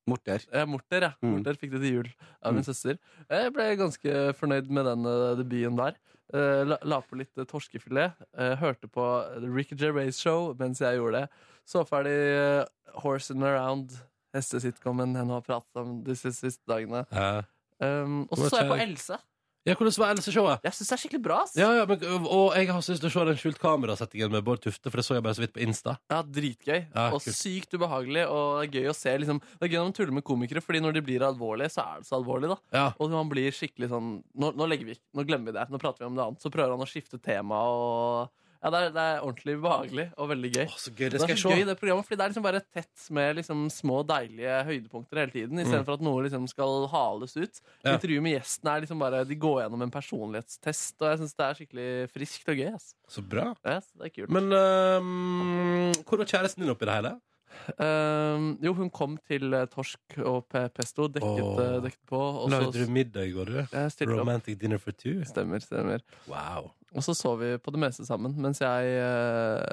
Morter. Ja, Eh, morter, ja. Mm. Morter fikk det til jul av min Mm. søster. Jeg ble ganske fornøyd med den eh, debuten der. Eh, la, la på litt eh, torskefilet. eh, hørte på The Ricky Gervais Show mens jeg gjorde det. Så ferdig eh, Horsing Around, hestesitcomen henne har pratet om de siste, siste dagene. Ja. Um, og Hvor så så jeg på kjær- Else. Eh, Ja, hvordan var Else-showet? Jeg syns det er skikkelig bra. ass Ja, ja, men, og jeg har lyst til å se den skjult kamerasettingen med Bård Tufte, for det så jeg bare så vidt på Insta. Ja, Dritgøy. Ja, og kult. sykt ubehagelig. Og det er gøy å se liksom, Det er gøy når man tuller med komikere, Fordi når de blir alvorlige, så er det så alvorlig. da Ja. Og han blir skikkelig sånn Nå, nå, legger vi, nå glemmer vi det. Nå prater vi om det annet. Så prøver han å skifte tema og Ja, det er, det er ordentlig behagelig og veldig gøy. så gøy, det, det skal er jeg så se. gøy det programmet, fordi det er liksom bare tett med liksom små deilige høydepunkter hele tiden, Mm. istedenfor at noe liksom skal hales ut. Ja. Intervjuet med gjesten er liksom bare De går gjennom en personlighetstest, og jeg syns det er skikkelig friskt og gøy. Ass. Så bra. Ja, så det er kult. Men øhm, hvor var kjæresten din oppi det hele? Ehm, jo, hun kom til eh, torsk og pe- pesto, dekket, Åh. eh, dekket på. Og så Lagde du middag i går, du? jeg stilte opp. Romantic dinner for two? Stemmer, stemmer. Wow. Og så så vi på det meste sammen. Mens jeg eh,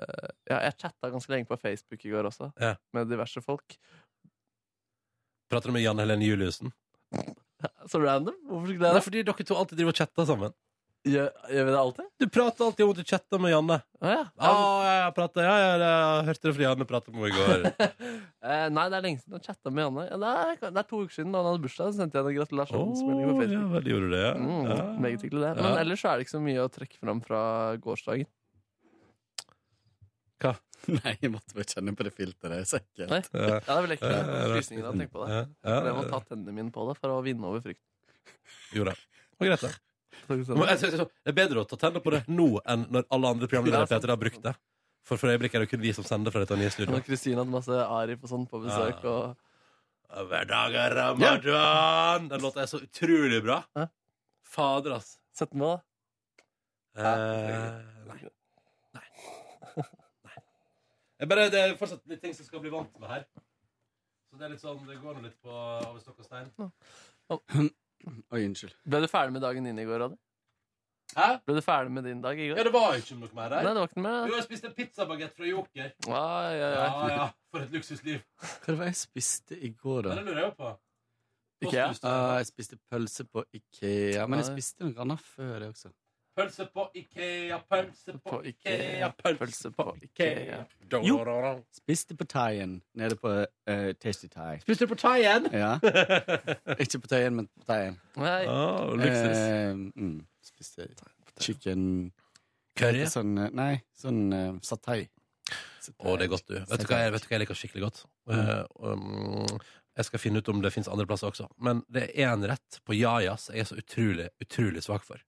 ja, Jeg chatta ganske lenge på Facebook i går også, Ja. med diverse folk. Prater du med Jan Helene Juliussen? Så random. Hvorfor skulle jeg Nei, det? fordi dere to alltid driver og chatter sammen. Gjør, gjør vi det alltid? Du prater alltid Ah. om at du chatter med Janne. Å ja. Ja, ja, jeg prater, ja, ja, jeg hørte det fordi Janne pratet med meg i går. Eh, nei, det er lenge siden jeg chatta med Janne. Ja, det, er, det er to uker siden da han hadde bursdag. Så sendte jeg en gratulasjonsmelding på Å, ja, Facebook. vel, gjorde du det? ja? Mm, Ja. Meget hyggelig, det. Men Ja. ellers så er det ikke så mye å trekke fram fra gårsdagen. Nei, jeg måtte bare kjenne på det filteret. Så ekkelt. Nei? Ja. Ja, det er vel Ja, ekkelt. ja, Frysninger av å tenke på det. Ja, ja, Jeg må ta tennene mine på det for å vinne over frykten. Jo da. Og greit, det. Takk Men skal jeg du ha. synes- Det er bedre å ta tenner på det nå enn når alle Ja, andre programledere sant. Peter har brukt det. For for øyeblikket er det kun vi som sender fra dette nye Nå har studioet. Kristine hatt masse Arif og sånn på besøk. Ja. Og Hver dag er ramadan! Den låta er så utrolig bra. Hæ? Fader, ass. sett den på, da. Eh, nei. Nei. Nei. Jeg bare, det er fortsatt litt ting som skal bli vant med her. Så det er litt sånn, det går nå litt på over stokk og stein. Oi, unnskyld. Ble du ferdig med dagen din i går, Adi? Hæ? Ble du ferdig med din dag i Ja, går? det var jo ikke noe mer Nei, det her. var ikke noe mer. Jo, da. jeg spiste pizzabagett fra Joker. Ah, ja, ja. Ja, ja, for et luksusliv. Hva var det jeg spiste i går, Ja, da? Det lurer jeg jo på. Ikea? Ah, jeg spiste pølse på Ikea, men jeg Nei. spiste noe annet før det også. Pølse på Ikea, pølse på På Ikea, Ikea, pølse Pølse på Ikea. Jo. Jo. Spiste på thaien nede på eh, Tasty Thai. Spiste du på thaien? Ja. Ikke på thaien, men på thaien. Nei, Oh, Eh, mm, spiste chicken Curry. Å, Sånn, eh, nei, sånn uh, satay. det er godt, du. Vet du hva jeg, vet du hva jeg liker skikkelig godt? Eh, um, jeg skal finne ut om det fins andre plasser også. Men det er én rett på Jajas jeg er så utrolig, utrolig svak for.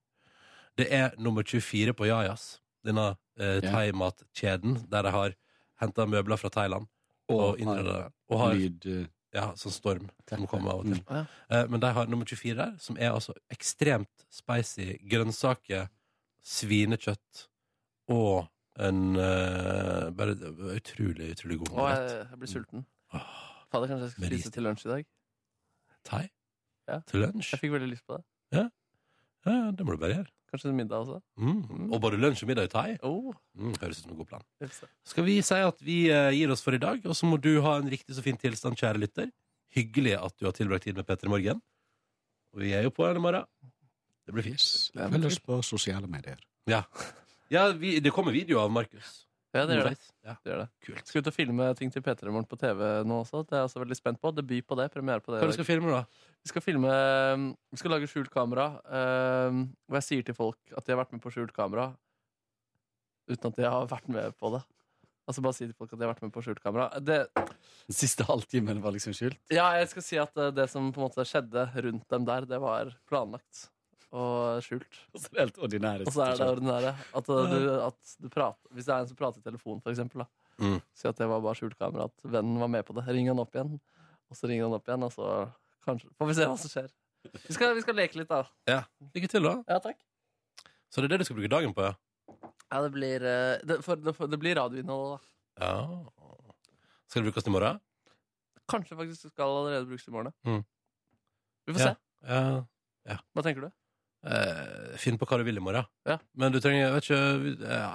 Det er nummer 24 på Jajas, denne uh, Ja. thaimatkjeden der de har henta møbler fra Thailand og innreda det. Og har lyd eh, ja, sånn storm som kommer av og til. Mm. Ja. Eh, Men de har nummer 24 der, som er altså ekstremt spicy grønnsaker, svinekjøtt og en eh, bare utrolig, utrolig god Å, jeg, rett. jeg blir sulten. Åh, Fader, kanskje jeg Med skal spise ris. til lunsj i dag? Thai Ja. til lunsj? Jeg fikk veldig lyst på det. Ja, ja, det må du bare gjøre. Kanskje til middag også. Mm. Mm. Og både lunsj og middag i thai. Oh, Mm, høres ut som en god plan. jeg ser. Skal vi si at vi eh, gir oss for i dag, og så må du ha en riktig så fin tilstand, kjære lytter. Hyggelig at du har tilbrakt tid med Petter i morgen. Og vi er jo på her i morgen. Det blir fint. Ja, Følg oss på sosiale medier. Ja, ja vi, det kommer video av Markus. Ja, det gjør det. Ja, det, gjør det. kult. Skal ut og filme ting til P3 Morgen på TV nå også. Det er jeg også veldig spent på. Debut på det. Premiere på det. i Hva dag. du skal filme, da? Vi skal filme um, Vi skal lage skjult kamera, eh, hvor jeg sier til folk at de har vært med på skjult kamera, uten at de har vært med på det. Altså bare si til folk at de har vært med på skjult kamera. Det, Den siste halvtimen var liksom skjult. ja, jeg skal si at eh, det som på en måte skjedde rundt dem der, det var planlagt og skjult. Og så er det helt ordinære Og så er det situasjoner. ordinære. At eh, du, at du prater, hvis det er en som prater i telefonen, for eksempel, da, Mm. si at det var bare skjult kamera, at vennen var med på det. Ring han opp igjen, og så ringer han opp igjen, og så kanskje Får vi se hva som skjer. Vi skal, vi skal leke litt, da. Lykke til, da. Ja, takk. Så det er det du skal bruke dagen på, ja? Ja, det blir, eh, det, for, det, for, det blir radioinnhold, da. ja. Skal det brukes til i morgen? Kanskje faktisk det skal allerede brukes i morgen. ja. Mm. Vi får se. Ja. Hva tenker du? Eh, finn på hva du vil i morgen. Ja. Men du trenger jeg vet ikke, vi- ja.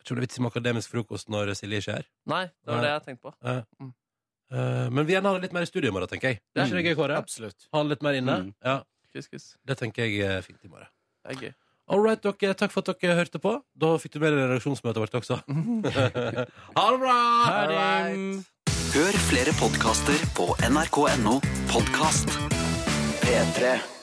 jeg tror det er vits med akademisk frokost når Silje ikke er her. Nei, det var Nei. det jeg tenkte på. Eh, men vi gjerne har det litt mer i studio i morgen, tenker jeg. Det er ikke det gøy, Kåre? Absolutt. Ha det litt mer inne? Mm. Ja, Kuss, kuss. Det tenker jeg er fint i morgen. Det er gøy. All right, dere. Takk for at dere hørte på. Da fikk du med deg redaksjonsmøtet vårt også. ha det bra! Ha det! Hør flere podkaster på nrk.no podkast. P3.